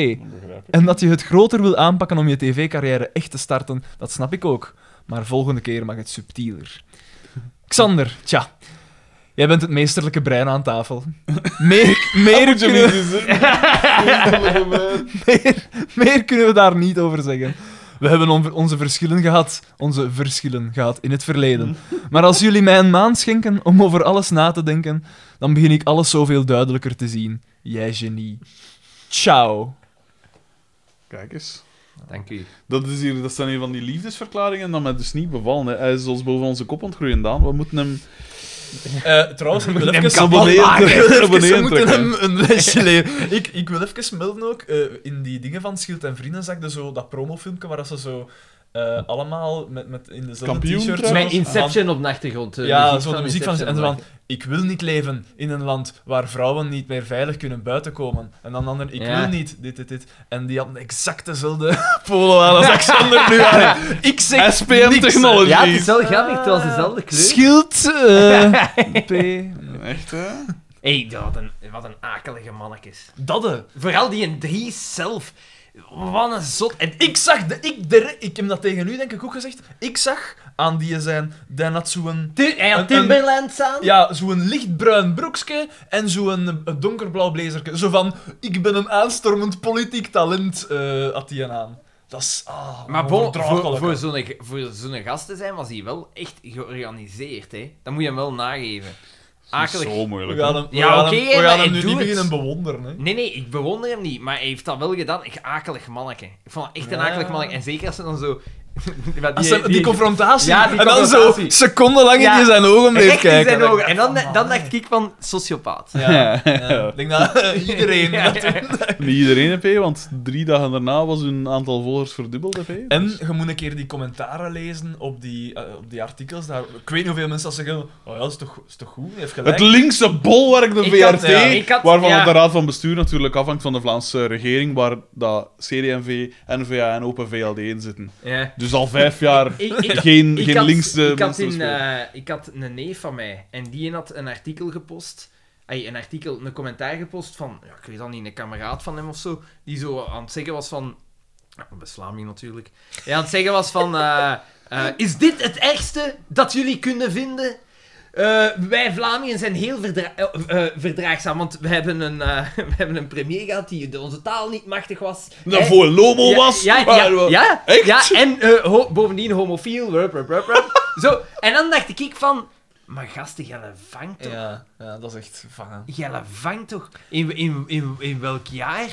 C: En dat je het groter wil aanpakken om je tv-carrière echt te starten, dat snap ik ook. Maar volgende keer mag het subtieler. Xander, tja. Jij bent het meesterlijke brein aan tafel. Meer, meer,
A: Moet je
C: kunnen,
A: niet eens-
C: meer, meer kunnen we daar niet over zeggen. We hebben on- onze verschillen gehad, onze verschillen gehad in het verleden. Maar als jullie mij een maand schenken om over alles na te denken, dan begin ik alles zoveel duidelijker te zien. Jij genie. Ciao.
A: Kijk eens.
E: Dank u.
A: Dat, is hier, dat zijn hier van die liefdesverklaringen dat mij dus niet bevallen. Hè. Hij is ons boven onze kop ontgroeien, Daan. We moeten hem...
C: Eh, trouwens, ik
A: hem even- kapot abonneren- maken.
C: Even,
A: abonneren
C: we moeten hem
A: trekken.
C: een lesje leren. Ik, ik wil even melden ook, eh, in die dingen van Schild en Vrienden zag je zo dat promofilmpje waar dat ze zo eh, allemaal met, met in dezelfde
A: Kampioen
C: t-shirt...
A: trouwens.
E: Mijn Inception op de achtergrond. eh,
C: Ja, zo de muziek van... En
E: Inception
C: zo van, ik wil niet leven in een land waar vrouwen niet meer veilig kunnen buiten komen. En dan de ander, ik
E: Ja.
C: wil niet, dit, dit, dit. En die hadden exact dezelfde polo aan als Alexander nu aan. Ik zeg
A: SPM
C: niks, hè.
A: Technology.
E: Ja, het is wel grappig, het was dezelfde kleur.
C: Schild... eh, P...
A: Echt, hè?
E: Hé, hey, wat, een, wat een akelige mannetjes.
C: Dadde.
E: Vooral die in drie zelf. Wat een zot. En ik...
C: Ik zag, de, ik, de, ik heb dat tegen u denk ik ook gezegd. Ik zag aan die zijn, die had zo'n.
E: Tu- Hij
C: Een-
E: had Timberlands aan.
C: Ja, zo'n lichtbruin broekje en zo'n eh, donkerblauw blazerke. Zo van, ik ben een aanstormend politiek talent, eh had die aan. Dat is... Ah,
B: Maar bon, voor,
C: onverdraaglijk,
B: voor
C: hè.
B: zo'n voor zo'n gast te zijn was hij wel echt georganiseerd. Hè. Dat moet je hem wel nageven. Akelig.
A: Zo
C: We
A: moeilijk.
C: gaan hem, we
B: Ja,
C: gaan
B: oké,
C: hem, we gaan
B: maar
C: hem
B: ik
C: nu
B: doe
C: niet
B: het.
C: beginnen bewonderen. Hè.
B: Nee, nee, ik bewonder hem niet, maar hij heeft dat wel gedaan. Echt akelig manneke. Ik vond dat echt een
C: Ja.
B: akelig manneke. En zeker als ze dan zo... die,
C: Als ze- die, confrontatie.
B: Ja, die
C: en dan zo
B: confrontatie.
C: secondenlang
B: Ja.
C: in zijn ogen
B: recht
C: bleef
B: in zijn
C: kijken.
B: ogen. En dan, dan dacht ik van, sociopaat.
C: Ja, ja. Ik denk dat iedereen...
B: Ja.
A: Niet iedereen heb je, want drie dagen daarna was hun aantal volgers verdubbeld Dus- heb je.
C: En je moet een keer die commentaren lezen op die, eh, op die artikels. Daar, ik weet niet hoeveel mensen dat zeggen. Oh ja, dat is toch, is toch goed? Hij heeft gelijk.
A: Het linkse bolwerk, de
B: Ik had-
A: VRT,
C: ja,
B: ik had-
A: waarvan
B: ja.
A: de raad van bestuur natuurlijk afhangt van de Vlaamse regering, waar dat CD&V, N-VA en Open VLD in zitten.
E: Ja.
A: Dus al vijf jaar
E: Ik, ik,
A: geen,
E: ik
A: geen
E: had,
A: linkse
E: ik had,
A: mensen
E: in,
A: spelen.
E: eh, ik had een neef van mij en die had een artikel gepost. Ay, een artikel, een commentaar gepost van, ja, ik weet al niet, een kameraad van hem of zo, die zo aan het zeggen was van, beslaming natuurlijk, die aan het zeggen was van, eh, eh, is dit het ergste dat jullie kunnen vinden? Eh, wij Vlamingen zijn heel verdra- eh, eh, verdraagzaam, want we hebben, een, eh, we hebben een premier gehad die de- onze taal niet machtig was.
A: Dat
E: Hè?
A: Nou, voor een lomo was.
E: Ja, ja,
A: waar
E: ja,
A: we-
E: ja,
A: Echt?
E: Ja, en eh, ho- bovendien homofiel. Rup, rup, rup, rup. Zo, en dan dacht ik van... Maar gasten, jij vangt toch?
C: Ja, ja, dat is echt vangen.
E: Jij vangt toch? In, in, in, in welk jaar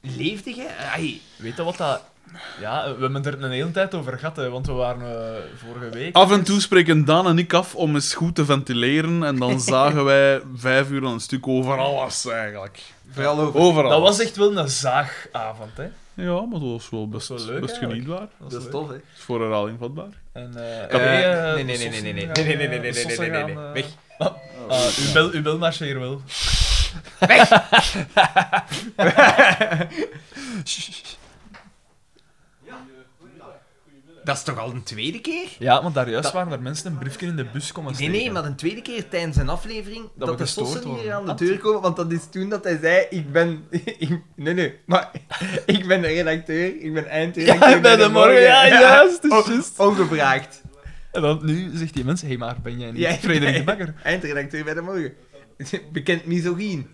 E: leefde jij? Ai,
C: Weet je wat dat... Ja, we hebben er een hele tijd over gehad, hè, want we waren eh, vorige
B: Ah,
C: week...
A: Af en toe spreken Daan en ik af om eens goed te ventileren en dan zagen wij vijf uur aan een stuk over alles eigenlijk.
B: Vooral over...
A: Overal.
C: Dat was echt wel een zaagavond, hè.
A: Ja, maar dat was wel best,
C: Dat was wel leuk,
A: best
C: eigenlijk.
A: genietbaar.
C: Dat
B: Dat
C: was
B: is
C: leuk.
B: tof, hè.
A: Is voor herhaling vatbaar.
C: En, eh,
A: heb-
C: nee, eh,
B: nee, nee, nee,
C: de
B: nee, nee, nee,
C: sossen
B: nee, nee, nee, nee,
C: gaan,
B: nee,
C: eh, de
B: nee,
C: sossen
B: nee,
C: gaan,
B: nee, nee.
C: eh,
B: Weg. Oh.
C: ah, uw bel- Uw belmarcheer wel.
B: Dat is toch al een tweede keer?
C: Ja, want daar juist waren er mensen een briefje in de bus komen
B: Nee,
C: steken.
B: nee, maar een tweede keer tijdens een aflevering dat,
C: we
B: de
C: gestoord
B: sossen hier
C: worden.
B: aan de deur komen, want dat is toen dat hij zei, ik ben... ik- nee, nee, maar ik ben de redacteur, ik ben eindredacteur.
C: Ja, bij de morgen, ja, juist, dus juist.
B: Ongevraagd.
C: En dan nu zegt die mensen, hé, maar ben jij niet
B: Ja.
C: Frederik de Bakker?
B: Eindredacteur bij de morgen. Bekend misogyn.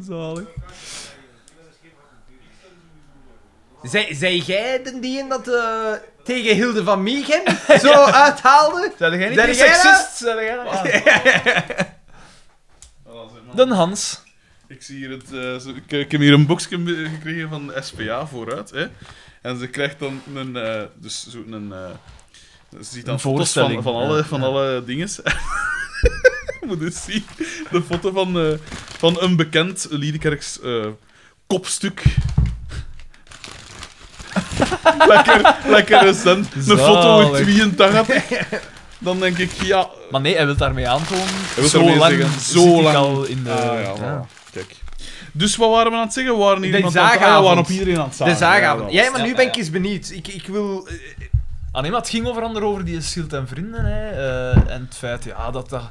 C: Zalig.
B: Zij, zij jij de die dat eh, tegen Hilde van Miegen zo uithaalde?
C: Zijn jij niet
B: Zijn
C: een
B: jij dat?
C: seksist? Zijn jij dat?
A: Ah.
C: Dan Hans.
A: Ik zie hier het... eh, zo- ik, ik heb hier een boxje be- gekregen van de SPA vooruit. Hè. En ze krijgt dan een... eh, dus zo een... eh ze ziet dan
C: Een
A: foto's van,
C: voorstelling,
A: van alle,
C: ja,
A: van
C: ja.
A: alle dinges. Je moet eens zien. De foto van, eh, van een bekend Liedekerks eh, kopstuk. lekker, lekker recent. Een foto uit
C: Zalig.
A: 82. Dan denk ik, ja...
C: Maar nee, hij wil daarmee aantonen.
A: wil
C: Zo
A: daarmee
C: lang
A: zeggen, zo
C: zit ik
A: lang.
C: al in de...
A: Ah, ja, voilà. Kijk. Dus wat waren we aan het zeggen? We waren, hier
B: De
A: iemand aan het- ah,
B: zaagavond.
A: we waren op iedereen aan het zagen.
B: De zaagavond.
A: Ja,
B: Ja, maar
C: Ja,
B: nu
C: ja,
B: ben ik
C: ja.
B: eens benieuwd. Ik, ik wil... eh,
C: Ah nee, maar het ging onder andere over die schild en vrienden. Hè. eh, en het feit ja, dat, dat,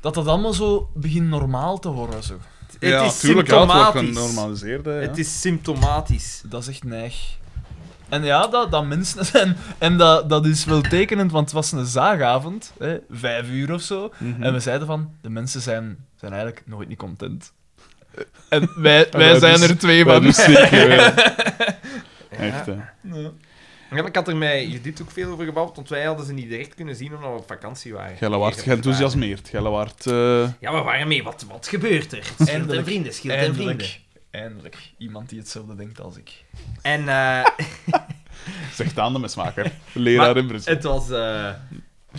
C: dat dat allemaal zo begint normaal te worden. Zo.
B: het
A: ja,
B: is
A: tuurlijk, ja, het wordt
B: symptomatisch.
A: genormaliseerd. Hè, ja.
B: Het is symptomatisch.
C: Dat is echt neig. En ja, dat, dat mensen zijn. En dat, dat is wel tekenend, want het was een zaagavond, hè, vijf uur of zo.
A: Mhm.
C: En we zeiden van, de mensen zijn, zijn eigenlijk nooit niet content. En wij, wij,
A: wij
C: zijn
A: dus-
C: er
A: Ja,
C: twee van.
A: dus zeker. ja. Echt, hè.
B: Ja, ik had er mij Judith ook veel over gebouwd, want wij hadden ze niet direct kunnen zien omdat we op vakantie waren.
A: Gelle waard geenthousiasmeerd. Gelle waard... eh,
E: ja, we waren mee. Wat, wat gebeurt er? Schild en
C: Eindelijk.
E: vrienden, schild en vrienden.
C: Eindelijk, eindelijk. Iemand die hetzelfde denkt als ik.
B: En eh,
A: zegt aan de mesmaker. Leraar
E: Maar
A: in Brussel.
E: het was... eh,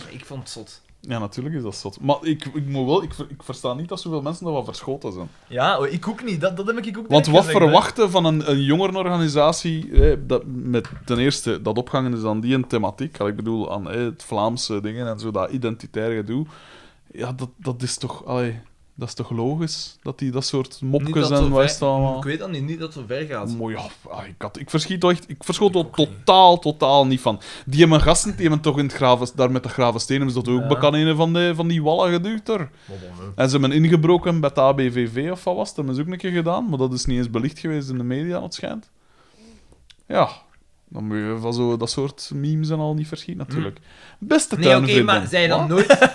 E: ik vond het zot.
A: Ja, natuurlijk is dat zot. Maar ik, ik, moet wel, ik, ver- ik versta niet dat zoveel mensen dat wel verschoten zijn.
C: Ja, oh, ik ook niet. Dat, dat heb ik ook
A: Want
C: direct
A: wat
C: gezegd, hè.
A: verwachten van een, een jongerenorganisatie, eh, dat met ten eerste dat opgangen is aan die een thematiek, Al, ik bedoel aan eh, het Vlaamse dingen en zo, dat identitaire gedoe, ja, dat, dat is toch, allee, dat is toch logisch, dat die dat soort
E: Niet
A: mopjes
E: dat
A: en
E: zo
A: wij
E: ver- Ik
A: staan.
E: weet dan niet, niet dat het zo ver gaat.
A: Mooi, ja, ah, ik, had, ik verschiet wel echt, ik verschot er totaal, totaal niet van. Die hebben gasten, die hebben toch in het graven, daar met de graven stenen, is dat ook
C: Ja.
A: bekan een van, de, van die wallen geduwd er. En ze hebben ingebroken bij het ABVV of wat was het? Dat hebben ze ook een keer gedaan, maar dat is niet eens belicht geweest in de media, het schijnt. Ja, dan moet je
C: Hm?
A: van zo dat soort memes en al niet verschieten, natuurlijk. Beste
E: Nee, oké,
A: tuinvrienden.
E: maar zij dan
A: Wat?
E: nooit...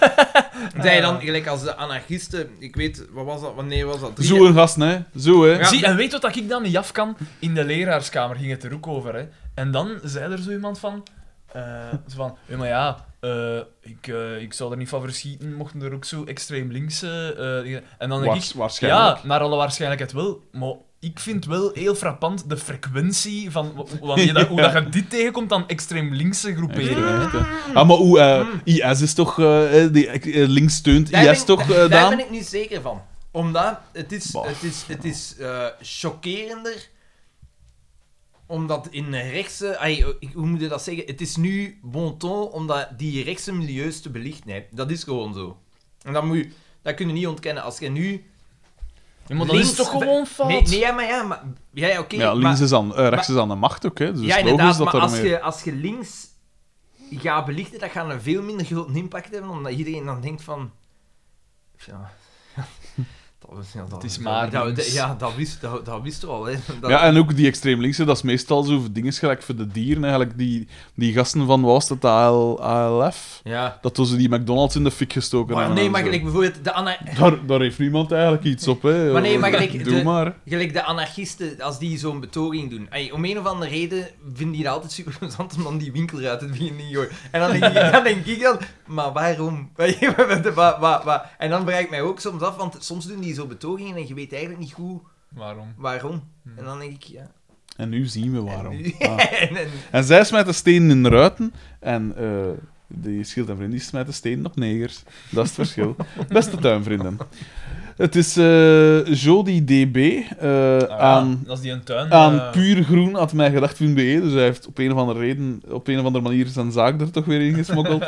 B: Dat je dan, gelijk als de anarchisten, ik weet, wat was dat, wanneer was dat? Drie-
A: Zo een gast, hè. Zo, hè.
B: Ja.
C: Zie, en weet wat dat ik dan niet af kan? In de leraarskamer ging het er ook over. Hè. En dan zei er zo iemand van... eh, zo van, ja, maar ja, eh, ik, eh, ik zou er niet van verschieten, mochten er ook zo extreem linkse... eh, dingen- en dan denk ik...
A: Waars- waarschijnlijk.
C: Ja, naar alle waarschijnlijkheid wel. Maar ik vind wel heel frappant de frequentie van wa- wa- wanneer dat, hoe dat je dit tegenkomt dan extreem linkse groeperingen.
A: Echt, hè. Ah, maar hoe... eh, IS is toch... eh, eh, die, eh, links steunt
B: Daar
A: IS
B: ben-
A: toch, eh,
B: daar
A: Daan?
B: ben ik niet zeker van. Omdat het is,
A: Bah.
B: het is, het is eh, chockerender. Omdat in de rechtse. ai, ik- hoe moet je dat zeggen? Het is nu bon ton om dat, die rechtse milieus te belichten. hè. Dat is gewoon zo. En dat, moet je, dat kun je niet ontkennen. Als je nu.
C: Ja, maar dat
B: links-
C: is toch gewoon fout?
B: Nee, nee ja, maar ja, maar. Ja, oké.
A: ja,
B: maar-
A: links is aan, eh, rechts is aan de macht ook, hè. Dus
B: ja,
A: het is logisch
B: inderdaad,
A: dat
B: maar
A: er
B: als
A: meer...
B: je, als je links gaat belichten, dat gaat een veel minder grote impact hebben, omdat iedereen dan denkt van... Ja, dat, is- ja, dat,
C: Het is
B: dat-
C: maar
B: dat-
C: links.
B: Ja, dat wist, dat, dat wist we al, hè. Dat,
A: Ja, en ook die extreem linkse, dat is meestal zo voor dingen gelijk voor de dieren. Eigenlijk die, die gasten van, wat was dat, AL, ALF?
B: ja.
A: Dat was die McDonald's in de fik gestoken
B: Maar
A: hebben
B: nee,
A: en
B: maar
A: zo.
B: gelijk bijvoorbeeld de, ana-
A: Daar, daar heeft niemand eigenlijk iets op, hè.
B: Maar nee, maar gelijk
A: Doe
B: de-
A: maar.
B: gelijk de anarchisten, als die zo'n betoging doen. Ay, om een of andere reden vinden die het altijd super interessant om dan die winkel uit te beginnen te gooien. En dan denk ik dan, denk ik dan maar waarom? Wa- wa- wa- wa- En dan vraag ik mij ook soms af, want soms doen die zo betogingen en je weet eigenlijk niet goed
C: Waarom?
B: waarom.
C: Hmm.
B: En dan denk ik, ja.
A: En nu zien we waarom.
B: En, nu-
A: Ah.
B: en- en-
A: En zij smijten stenen in ruiten en eh, die schild en vrienden die smijten stenen op negers. Dat is het verschil. Beste tuinvrienden. Het is eh Jody DB eh,
C: Ah,
A: aan,
C: dat is die een tuin.
A: aan
C: eh,
A: ehm, puur groen had mij gedacht .be, dus hij heeft op een of andere reden, op een of andere manier zijn zaak er toch weer in gesmokkeld.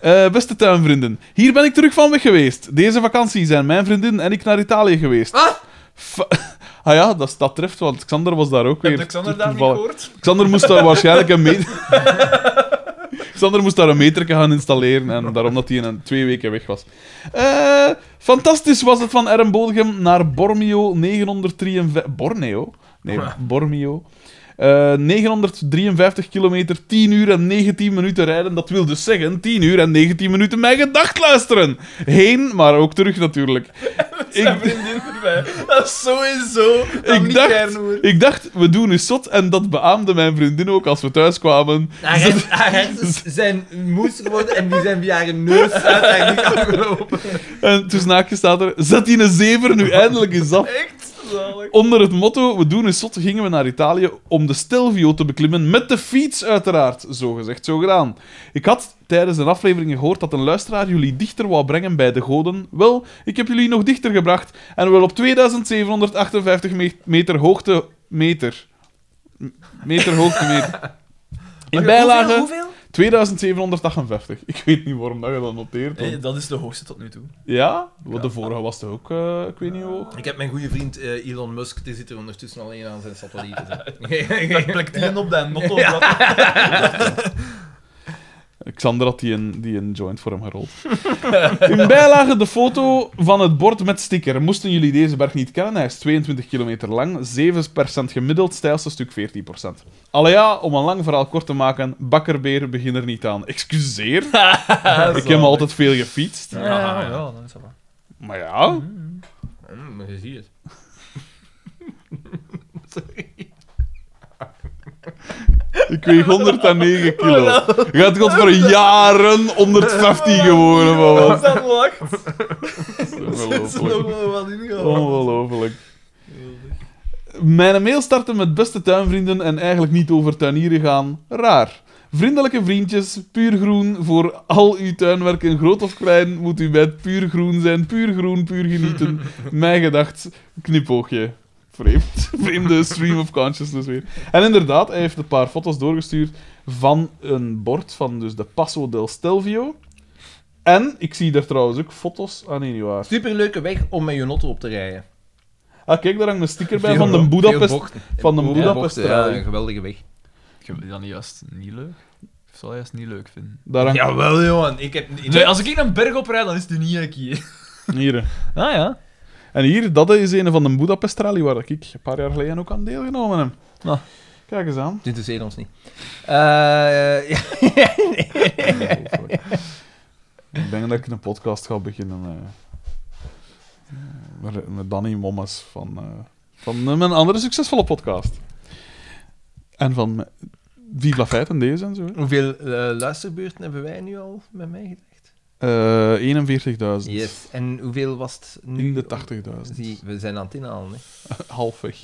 A: Eh, beste tuinvrienden, hier ben ik terug van weg geweest. Deze vakantie zijn mijn vriendin en ik naar Italië geweest.
B: Ah!
A: Fa- ah ja, dat, dat treft, want Xander was daar ook weer.
C: Heb je Xander daar niet
A: toevallig.
C: gehoord?
A: Xander moest daar waarschijnlijk een meter... Xander moest daar een meter gaan installeren en daarom dat hij in een twee weken weg was. Eh, fantastisch was het van Ermbodegem naar Bormio 953... Borneo? Nee, Bormio. Eh, 953 kilometer, 10 uur en 19 minuten rijden. Dat wil dus zeggen 10 uur en 19 minuten mijn gedacht luisteren. Heen, maar ook terug natuurlijk.
C: Zijn
A: Ik,
C: vriendin erbij. Dat is sowieso. dat
A: ik,
C: niet
A: dacht,
C: Kernhoer.
A: ik dacht, we doen eens zot. En dat beaamde mijn vriendin ook als we thuis kwamen.
B: Haar hersen- haar hersens zijn moes geworden en die zijn via haar neus uit haar nek afgelopen.
A: En tussen haakjes staat er, zet die een zever nu eindelijk eens af.
C: Echt zalig.
A: Onder het motto, we doen een zot, gingen we naar Italië om de Stelvio te beklimmen. Met de fiets uiteraard, zo gezegd, zo gedaan. Ik had tijdens een aflevering gehoord dat een luisteraar jullie dichter wou brengen bij de goden. Wel, ik heb jullie nog dichter gebracht. En wel op 2758 me- meter hoogte... Meter. M- Meter hoogte meter. In bijlage
C: Hoeveel?
A: 2758. Ik weet niet waarom dat je dat noteert. want-
C: Nee, dat is de hoogste tot nu toe.
A: Ja? Want de vorige was toch ook, eh, ik weet niet hoe hoog.
B: Ik heb mijn goede vriend eh, Elon Musk, die zit er ondertussen alleen aan zijn satellieten.
C: Dat plekt die op dat notto. dat-
A: Xander had die een, die een joint voor hem gerold. In bijlage de foto van het bord met sticker. Moesten jullie deze berg niet kennen, hij is 22 kilometer lang, 7% gemiddeld, stijlste stuk 14%. Alle ja, om een lang verhaal kort te maken, bakkerbeer begin er niet aan. Excuseer, ik heb
C: Zalig.
A: altijd veel gefietst.
C: Ja, ja, ja, dan is dat wel.
A: Maar ja,
B: Mm, maar je ziet het.
A: ik weeg 109 kilo. Je had god voor jaren 115 geworden van
C: Oh, Dat is
A: wat.
C: dat lacht. Er is nog
A: Ongelooflijk.
C: wel wat
A: Oh.
C: ingehaald.
A: Ongelooflijk. Mijn mail startte met beste tuinvrienden en eigenlijk niet over tuinieren gaan. Raar. Vriendelijke vriendjes, puur groen. Voor al uw tuinwerken, groot of klein, moet u bij het puur groen zijn. Puur groen, puur genieten. Mijn gedacht, knipoogje. Vreemd. Vreemde stream of consciousness weer. En inderdaad, hij heeft een paar foto's doorgestuurd van een bord van dus de Passo del Stelvio. En ik zie daar trouwens ook foto's. Ah nee, niet waar.
B: Superleuke weg om met je notte op te rijden.
A: Ah, kijk, daar hangt een sticker bij
B: Veel-
A: van de
B: veel
A: Budapest.
B: bochten.
A: Van de
B: Ja,
A: Budapest.
B: bochten, ja, een geweldige weg.
C: Ik heb die dan juist niet leuk. Of zal hij juist niet leuk vinden?
A: Daar hangt...
B: Jawel, jongen. Ik heb... Ik
C: Nee, als ik in een berg oprijd, dan is die niet Jackie.
A: Hier. hè.
C: Ah ja.
A: En hier, dat is een van de Budapest Rally waar ik een paar jaar geleden ook aan deelgenomen heb.
C: Nou.
A: Kijk eens aan.
B: Dit interesseert ons niet. Eh, ja.
F: Ik denk dat ik een podcast ga beginnen eh, met, met Danny Mommes van, eh, van eh, mijn andere succesvolle podcast. En van eh, Viva Feit en deze en zo. hè.
B: Hoeveel eh, luisterbeurten hebben wij nu al met mij gedreigd?
F: Eh 41.000.
B: Yes. En hoeveel was het nu?
F: In de 80.000.
B: Zie, we zijn aan het inhalen. Hè.
F: Halfweg.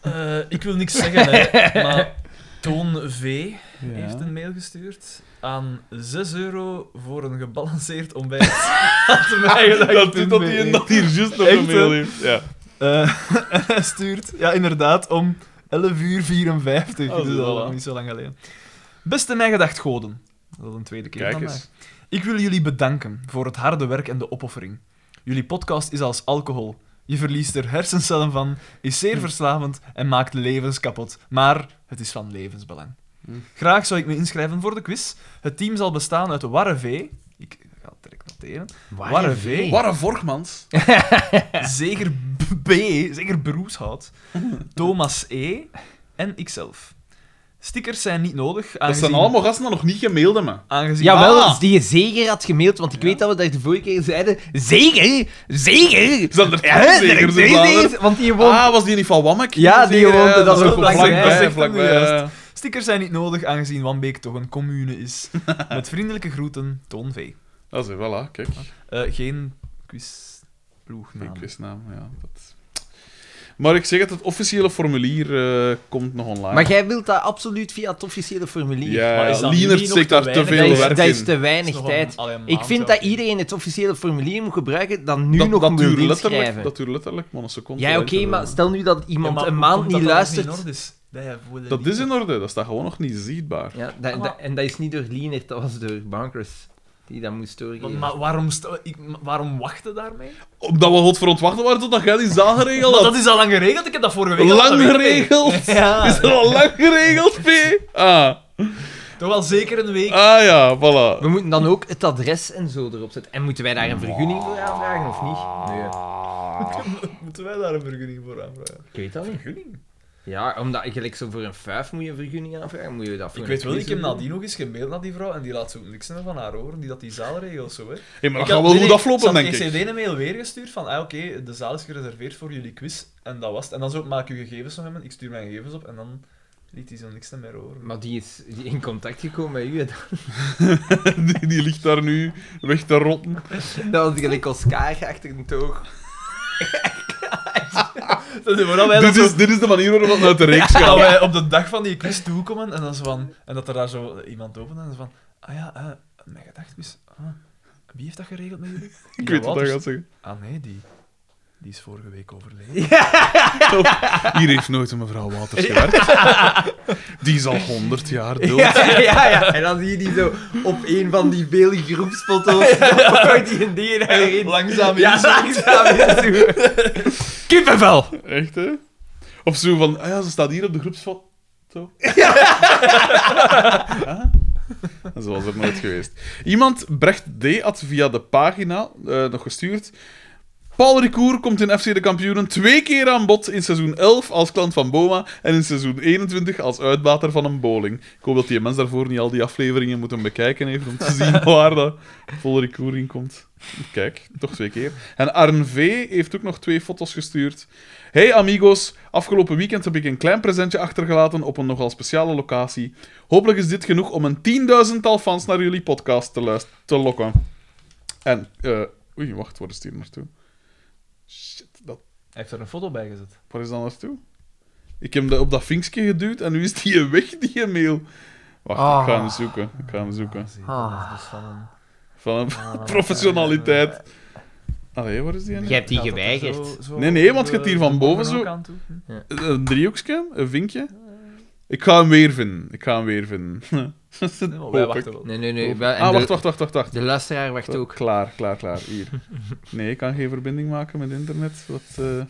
C: Eh, ik wil niks zeggen, hè, maar Toon V
F: Ja.
C: heeft een mail gestuurd aan 6 euro voor een gebalanceerd ontbijt. Had mij gedacht,
A: Dat doet dat
C: punt
A: hij
C: mee.
A: dat hier juist nog
C: Echt,
A: een mail heeft. Ja.
C: Eh, en hij stuurt, ja inderdaad, om 11 uur 54.
A: Oh,
C: dus
A: voilà.
C: al niet zo lang geleden. Beste mijn gedacht goden. Dat is een tweede keer
A: Kijk
C: van
A: eens.
C: mij. Ik wil jullie bedanken voor het harde werk en de opoffering. Jullie podcast is als alcohol. Je verliest er hersencellen van, is
A: Hm.
C: zeer verslavend en maakt levens kapot. Maar het is van levensbelang.
A: Hm.
C: Graag zou ik me inschrijven voor de quiz. Het team zal bestaan uit Warrevee. Ik ga het direct noteren. Warrevee.
F: Warre Vorkmans.
C: Zeker B, zeker Broeshout, Thomas E en ikzelf. Stickers zijn niet nodig,
A: Dat
C: aangezien...
A: zijn allemaal gasten die nog niet gemaild hebben.
C: Aangezien...
B: Jawel,
C: Ah,
B: als die je zeker had gemaild, want ik weet dat we daar de vorige keer zeiden. Zeker! Zeker!
A: Zijn er
B: Ja,
A: twee
B: er
A: zeker,
B: twee
A: zo
B: zekers,
A: later?
B: want die woont...
A: Ah, was die niet van Wammek?
B: Ja, die
A: Zeker,
B: woont-
A: ja,
B: dat is ook
A: ook
B: vlakbij.
C: Dat
A: vlakbij.
C: is
A: vlakbij,
C: echt
A: ja.
C: Stickers zijn niet nodig, aangezien Wanbeek toch een commune is. Met vriendelijke groeten, Toon V.
A: Dat is voilà, kijk.
C: Eh, geen quizploegnaam.
A: Geen quiznaam, ja. Dat... Maar ik zeg het, het officiële formulier eh, komt nog online.
B: Maar jij wilt dat absoluut via het officiële formulier.
C: Maar
A: Ja,
C: is dat
A: Lienert
C: nu nog
A: steekt
C: te
A: daar te
C: weinig?
A: veel
B: Dat is,
A: werk
B: dat is
A: in.
B: te
C: Dat is
B: weinig
C: nog
B: tijd.
C: een- allee, een
B: Ik
C: maand
B: vind
C: wel.
B: dat iedereen het officiële formulier moet gebruiken dat nu
A: dat,
B: nog
A: dat
B: moet
A: duurt
B: inschrijven.
A: letterlijk, dat duurt letterlijk maar een seconde.
B: Ja, oké,
A: later.
B: maar stel nu dat
C: Ja,
B: iemand
C: maar
B: een
C: hoe
B: maand
C: komt dat
B: niet
C: dat nog
B: luistert.
C: in orde is? Dat hij voor de
A: Dat is
C: liefde-
A: in orde, dat staat gewoon nog niet zichtbaar.
B: Ja, dat-
C: Ah,
B: dat- en dat is niet door Lienert, dat was door Bankers. Die dat moest
C: Maar,
B: doorgeven.
C: maar waarom, sta- ik, maar waarom wachten daarmee?
A: Omdat we het verontwachten waren totdat jij die zaal geregeld
C: Maar
A: had.
C: dat is al lang geregeld, ik heb dat vorige week al
A: Lang
C: gezegd.
A: geregeld! Is dat al lang geregeld, P? Ah,
C: Toch wel zeker een week.
A: ah ja, voilà.
B: We moeten dan ook het adres en zo erop zetten. En moeten wij daar een vergunning voor aanvragen of
A: Ah.
B: niet? Nee,
C: Moeten wij daar een vergunning voor aanvragen?
B: ik weet dat niet.
C: Vergunning?
B: Ja, omdat gelijk zo voor een vuif moet je een vergunning aanvragen. Moet je dat voor
C: Ik
B: een
C: weet wel, ik
B: quiz
C: heb
B: doen?
C: nadien nog eens gemaild naar die vrouw en die laat zo niks meer van haar horen, die dat die zaalregels zo, hè.
A: Hey, maar
C: Ik
A: dat gaat
C: had-
A: wel
C: nee,
A: goed
C: nee,
A: aflopen, denk
C: Ze
A: ik.
C: had ECD een mail weer gestuurd van, ah, oké, de zaal is gereserveerd voor jullie quiz, en dat was het. En dan zo, maak je gegevens nog hebben, ik stuur mijn gegevens op, en dan liet hij zo niks meer horen.
B: Maar die is die in contact gekomen met u. Dat-
A: Die, die ligt daar nu weg te rotten.
B: Dat was gelijk Oscar achter een toog.
C: Dat is vooral wij dat
A: Dit is, dit is de manier waarop dat uit de reeks
C: dat
A: gaat.
C: wij op de dag van die quiz toekomen en, dat is van, en dat er daar zo iemand opent en dat is van, ah ja, eh, mijn gedachtmis, ah, wie heeft dat geregeld met jullie?
A: Ik
C: Ja,
A: weet wat dat
C: Wouters.
A: gaat zeggen.
C: Ah nee, die, die is vorige week overleden.
A: Hier heeft nooit een mevrouw Waters gewerkt. Die is al 100 jaar dood.
B: Ja, ja, ja. En dan zie je die zo op een van die vele groepsfoto's. Ja. Die een die daarin.
C: Langzaam
B: Ja, langzaam inzoomen. Kippenvel!
A: Echt, hè? Of zo van, ah ja, ze staat hier op de groepsfoto. Ja. Zo was het nooit geweest. Iemand, Brecht D, had via de pagina eh, nog gestuurd... Paul Ricoeur komt in FC De Kampioenen twee keer aan bod in seizoen 11 als klant van Boma en in seizoen 21 als uitbater van een bowling. Ik hoop dat die mens daarvoor niet al die afleveringen moeten bekijken heeft om te zien waar dat Paul Ricoeur in komt. Kijk, toch twee keer. En Arn V heeft ook nog twee foto's gestuurd. Hey amigos, afgelopen weekend heb ik een klein presentje achtergelaten op een nogal speciale locatie. Hopelijk is dit genoeg om een tienduizendtal fans naar jullie podcast te, luist- te lokken. En, eh... Oei, wacht, waar is het hier naartoe? Shit, dat,
C: Hij heeft er een foto bij gezet.
A: waar is dat naartoe? Ik heb dat op dat vinkje geduwd en nu is die weg, die mail. Wacht, ik ga hem zoeken. Ik ga hem zoeken.
B: Ah.
C: Dus van een...
A: Van een professionaliteit. Allee, waar is die?
B: Jij hebt die
C: Gaat dat er
B: geweigerd.
C: zo- zo
A: Nee, nee, want
C: op
A: je
C: de-
A: hebt hier van
C: de
A: boven zo-
C: ook aan toe?
A: Een driehoekje? Een vinkje? Ik ga hem weer vinden. Ik ga hem weer vinden.
C: Nee, maar
A: Hoop
C: wij
A: ik.
C: wachten wel.
B: Nee, nee, nee. wel- en
A: Ah,
B: de-
A: wacht, wacht, wacht, wacht, wacht.
B: De luisteraar wacht ook.
A: Klaar, klaar, klaar. Hier. Nee, ik kan geen verbinding maken met internet. Wat, eh,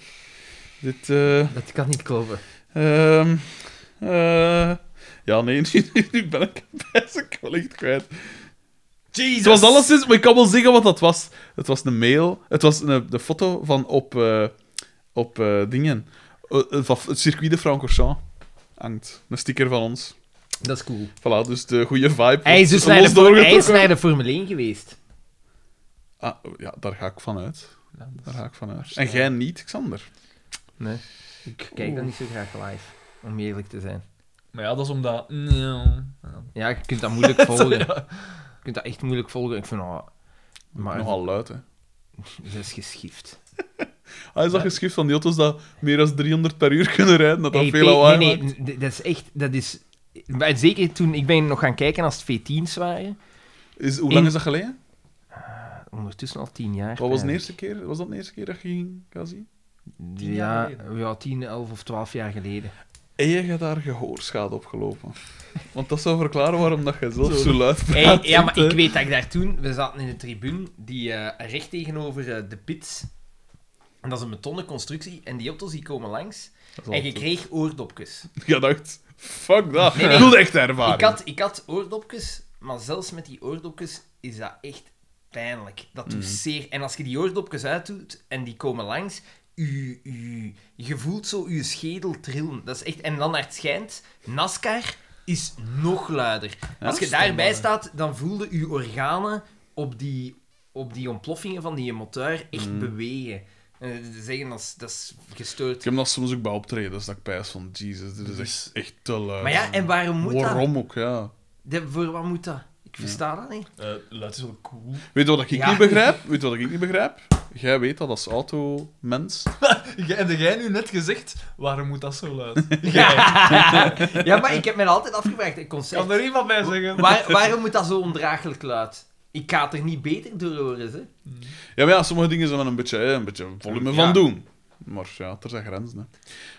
A: dit... eh,
B: Dat kan niet kloppen.
A: ehm, eh, ja, nee, nu, nu- nu ben ik het best wel echt kwijt.
C: Jesus!
A: Het was alleszins... Maar ik kan wel zeggen wat dat was. Het was een mail. Het was een, de foto van op... eh, op eh, dingen. Eh, eh, van het circuit de Francorchamps. Hangt. Een sticker van ons.
B: Dat is cool.
A: Voilà, dus de goede vibe.
B: Hij is dus
A: wordt
B: naar
A: los
B: de, voor- hij is
A: doorgetrokken.
B: naar de Formule 1 geweest.
A: Ah, ja, daar ga ik van uit.
C: Ja, dat
A: Daar
C: is-
A: ga ik van uit. En jij niet, Xander.
B: Ik kijk dat niet zo graag live, om eerlijk te zijn.
C: Maar ja, dat is omdat... Nee.
B: Ja, je kunt dat moeilijk volgen. Je kunt dat echt moeilijk volgen. Ik vind, oh, Maar-
A: Nogal luid, hè. Ah,
B: ze is geschift.
A: Hij is dat geschift van die auto's dat meer dan 300 per uur kunnen rijden, dat dat
B: Hey,
A: veel
B: Pe-
A: lawaai
B: nee,
A: maakt.
B: nee, d- dat is echt... Dat is, maar zeker toen... Ik ben nog gaan kijken als het V10's waren.
A: Is, hoe lang
B: In-
A: is dat geleden?
B: Ondertussen al tien jaar.
A: Wat was, de
B: eigenlijk.
A: eerste keer, was dat de eerste keer dat je ging gaan zien?
C: Tien jaar
B: ja,
C: geleden?
B: ja, tien, elf of twaalf jaar geleden.
A: En je hebt daar gehoorschade opgelopen. Want dat zou verklaren waarom dat je zelf zo, luid praat.
B: Hey, ja, maar
A: hè.
B: ik weet dat ik daar toen... We zaten in de tribune, die eh, recht tegenover eh, de pits. En dat is een betonnen constructie. En die auto's die komen langs.
A: Dat is
B: En je
A: altijd-
B: kreeg oordopjes.
A: Je dacht, fuck dat,
B: Nee, nee.
A: ik wil echt ervaren.
B: Ik had, ik had oordopjes, maar zelfs met die oordopjes is dat echt pijnlijk. Dat doet
A: Mhm.
B: zeer. En als je die oordopjes uitdoet en die komen langs, u, u, je voelt zo je schedel trillen. Dat is echt, en dan naar het schijnt, NASCAR is nog luider.
A: Ja,
B: als je
A: dat is
B: daarbij
A: standaard,
B: staat, dan voelde je organen op die, op die ontploffingen van die motor echt
A: Mhm.
B: bewegen. En ze zeggen, dat is, dat is gestoord.
A: Ik heb dat soms ook bij optredens, dat ik pijs van, Jesus, dit is echt, echt te luid.
B: Dus- Maar ja, en waarom moet dat?
A: Waarom ook, ja.
B: De- voor wat moet dat? Ik versta dat niet.
C: Eh, luid is wel cool.
A: Weet je wat ik
B: Ja.
A: niet begrijp? Weet je wat ik niet begrijp? Jij weet dat als automens.
C: Jij- Heb jij nu net gezegd, waarom moet dat zo luid?
B: Ja, maar ik heb me altijd afgevraagd, een concert.
C: Kan er iemand bij zeggen?
B: Waar- waarom moet dat zo ondraaglijk luid? Ik ga het er niet beter door horen, hè?
A: Ja, maar ja, sommige dingen zijn er een beetje, hè, een beetje volume
B: Ja.
A: van doen. Maar ja, er zijn grenzen. Hè.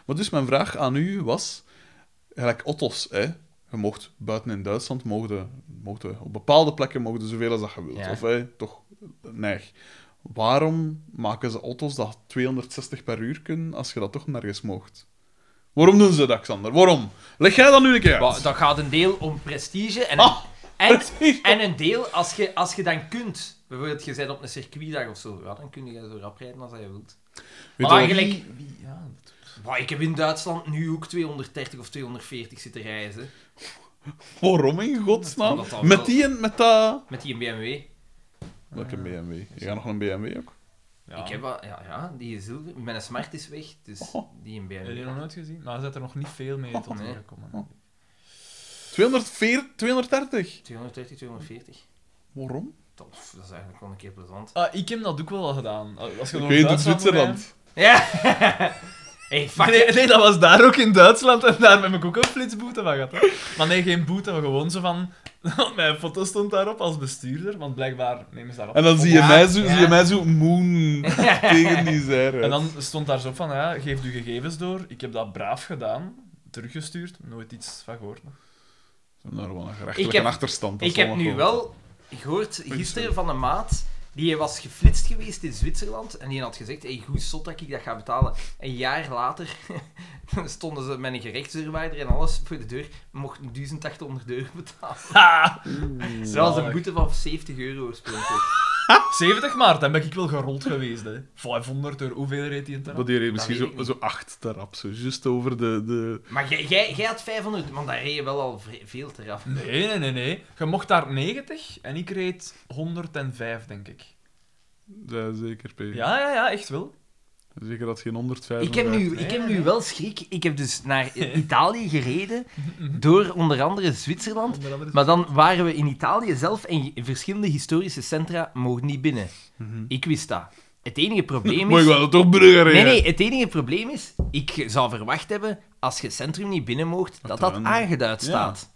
A: Maar dus mijn vraag aan u was, gelijk Otto's, hè, je mocht buiten in Duitsland, mochten, mochten, op bepaalde plekken mochten zoveel als dat je wilt.
B: Ja.
A: Of hè, toch, neig. Waarom maken ze Otto's dat 260 per uur kunnen als je dat toch nergens mocht? Waarom doen ze dat, Xander? Waarom? Leg jij dat nu een keer uit.
B: Wa- Dat gaat een deel om prestige en een,
A: Ah,
B: en, en een deel als je, als je dan kunt. Bijvoorbeeld, je bent op een circuitdag of zo. Ja, dan kun je zo rap rijden als dat je wilt.
A: Weet
B: maar
A: je wat-
B: eigenlijk,
C: Ja,
B: Wa, ik heb in Duitsland nu ook 230 of 240 zitten rijden, hè,
A: Waarom in godsnaam?
B: Omdat dat wel-
A: Met die en met dat...
B: met die BMW.
A: Welke BMW? Je gaat nog een BMW ook?
B: Ik heb wel, ja, ja, die is zilver. Mijn smart is weg, dus
A: Oh.
B: die een
C: Heb je
B: BMW.
C: nog nooit gezien? Maar ze zijn er nog niet veel mee tot
B: Nee.
C: hier gekomen.
A: Oh, 204, 230.
B: 230, 240.
A: Waarom?
B: Tof, dat is eigenlijk wel een keer plezant.
C: Ah, ik heb dat ook wel al gedaan. Als je
A: Ik
C: door
A: weet het,
C: Duitsland moet
A: Zwitserland.
B: Ja! hey, fuck.
C: rijden- Nee, nee, dat was daar ook in Duitsland en daar heb ik ook een flitsboete van gehad. hè. Maar nee, geen boete, maar gewoon zo van... want Mijn foto stond daarop als bestuurder, want blijkbaar nemen ze daarop.
A: En dan zie je,
B: Ja,
A: mij, zo,
B: ja.
A: zie je mij zo moen tegen die zijde.
C: En dan stond daar zo van, ja, geef uw gegevens door. Ik heb dat braaf gedaan, teruggestuurd, nooit iets van gehoord. nog.
A: Nou, gewoon een
B: Ik
A: gerechtelijke
B: heb-
A: achterstand. dat
B: Ik
A: zal
B: heb nu
A: komen.
B: wel gehoord gisteren van een maat die was geflitst geweest in Zwitserland en die had gezegd, hey, goed zot dat ik dat ga betalen. Een jaar later stonden ze met een gerechtsdeurwaarder en alles voor de deur, mochten 1800 euro betalen. Zelfs een
C: zalig.
B: boete van 70 euro oorspronkelijk.
C: 70 maart, dan ben ik wel gerold geweest, hè. 500 euro, hoeveel reed die in het
A: Dat die reed
B: weet
A: misschien
B: ik
A: zo,
B: niet.
A: zo acht te rap, zo just over de... de...
B: Maar jij- jij jij had 500, want daar reed je wel al vre- veel te raf.
C: Nee, nee, nee, nee. Je mocht daar 90 en ik reed 105, denk ik.
A: Ja, zeker, P.
C: Ja, ja, ja, echt wel.
A: Zeker dat geen 105.
B: Ik heb, nu, ik heb nu wel schrik. Ik heb dus naar Italië gereden, door onder andere Zwitserland.
C: Onder andere-
B: Maar dan waren we in Italië zelf en je- verschillende historische centra mogen niet binnen. Ik wist dat. Het enige probleem
A: Maar ik
B: is...
A: wou dat toch burger
B: Nee,
A: rijden.
B: nee, het enige probleem is, ik zou verwacht hebben, als je centrum niet binnen mocht, dat dat
A: dan-
B: aangeduid
A: ja.
B: staat.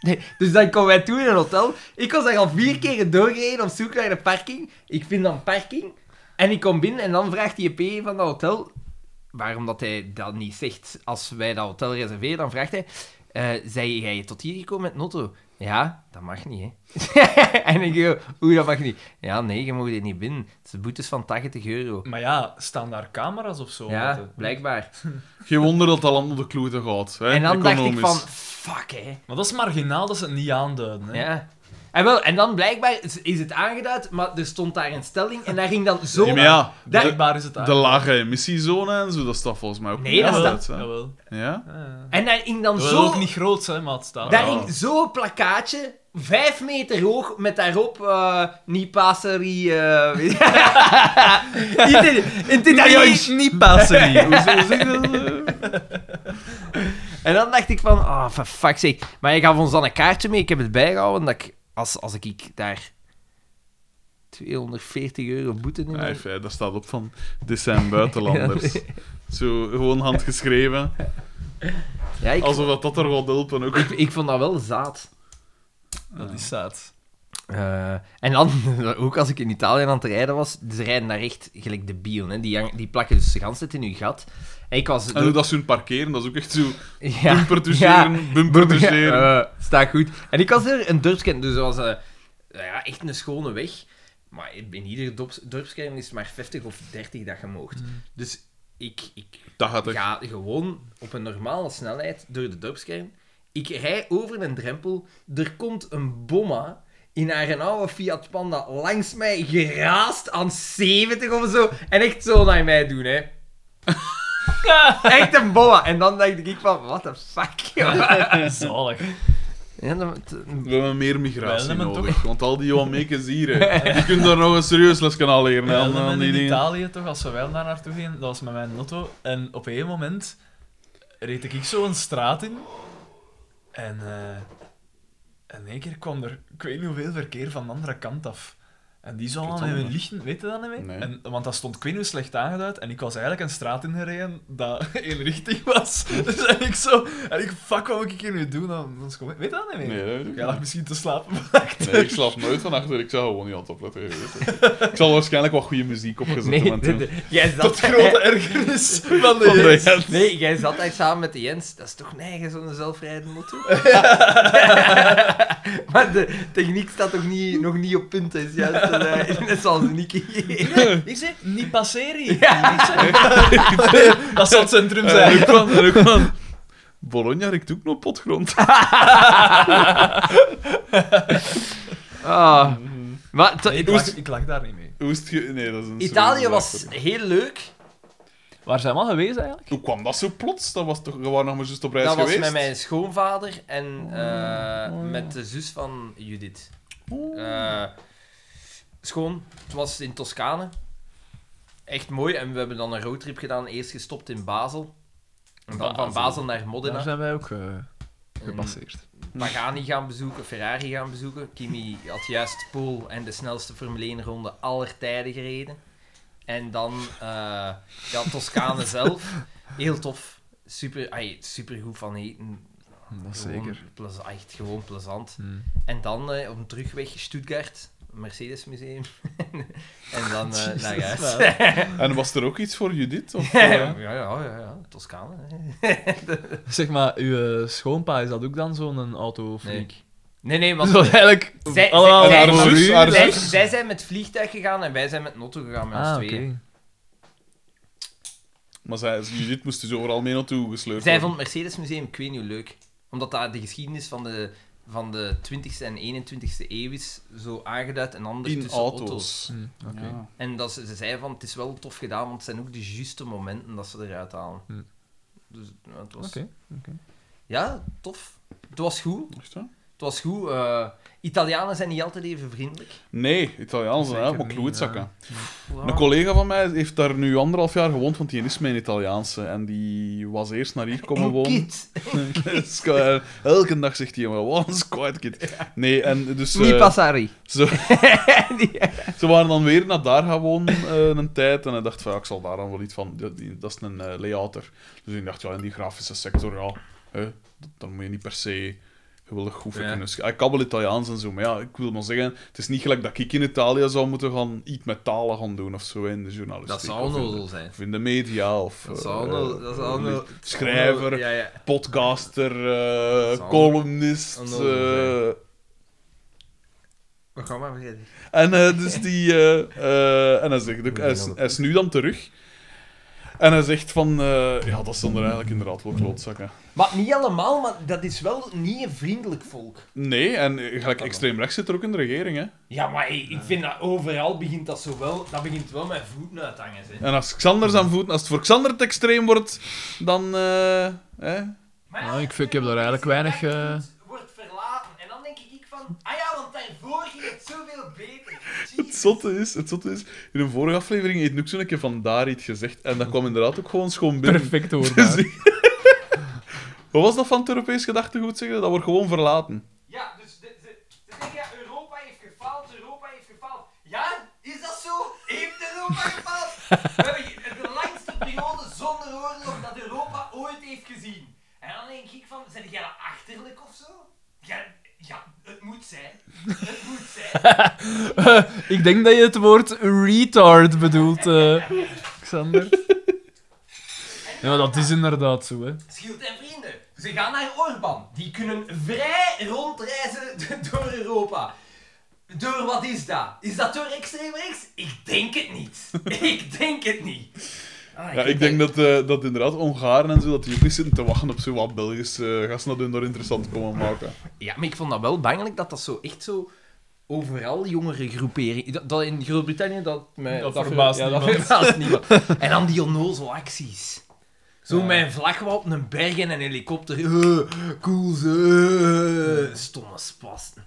B: Nee, dus dan komen wij toe in een hotel. Ik was daar al vier keer doorgereden op zoek naar een parking. Ik vind dan parking. En ik kom binnen en dan vraagt die P van dat hotel, waarom dat hij dat niet zegt als wij dat hotel reserveren, dan vraagt hij, eh zijn jij tot hier gekomen met een auto? Ja, dat mag niet, hè. en ik go, oei, dat mag niet. Ja, nee, je mag dit niet binnen. Het is boetes van 80 euro.
C: Maar ja, staan daar camera's of zo?
B: Ja,
C: Maarten?
B: blijkbaar.
A: Geen wonder dat dat land op de klote gaat. Hè?
B: En dan dacht ik
A: economisch.
B: van, fuck hè.
C: Maar dat is marginaal dat ze het niet aanduiden. Hè?
B: Ja. En, wel, en dan blijkbaar is- is het aangeduid, maar er stond daar een stelling en daar ging dan zo...
A: Ja, maar ja, de,
C: Blijkbaar is het
A: de
C: aangeduid.
A: lage emissiezone en zo, dat staat volgens mij ook
B: Nee,
A: niet
B: dat
A: uit,
C: Jawel,
A: hè.
C: jawel.
A: Ja?
C: Ja, ja.
B: En daar ging dan
C: Dat wil
B: zo...
C: ook niet groot zijn, maar het staat
B: Daar
C: wel.
B: ging zo'n plakkaatje vijf meter hoog met daarop eh niet passerie. eh, weet je- in het Italiaans.
C: niet passen.
A: Hoe zeg hoe zeg je dat? eh?
B: En dan dacht ik van, ah, for fuck sake. Maar je gaf ons dan een kaartje mee. Ik heb het bijgehouden dat ik, als, als ik ik daar 240 euro boete in
A: Nee, fijn, daar staat op van dit zijn buitenlanders. Zo gewoon handgeschreven.
B: Ja, ik,
A: Alsof dat, dat er gaat helpen ook.
B: ik, ik vond dat wel zaad.
C: Dat is zaad.
B: Eh, en dan, ook als ik in Italië aan het rijden was, ze rijden daar echt gelijk de bielen. Hè. Die, hang- die plakken dus de ganse tijd in uw gat. En ik was...
A: En hoe dat ze hun parkeren, dat is ook echt zo
B: ja,
A: bumper toucheren, bumper toucheren.
B: Ja, eh, staat goed. En ik was er een dorpskern, dus dat was eh, nou ja, echt een schone weg. Maar in ieder dorps, dorpskern is het maar 50 of 30 dat je moogt.
A: Mm.
B: Dus ik, ik
A: Dat gaat echt.
B: ga gewoon op een normale snelheid door de dorpskern. Ik rij over een drempel. Er komt een bomma in haar oude Fiat Panda langs mij geraast aan 70 of zo. En echt zo naar mij doen, hè. echt een bomma. En dan dacht ik van, what the fuck, joh.
C: Zalig.
B: Ja, dan- t-
A: We hebben meer migratie
C: Wel, maar
A: nodig, want al die Jamaicans hier, hè. die kunnen daar nog een serieus lesje aan leren. hè, aan-
C: Wel,
A: aan
C: in
A: die dingen.
C: Italië toch, als we wel daar naartoe gingen, dat was met mijn lotto. En op een moment reed ik zo een straat in. En eh, in één keer kwam er, ik weet niet hoeveel verkeer van de andere kant af. En die zou
A: Ik weet
C: aan
A: het
C: hun
A: niet.
C: lichten, weet je dat niet meer?
A: Nee.
C: En, want dat stond ik weet niet hoe slecht aangeduid. En ik was eigenlijk een straat ingereden dat één richting was. Dus en ik zo, en ik, fuck, wat moet ik hier nu doen? Dan, dan kom ik- weet je dat niet meer?
A: Nee, dat weet ik
C: Jij lag misschien te slapen.
A: niet. Nee, ik slaap nooit van achter, ik zou gewoon niet aan het opletten. je weet het. Ik zal waarschijnlijk wat goede muziek opgezet
B: Nee,
A: hebben. Oh,
B: dit-
A: toen.
B: jij
C: Tot
B: zat...
C: grote ergernis van de
A: Van de
C: jeugd.
A: Jens.
B: Nee, jij zat daar samen met de Jens. Dat is toch nergens zo'n zelfrijdende motto? maar de techniek staat toch niet, nog niet op punt, is juist eh, net zoals Nicky.
C: Ik zei, niet passeren. Dat zal het centrum
A: En
C: zijn.
A: ook van, en ook van, Bologna rikt ook nog potgrond.
B: Ah, Maar t-
C: ik, lag, daar niet mee.
A: Hoe is het ge- Nee, dat is een
B: Italië
A: serieuze
B: was
A: zaak.
B: heel leuk.
C: Waar zijn we al geweest eigenlijk?
A: Hoe kwam dat zo plots? Dat was toch... We waren nog maar juist op reis
B: Dat was
A: geweest.
B: met mijn schoonvader en eh, met de zus van Judith. Eh, schoon, het was in Toscane. Echt mooi. En we hebben dan een roadtrip gedaan. Eerst gestopt in Basel. En dan van
A: Basel.
B: Basel naar Modena.
C: zijn wij ook eh,
B: gepasseerd. Pagani gaan bezoeken, Ferrari gaan bezoeken. Kimi had juist Pool en de snelste Formule 1 ronde aller tijden gereden. En dan eh, ja, Toscane zelf. Heel tof. Super, ai, super goed van eten.
C: Dat
B: Gewoon plez- echt gewoon plezant.
C: Hmm.
B: En dan eh, op een terugweg Stuttgart, Mercedes Museum. en dan eh,
C: Jezus,
B: naar huis.
C: man.
A: En was er ook iets voor Judith? Of,
B: ja,
A: eh,
B: ja, ja, ja, Toscane. hè.
C: Zeg maar, uw eh, schoonpa, is dat ook dan zo'n autofreak?
B: Nee, nee,
C: Dat
B: want
C: is wel eigenlijk
B: Zij-
C: allemaal
B: zij-
C: voor
A: haar
C: u.
A: zus, haar
B: zij,
A: zus.
B: zij zijn met vliegtuig gegaan en wij zijn met notto gegaan met
C: Ah,
B: ons
C: oké.
B: tweeën.
A: Maar zij, Judith moest dus overal mee naartoe gesleurd
B: Zij
A: worden.
B: vond het Mercedes Museum, ik weet niet hoe leuk. Omdat daar de geschiedenis van de, van de 20e en 21e eeuw is zo aangeduid en anders
A: In
B: tussen
A: auto's.
B: auto's.
C: Hm, oké.
A: Ja.
B: En dat ze, ze zei van, het is wel tof gedaan, want het zijn ook de juiste momenten dat ze eruit halen.
C: Hm.
B: Dus ja, het was...
C: Oké, oké.
B: Ja, tof. Het was goed.
A: Echt, hè?
B: Het was goed. eh, Italianen zijn niet altijd even vriendelijk.
A: Nee, Italiaans zijn
C: Zeker
A: helemaal
C: niet,
A: kloetzakken.
B: Oh. Ja.
A: Een collega van mij heeft daar nu anderhalf jaar gewoond, want die is mijn Italiaanse. En die was eerst naar hier komen
B: Een
A: wonen.
B: kid.
A: Squ- Elke dag zegt hij, maar wat een squad kid. Nee, en dus...
B: Niet
A: eh,
B: Passari.
A: Ze, ze waren dan weer naar daar gaan wonen eh, een tijd. En hij dacht van, ja, ik zal daar dan wel iets van... Dat, die- dat is een eh, layouter. Dus ik dacht, ja, in die grafische sector, ja... Hè, dat, dan moet je niet per se geweldig goed voor
B: Ja.
A: kunnen sch- Ik kabbel Italiaans en zo, maar ja, ik wil maar zeggen... Het is niet gelijk dat ik in Italië zou moeten gaan... Iets met talen gaan doen of zo, in de journalistiek.
B: Dat zou
A: of in de-
B: onnozel zijn.
A: Of in de media, of...
B: Dat
A: eh,
B: zou onnozel- dat zou
A: eh,
B: onnozel-
A: Schrijver,
B: Ja, ja.
A: podcaster, eh,
B: Dat zou
A: columnist...
B: onnozel zijn.
A: eh,
B: We gaan maar verder.
A: En eh, dus die... eh, eh, en hij zegt ook... Hij is, hij is nu dan terug. En hij zegt van... eh, ja, dat zijn er eigenlijk inderdaad wel klootzakken.
B: Maar niet allemaal, maar dat is wel niet een vriendelijk volk.
A: Nee, en eh, gelijk extreem rechts zit er ook in de regering, hè.
B: Ja, maar hey, ik vind dat overal begint dat zo wel... Dat begint wel met voeten uit te hangen, zeg.
A: En als Xander zijn voeten... Als het voor Xander het extreem wordt, dan... eh, hè.
B: Maar
C: Nou, ik vind- ik heb daar eigenlijk weinig, eh,
B: Wordt verlaten. En dan denk ik van... want, ah ja, want daarvoor ging het zoveel beter.
A: Het zotte is, het zotte is, in een vorige aflevering heeft Noek zo'n keer van daar iets gezegd. En dat kwam inderdaad ook gewoon schoon binnen.
G: Perfect
A: Dus
G: hoorbaar.
A: ik- Wat was dat van het Europees gedachtegoed zeggen? Dat wordt gewoon verlaten.
B: Ja, dus de, de, ze zeggen ja, Europa heeft gefaald, Europa heeft gefaald. Ja, is dat zo? Heeft Europa gefaald? We hebben ge- de langste periode zonder oorlog dat Europa ooit heeft gezien. En dan denk ik van, zijn jij dat achterlijk of zo? Ja, ja, het moet zijn. Het moet zijn.
G: Ik denk dat je het woord retard bedoelt, eh, Xander. Ja, dat is inderdaad zo, hè.
B: Schild en vrienden, ze gaan naar Orban. Die kunnen vrij rondreizen door Europa. Door wat is dat? Is dat door extreem rechts? Ik denk het niet. Ik denk het niet. Ah,
A: Ja, ik denk dat, eh, dat inderdaad Hongaren en zo, dat die ook niet zitten te wachten op zo wat Belgische eh, gasten dat hun daar interessant komen maken.
B: Ja, maar ik vond dat wel bangelijk dat dat zo echt zo overal jongere groepering. Dat, dat in Groot-Brittannië dat mij.
G: Dat verbaast
B: ja, dat
G: niemand.
B: verbaast niemand. En dan die onnozel acties. Zo mijn vlag wel op een berg en een helikopter. Eh, cool ze. eh, stomme spasten.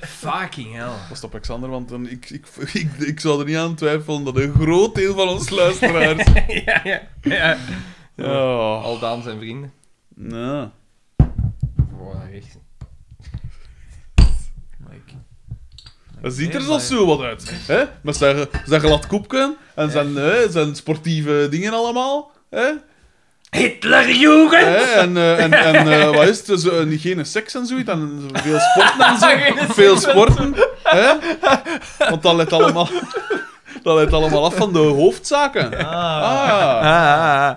B: Fucking hell.
A: Pas op, Alexander, want dan, ik, ik, ik, ik zou er niet aan twijfelen dat een groot deel van ons luisteraars...
B: ja, ja, ja.
A: Ja.
B: Aldaan zijn vrienden.
A: Nee.
B: Wow, echt.
A: Dat ziet er zo zo wat uit. Hè? Met zijn, zijn glad koepje en zijn, hè, zijn sportieve dingen allemaal. Hè?
B: Hitlerjugend!
A: Hè? En, eh, en, en eh, wat is het? Dus, eh, niet geen seks en zoiets. En veel sporten en zo. Veel sporten. Hè? Want dat leidt allemaal... Dat leidt allemaal af van de hoofdzaken. Ah.
B: Ah,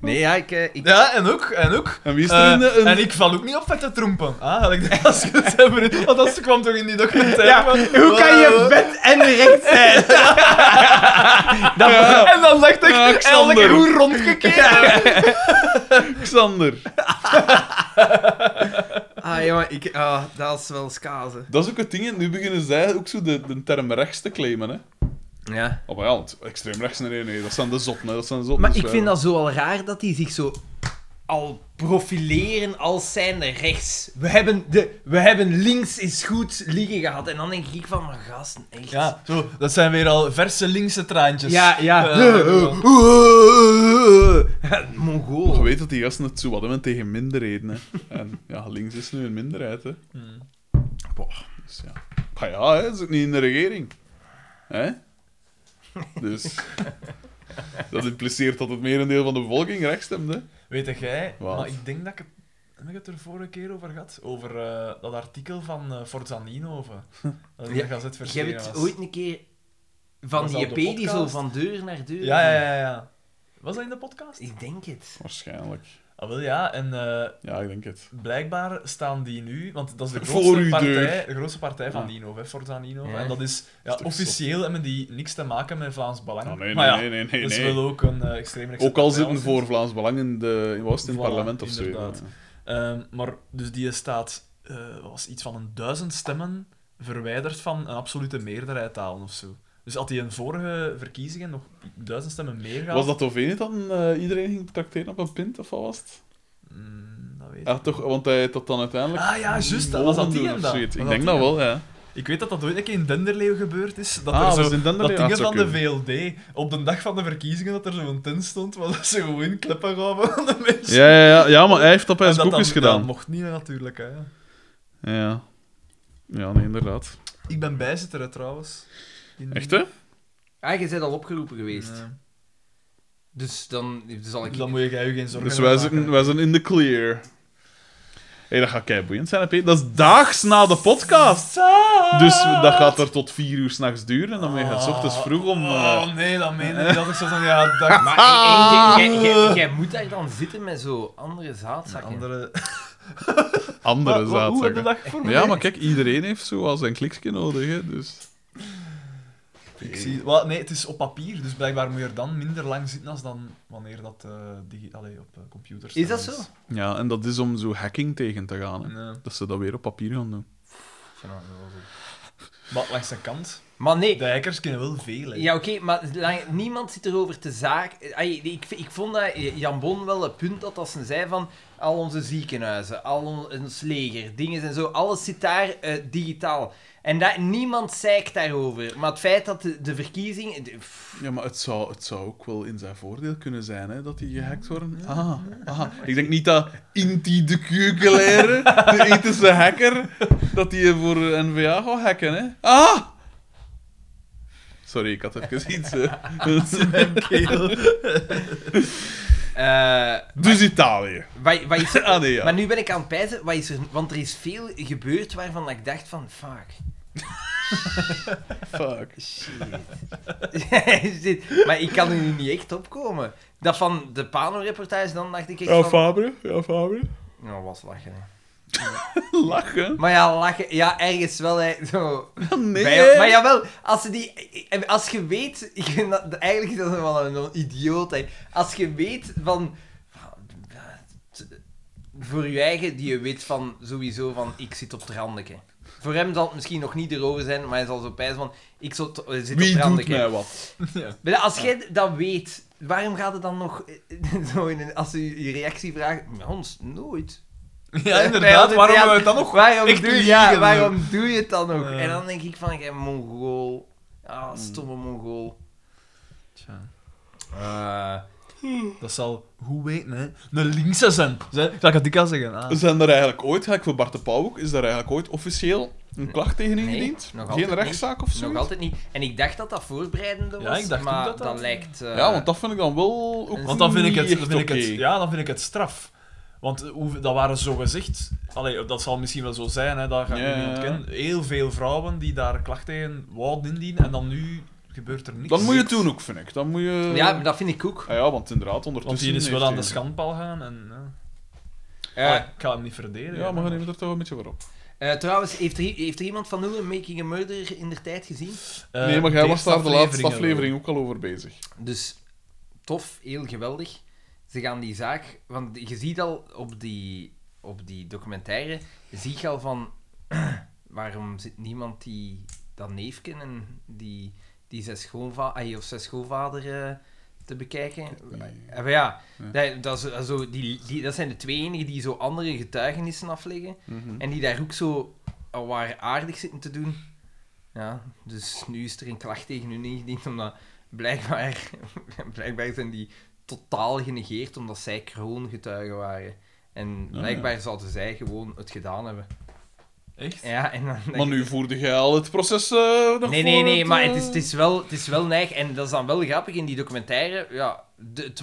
B: Nee, ja, ik. eh, ik...
C: Ja, en ook, en ook.
A: En wie is er in de-
C: Eh,
A: een-
C: En ik val ook niet op vette trompen. Ah, had ik dat als gezegd. Want dat kwam toch in die documentaire. van-
B: Hoe kan je
C: Eh,
B: vet en recht zijn?
C: En dan dacht ik,
A: Ja, Ah,
C: elke
A: Xander.
C: keer goed rondgekeken.
A: Alexander.
B: Ah, jongen, ik, ah, dat is wel skazen.
A: Dat is ook het ding. hè. Nu beginnen zij ook zo de, de term rechts te claimen. Hè?
B: Ja.
A: Oh, maar ja, want extreem rechts, nee, nee, nee, dat zijn de zotten. Hè. Dat zijn de zotten.
B: Maar
A: Dus,
B: ik
A: eh,
B: vind dat zo al raar dat die zich zo al profileren als zijnde rechts. We hebben, de, we hebben links is goed liggen gehad. En dan denk ik van, maar gasten, echt.
C: Ja, zo, dat zijn weer al verse linkse traantjes.
B: ja. ja.
C: Eh,
A: Je
B: Mongool.
A: weet dat die gasten het zo wat hebben tegen minderheden. Hè. En ja, links is nu een minderheid. Hè.
C: Hmm.
A: Boah, dus ja. Maar ja, hè, is ook niet in de regering. Hè? Dus. Dat impliceert dat het merendeel van de bevolking rechts stemt. Hè.
C: Weet jij,
A: Wat?
C: maar ik denk dat ik het, heb ik het er vorige keer over gehad. Over eh, dat artikel van eh Forzanino. Of, dat in
B: Ja,
C: de gazet
B: Je
C: verschenen
B: hebt het
C: was.
B: ooit een keer van
C: Was
B: die
C: dat op
B: EP
C: de
B: die zo
C: podcast?
B: van deur naar deur.
C: Ja, ja, ja, ja. Was dat in de podcast?
B: Ik denk het.
A: Waarschijnlijk.
C: Ah, wel ja, en eh,
A: Ja, ik denk het.
C: Blijkbaar staan die nu, want dat is de
A: Voor
C: grootste
A: uw
C: partij,
A: deur.
C: de grootste partij van
A: Ah.
C: Nino, hè, Forza Nino.
B: Ja.
C: En dat is ja,
A: toch
C: officieel hebben die niks te maken met Vlaams Belang.
A: Ah, nee,
C: maar ja,
A: nee, nee, nee,
C: dat is
A: nee.
C: wel ook een eh extreem rechtse
A: Ook al
C: partij,
A: zitten voor
C: alleszins.
A: Vlaams Belang in, de, in, was het in het
C: Voilà,
A: parlement of zo.
C: inderdaad.
A: ja.
C: Ehm, maar dus die staat eh, wat was iets van een duizend stemmen verwijderd van een absolute meerderheid te halen of zo. Dus had hij in vorige verkiezingen nog duizend stemmen meer
A: Was
C: gehaald?
A: dat of niet dat een, eh, iedereen ging tracteren op een pint of wat was het?
C: Mm, dat weet ik
A: Ja, toch, want hij had dat dan uiteindelijk.
C: Ah ja, juist, dat was dat
A: mogen doen
C: die hem
A: of
C: dan.
A: zoiets.
C: Was
A: Ik
C: dat
A: denk
C: die
A: dat
C: hem?
A: wel, ja.
C: Ik weet dat dat ooit een keer in Denderleeuw gebeurd is. Dat
A: Ah, was
C: er zo,
A: het in Denderleeuw?
C: dat
A: Ah,
C: dingen
A: het zou
C: van de VLD. Op de dag van de verkiezingen dat er zo'n tent stond, waar dat ze gewoon kleppen gaven aan de mensen.
A: Ja, ja, ja, ja, maar hij heeft dat bij
C: En
A: zijn
C: dat
A: boekjes
C: dan- dat
A: gedaan.
C: mocht niet hè, natuurlijk. Hè.
A: Ja. Ja, nee, inderdaad.
C: Ik ben bijzitter hè, trouwens. In-
A: Echt, hè?
B: Ah, je bent al opgeroepen geweest.
C: Nee.
B: Dus dan dus zal ik...
C: Dus dan moet jij je geen zorgen
A: Dus wij
C: maken, hè.
A: zijn, wij zijn in the clear. Hé, dat gaat kei boeiend zijn, hè, Peter. Dat is daags na de podcast. Dus dat gaat er tot vier uur s'nachts duren. En dan ben je het 's ochtends vroeg om... eh,
C: Oh nee, dat meen ik niet. Dat ik zo van, ja, dag.
B: Maar en- en jij- jij- jij- jij moet daar dan zitten met zo andere zaadzakken.
C: Andere...
A: andere
C: Hoe heb je
A: zaadzakken.
C: dat voor
A: Ja, maar kijk, iedereen heeft zo wel zijn klikje nodig, hè. Dus...
C: Ik zie... Wel, nee, het is op papier, dus blijkbaar moet je er dan minder lang zitten als dan wanneer dat eh digi... Allee, op computers. Dus- computer
B: Is dat zo?
A: Ja, en dat is om zo hacking tegen te gaan, hè.
C: Nee.
A: Dat ze dat weer op papier gaan doen.
C: Maar langs de kant,
B: Maar nee,
C: de hackers kunnen wel veel. Hè.
B: Ja, oké, maar lang- niemand zit erover te zaak. Ai, Ik, ik vond dat Jan Bon wel een punt had als ze zei van... ah, al onze ziekenhuizen, al on- ons leger, dingen en zo, alles zit daar eh, digitaal. En dat, niemand zeikt daarover. Maar het feit dat de, de verkiezing... de- pff,
A: Ja, maar het zou, het zou ook wel in zijn voordeel kunnen zijn hè, dat die gehackt worden. Ah, ah. Ik denk niet dat Inti de Keukenleire, de ethische hacker, dat die voor NVA gaat hacken. Hè. Ah! Sorry, ik had even iets. eh.
B: eh,
A: dus Italië.
B: wat, wat is,
A: Ah nee, ja.
B: Maar nu ben ik aan het pijzen, wat is er, want er is veel gebeurd waarvan ik dacht van, fuck,
A: Fuck.
B: shit. Shit. maar ik kan er nu niet echt opkomen. Dat van de Pano-reportage, dan dacht ik echt
A: Ja,
B: van...
A: Fabre. Ja, Fabre.
B: Nou, was lachen. hè.
A: Lachen.
B: Maar ja, lachen, ja, ergens wel, hè. Zo.
A: Nee.
B: Bij- maar jawel, als, ze die, als je weet, ik vind dat, eigenlijk is dat wel een idioot, hè. Als je weet van, voor je eigen, die je weet van, sowieso van, ik zit op het randje. Voor hem zal het misschien nog niet erover zijn, maar hij zal zo pijzen van, ik zit op het
A: Wie doet
B: randje.
A: mij wat?
B: Maar als jij dat weet, waarom gaat het dan nog eh, zo in een, als u je reactie vraagt? Bij ons nooit.
C: Ja, inderdaad. Waarom hebben we het dan nog?
B: Waarom
C: echt
B: doe, je-
C: liegen,
B: ja,
C: zo?
B: waarom doe je het dan nog?
C: Ja. Mm.
B: En dan denk ik van, jij mongool. Ah, stomme mongool. Eh,
C: Dat zal, hoe weten, hè? Een linkse zijn. Zij- Zal ik dat dik al zeggen? Ah.
A: Zijn er eigenlijk ooit, ga ik voor Bart de Pauw ook, is daar eigenlijk ooit officieel een klacht tegen
B: Nee,
A: ingediend?
B: nog altijd
A: Geen
B: niet.
A: rechtszaak of zo?
B: nog altijd niet. En ik dacht dat dat voorbereidende
C: Ja,
B: was,
C: ik dacht
B: maar
C: ook dat dat-
B: lijkt... eh,
A: Ja, want dat vind ik dan wel ook
C: Want dan vind ik het,
A: niet
C: dan
A: echt
C: vind ik het,
A: oké.
C: ja, dan vind ik het straf. Want eh, hoe, dat waren zo gezegd, allee, dat zal misschien wel zo zijn, hè, dat ga ik nu
A: Ja, ja,
C: niet
A: ja.
C: ontkennen. Heel veel vrouwen die daar klachten tegen wouden indienen en dan nu gebeurt er niks.
A: Dan moet je het doen ook, vind ik. Dan moet je...
B: ja, maar dat vind ik ook.
A: Ah ja, want inderdaad, ondertussen...
C: Want die is wel
A: heeft
C: aan de
A: hij-
C: schandpaal gaan en... eh,
B: Eh,
C: allee, ik ga hem niet verdedigen.
A: Ja, maar we
C: maar-
A: nemen er toch een beetje voor op.
B: eh, trouwens, heeft er, heeft er iemand van Oelen Making a Murder in de tijd gezien?
C: Eh,
A: nee, maar jij was
C: eerste
A: daar de laatste
C: afleveringen
A: aflevering ook al over bezig.
B: Dus tof, heel geweldig. Ze gaan die zaak, want je ziet al op die, op die documentaire, zie je al van waarom zit niemand die dat neef kennen, die, die zijn schoonvader, of zijn schoonvader eh, te bekijken. Eh, Maar ja, Dat, dat, is- dat is zo, die, die, dat zijn de twee enigen die zo andere getuigenissen afleggen
C: Mhm.
B: Hm. en die daar ook zo al waar aardig zitten te doen. Ja, dus nu is er een klacht tegen hun ingediend omdat Blijkbaar, blijkbaar zijn die totaal genegeerd omdat zij kroongetuigen waren. En
A: Ah, ja.
B: blijkbaar zouden zij gewoon het gedaan hebben.
C: Echt?
B: Ja, en dan
A: Maar nu voerde jij al het proces eh nog
B: Nee, nee,
A: voor
B: nee,
A: het,
B: maar
A: eh,
B: het is, het is wel, het is wel neig. En dat is dan wel grappig in die documentaire. Ja, de- het,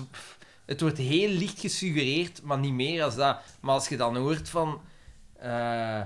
B: het wordt heel licht gesuggereerd, maar niet meer als dat. Maar als je dan hoort van... eh,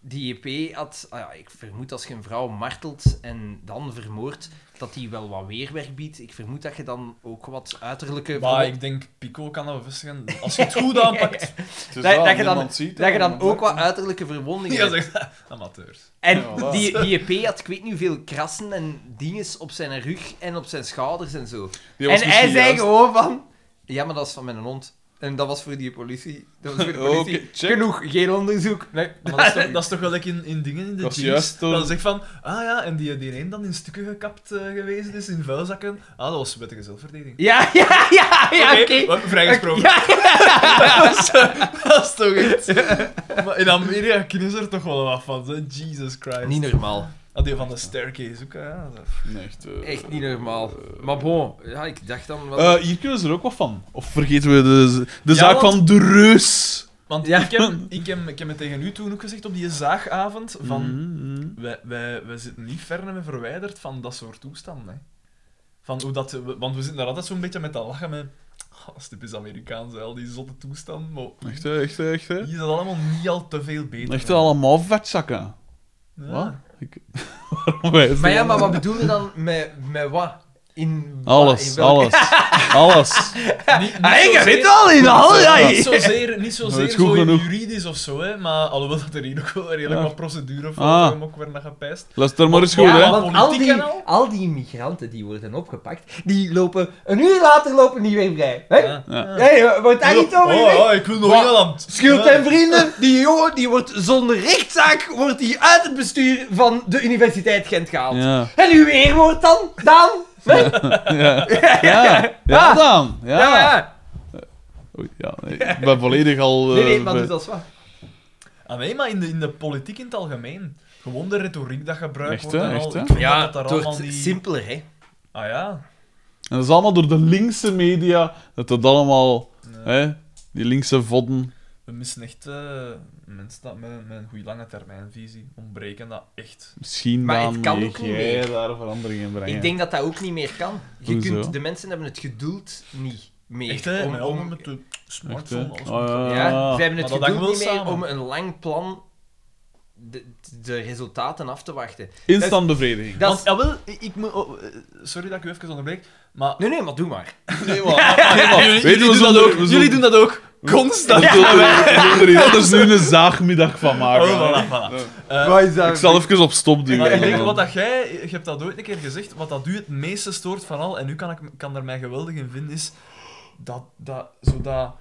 B: die EP had... ah ja, ik vermoed als je een vrouw martelt en dan vermoordt, dat die wel wat weerwerk biedt. Ik vermoed dat je dan ook wat uiterlijke...
C: Maar ik denk, Pico kan dat bevestigen. Als je het goed aanpakt,
A: het is
B: dat-
A: waar,
B: dat je dan-
A: niemand ziet,
B: dat
A: hè,
B: je dan
A: niemand
B: ook wat uiterlijke verwondingen
C: ja,
B: hebt.
C: zeg amateurs.
B: En
A: Ja, voilà.
B: die, die EP had, ik weet niet hoeveel krassen en dinges op zijn rug en op zijn schouders en zo.
A: Die was
B: en hij
A: misschien
B: zei
A: juist-
B: gewoon van... Ja, maar dat is van mijn hond. En dat was voor die politie. Dat was voor de politie.
A: Oké, check.
B: Genoeg, geen onderzoek. Nee.
C: Maar dat is toch, dat is toch wel like in, in dingen in de
A: Dat is
C: jeans.
A: juist toen-
C: Dat is echt van, ah ja, en die, die een dan in stukken gekapt eh, geweest is, in vuilzakken. Ah, dat was wettige zelfverdediging.
B: Ja, ja, ja, ja, oké.
C: wa- Vrijgesproken.
B: Ja,
C: dat is toch echt... maar in Amerika kennen ze er toch wel wat van, hè? Jesus Christ.
B: Niet normaal.
C: Ah, die van de staircase ook, ja. dat-
A: Nee, echt, eh,
B: Echt niet normaal. Maar bon, ja, ik dacht dan wel...
A: eh, hier kunnen ze er ook wat van. Of vergeten we de, de
C: Ja,
A: zaak
C: want-
A: van de reus.
C: Want
B: Ja.
C: ik, heb, ik, heb, ik heb het tegen u toen ook gezegd op die zaagavond, van...
A: Mhm.
C: Wij, wij, wij zitten niet ver en verwijderd van dat soort toestanden. Hè. Van hoe dat, we- want we zitten daar altijd zo'n beetje met dat lachen met... "Ah, Dat is typisch Amerikaans, hè, al die zotte toestanden. Maar
A: Echt, hè, echt, hè, echt. hè.
C: hier is dat allemaal niet al te veel beter.
A: Echt
C: hè.
A: allemaal vetzakken.
C: Ja.
A: Wat? Ik... Waarom wij
B: Maar ja, maar wat bedoel je dan met, met wat? In wat? In
A: Alles,
B: welke-
A: alles. alles.
C: Niet, niet
B: Ah, ik
C: zozeer-
B: weet al in alles. ja.
C: Niet zozeer, niet zozeer
A: Nooit goed
C: zo
A: genoeg.
C: juridisch of zo, hè, maar alhoewel dat er hier ook wel redelijk
A: Ja.
C: wat procedure voor
A: Ah.
C: hem ook weer naar gepijst.
A: Luister maar eens goed,
B: Ja,
A: hè.
B: want al
C: Politiek
B: die,
C: en al?
B: al die migranten die worden opgepakt, die lopen een uur later lopen die weer vrij. Hè?
C: Ja.
A: Ja.
B: Hey, wordt daar niet over
C: oh,
B: gezegd?
C: ja, ik wil nog
B: Wat?
C: Engeland.
B: Schild
C: Ja.
B: en vrienden, die jongen die wordt zonder rechtszaak wordt die uit het bestuur van de Universiteit Gent gehaald.
A: Ja.
B: En uw eerwoord dan, Daan?
A: Ja. Ja. Ja, dan.
B: Ja,
A: Ja. Oei, ja, nee, ik ben volledig al...
E: Nee, nee,
A: eh,
E: maar
A: be-
E: dus dat is waar.
C: Ah, nee, maar in de, in de politiek in het algemeen. Gewoon de retoriek dat gebruikt
A: Echt,
C: wordt.
A: hè?
C: en al.
A: Echt, hè?
C: Ik vind
B: Ja,
C: dat dat daar
B: door
C: allemaal
B: het
C: niet-
B: simpeler, hè.
C: Ah ja.
A: En dat is allemaal door de linkse media, dat dat allemaal... Hè, die linkse vodden.
C: We missen echt eh, mensen dat met, met een goede lange termijnvisie ontbreken dat echt.
A: Misschien
B: Maar
A: dan
B: het kan
A: mag
B: ook niet
A: jij
B: meer.
A: daar verandering in brengen.
B: Ik denk dat dat ook niet meer kan. Je
A: Hoezo?
B: kunt, de mensen hebben het geduld niet meer.
C: Echt, hè?
B: om-
C: Met,
B: om-
C: allemaal met de
A: Echt, hè?
C: smartphone. alles
A: Ah,
C: moet-
A: ja,
B: ja, ze
A: ja.
B: hebben het
C: Maar dat
B: geduld
C: hangt
B: niet
C: wel
B: meer
C: samen.
B: om een lang plan de, de resultaten af te wachten.
A: Instant bevrediging.
B: Dat
C: Want,
B: is-
C: jawel, ik, ik moet... oh, eh, sorry dat ik u even onderbreek, maar...
B: Nee, nee, maar doe maar.
A: Nee, maar... Nee, maar
C: jullie,
A: weet je, we
C: jullie doen dat
A: zullen-
C: ook,
A: we
C: jullie doen
A: zullen-
C: dat ook. Constant.
A: we zullen er- we zullen er anders nu een zaagmiddag van maken.
C: Oh, voilà, voilà. Eh,
E: Waar is dat?
A: Ik zal even op stop duwen.
C: maar ik denk,
A: dan.
C: wat dat jij... Je hebt dat ooit een keer gezegd, wat dat u het meeste stoort van al, en nu kan ik kan er mij geweldig in vinden, is dat... dat zo dat...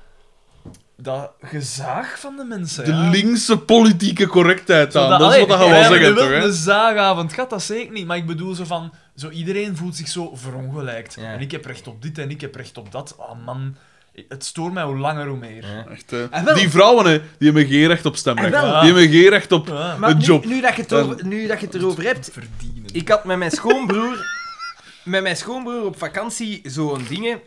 C: Dat gezaag van de mensen,
A: De
C: ja.
A: linkse politieke correctheid aan.
C: Zodat-
A: dat is wat dat
C: allee,
A: gaan wel
C: wij
A: zeggen,
C: hebben wel
A: toch? Hè?
C: een zaagavond gehad, dat zeker niet. Maar ik bedoel zo van... Zo iedereen voelt zich zo verongelijkt.
B: Ja.
C: En ik heb recht op dit en ik heb recht op dat. Ah, man. Het stoort mij hoe langer hoe meer.
A: Echt, hè.
B: Ah, wel.
A: Die vrouwen, hè, die hebben geen recht op stemrecht.
B: Ah,
C: wel.
A: Die hebben geen recht op
C: Ja.
B: Maar
A: een
B: nu,
A: job.
B: nu, dat je het over, nu dat je het erover hebt,
C: Ah. Verdienen.
B: Ik had met mijn schoonbroer, met mijn schoonbroer op vakantie zo'n dingen.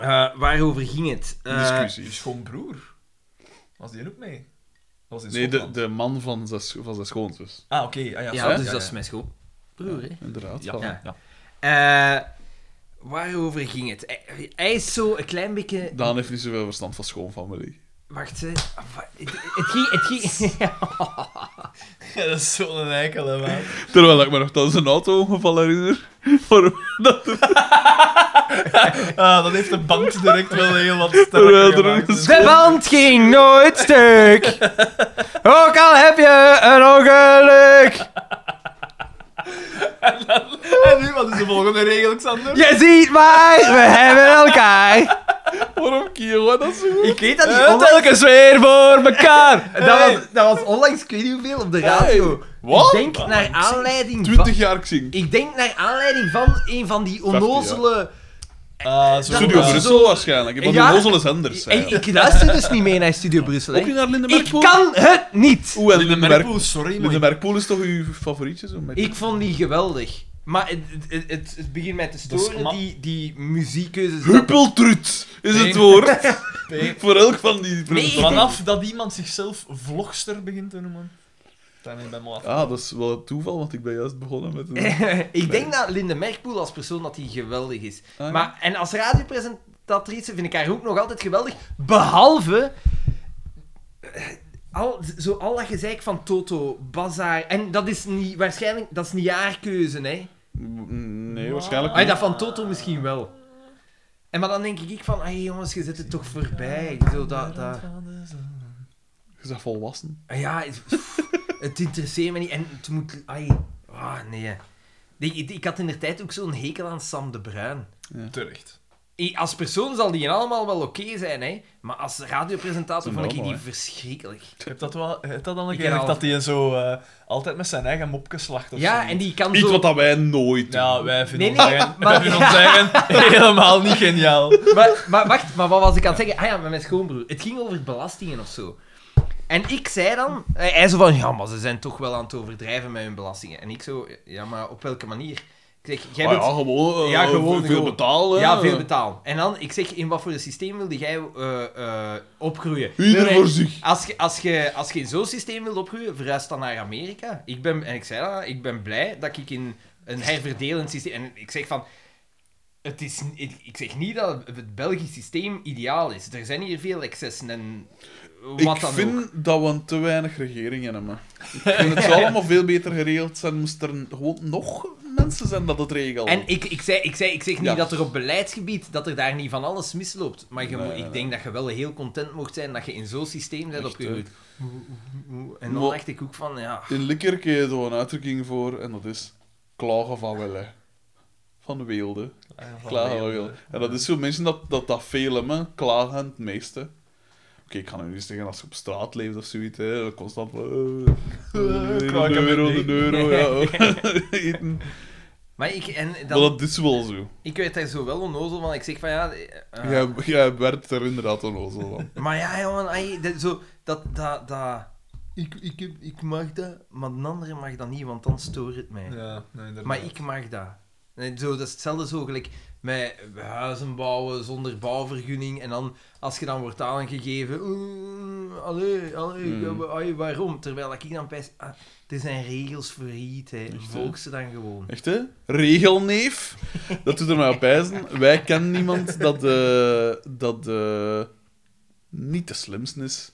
B: eh, waarover ging het? Eh,
C: Je
A: discussies.
C: schoonbroer. Was die er ook mee? Dat was in
A: Nee, de,
C: Schotland.
A: de man van zijn, scho- van zijn schoonzus.
C: Ah, oké. Ah, ja,
B: ja,
C: sorry.
B: dus
C: Ja,
B: dat
C: ja.
B: is mijn schoonbroer. hè.
A: Inderdaad.
C: Ja.
A: voilà.
B: Ja. Eh, waarover ging het? Hij, hij is zo een klein beetje.
A: Daan heeft niet zoveel verstand van schoonfamilie.
B: Wacht, hè. Wa- Het, het ging. Het ging
C: dat is zo'n eikel, hè, man.
A: Terwijl ik me nog tijdens een auto-ongeval herinner. Waar- dat er-
C: Ah, dat heeft de bank direct wel heel wat
A: Terwijl
C: sterker
A: er
C: gemaakt.
A: een
C: Dus-
B: de band ging nooit stuk. Ook al heb je een ongeluk.
C: En nu, wat is de volgende regel, Xander?
B: Je ziet mij, we hebben elkaar.
A: Waarom Kio dat zo goed?
B: Ik weet dat niet.
C: Eh, telkens weer voor elkaar.
B: Dat was, dat was onlangs, ik weet niet hoeveel, op de radio.
A: Wat?
B: Ik denk naar aanleiding van...
A: 20 jaar Xing.
B: Ik denk naar aanleiding van een van die onnozele...
C: Ah, zo,
A: Studio
C: ja.
A: Brussel waarschijnlijk. Van
B: Ja.
A: die Ozele zenders.
B: En ik luister dus niet mee naar Studio Brussel, hè.
A: Ook niet naar Linde
B: Ik
A: Merkpoel?
B: kan het niet!
A: Oeh, en Linde
C: Linde
A: Merkpoel.
C: Merkel, sorry, maar
A: Linde Merkpoel is toch uw favorietje? Zo met...
B: Ik vond die geweldig. Maar het, het, het, het begint mij te storen,
C: ma-
B: die, die muziekkeuzes.
A: Huppeltrut is
C: Nee.
A: het woord. Voor elk van die
B: Nee.
C: Vanaf dat iemand zichzelf vlogster begint te noemen, dan ben ik bij me af.
A: Ah, dat is wel het toeval, want ik ben juist begonnen met
B: Eh,
A: een... Ah,
B: ik denk dat Linde Merkpoel als persoon dat die geweldig is.
A: ja.
B: maar, en als radiopresentatrice vind ik haar ook nog altijd geweldig. Behalve... eh, Al, zo al dat gezeik van Toto, Bazaar... En dat is niet, waarschijnlijk... Dat is niet haar keuze, hè.
A: Nee, waarschijnlijk
B: Ah, dat van Toto misschien wel. En maar dan denk ik van... Hey jongens, je zit het toch voorbij. Ik bedoel,
C: Ah,
B: dat... dat...
A: Je bent volwassen.
B: Ah Ja, het, pff, het interesseert me niet. En het moet... Ai, ah, nee. Ik, ik, ik had in de tijd ook zo'n hekel aan Sam de Bruin.
C: Terecht.
B: I- Als persoon zal die allemaal wel oké zijn, hè. Maar als radiopresentator
A: Een
B: vond ik die
A: normaal,
B: verschrikkelijk.
C: Heb dat wel, heb dat dan een
B: Ik
C: keer
B: heb al-
C: echt dat hij zo eh, altijd met zijn eigen mopjes slacht of
B: Ja,
C: zo?
B: en die kan
A: Iets
B: zo...
A: wat dat wij nooit doen.
C: Ja, wij vinden
B: Nee,
C: ons
B: nee,
C: eigen,
B: maar-
C: wij vinden ons eigen helemaal niet geniaal.
B: maar, maar wacht, maar wat was ik aan het zeggen? Ah ja, met mijn schoonbroer. Het ging over belastingen of zo. En ik zei dan... eh, Hij zo van, ja, maar ze zijn toch wel aan het overdrijven met hun belastingen. En ik zo, ja, maar op welke manier? Ik zeg, jij
A: Ah,
B: bent...
A: ja, gewoon, eh,
B: Ja, gewoon,
A: veel- veel
B: gewoon.
A: betalen.
B: Ja, veel betalen. En dan, ik zeg, in wat voor een systeem wilde jij eh, eh, opgroeien?
A: Ieder
B: Nee,
A: voor zich.
B: Als je, als je, als je in zo'n systeem wilt opgroeien, verhuis dan naar Amerika. Ik ben, en ik zei dat, ik ben blij dat ik in een herverdelend systeem... En ik zeg van... Het is, ik, ik zeg niet dat het Belgisch systeem ideaal is. Er zijn hier veel excessen en wat
A: ik
B: dan
A: vind
B: ook.
A: dat we een te weinig regeringen hebben. Ik vind het zou allemaal veel beter geregeld zijn. Moest er gewoon nog mensen zijn dat het regelt.
B: En ik, ik, zei, ik, zei, ik zeg niet
A: Ja.
B: dat er op beleidsgebied dat er daar niet van alles misloopt. Maar je, moet-
A: Nee,
B: ik denk dat je wel heel content mocht zijn dat je in zo'n systeem bent
A: Echt,
B: opgegroeid. En
A: Maar-
B: dan dacht ik ook van, ja...
A: In Likkerke heb je zo een uitdrukking voor, en dat is klagen van wille. Van de weelde.
C: Ah,
A: Klagen van wilde. En dat is zo, mensen dat dat, dat veel hebben, klagen het meeste. Oké, ik kan nu niet zeggen als je op straat leeft of zoiets, hè, constant... eh, een
C: Kraken met
A: euro,
C: eten.
A: een euro, ja. eten.
B: Maar ik, en
A: Maar
B: dan,
A: dat is wel zo.
B: ik werd daar zo wel onnozel van. Ik zeg van ja... eh,
E: Jij, jij werd er inderdaad onnozel van.
B: Maar ja, jongen, ai, dat, zo, dat, dat, dat, ik, ik, heb- ik mag dat, maar een andere mag dat niet, want dan stoort het mij.
C: Ja, nee, inderdaad.
B: Maar ik mag dat. En Zo, dat is hetzelfde zo gelijk met huizen bouwen zonder bouwvergunning. En dan, als je dan wordt aangegeven... "Mm, Allee, allee,
A: Mm.
B: ja, maar, ai, waarom? Terwijl ik dan pijs... Ah, er zijn regels voor iets, hè.
A: Echt, hè?
B: Volg ze dan gewoon.
A: Echt, hè? Regelneef. Dat doet er maar op wijzen. Wij kennen niemand dat, eh, dat eh, niet de slimste is.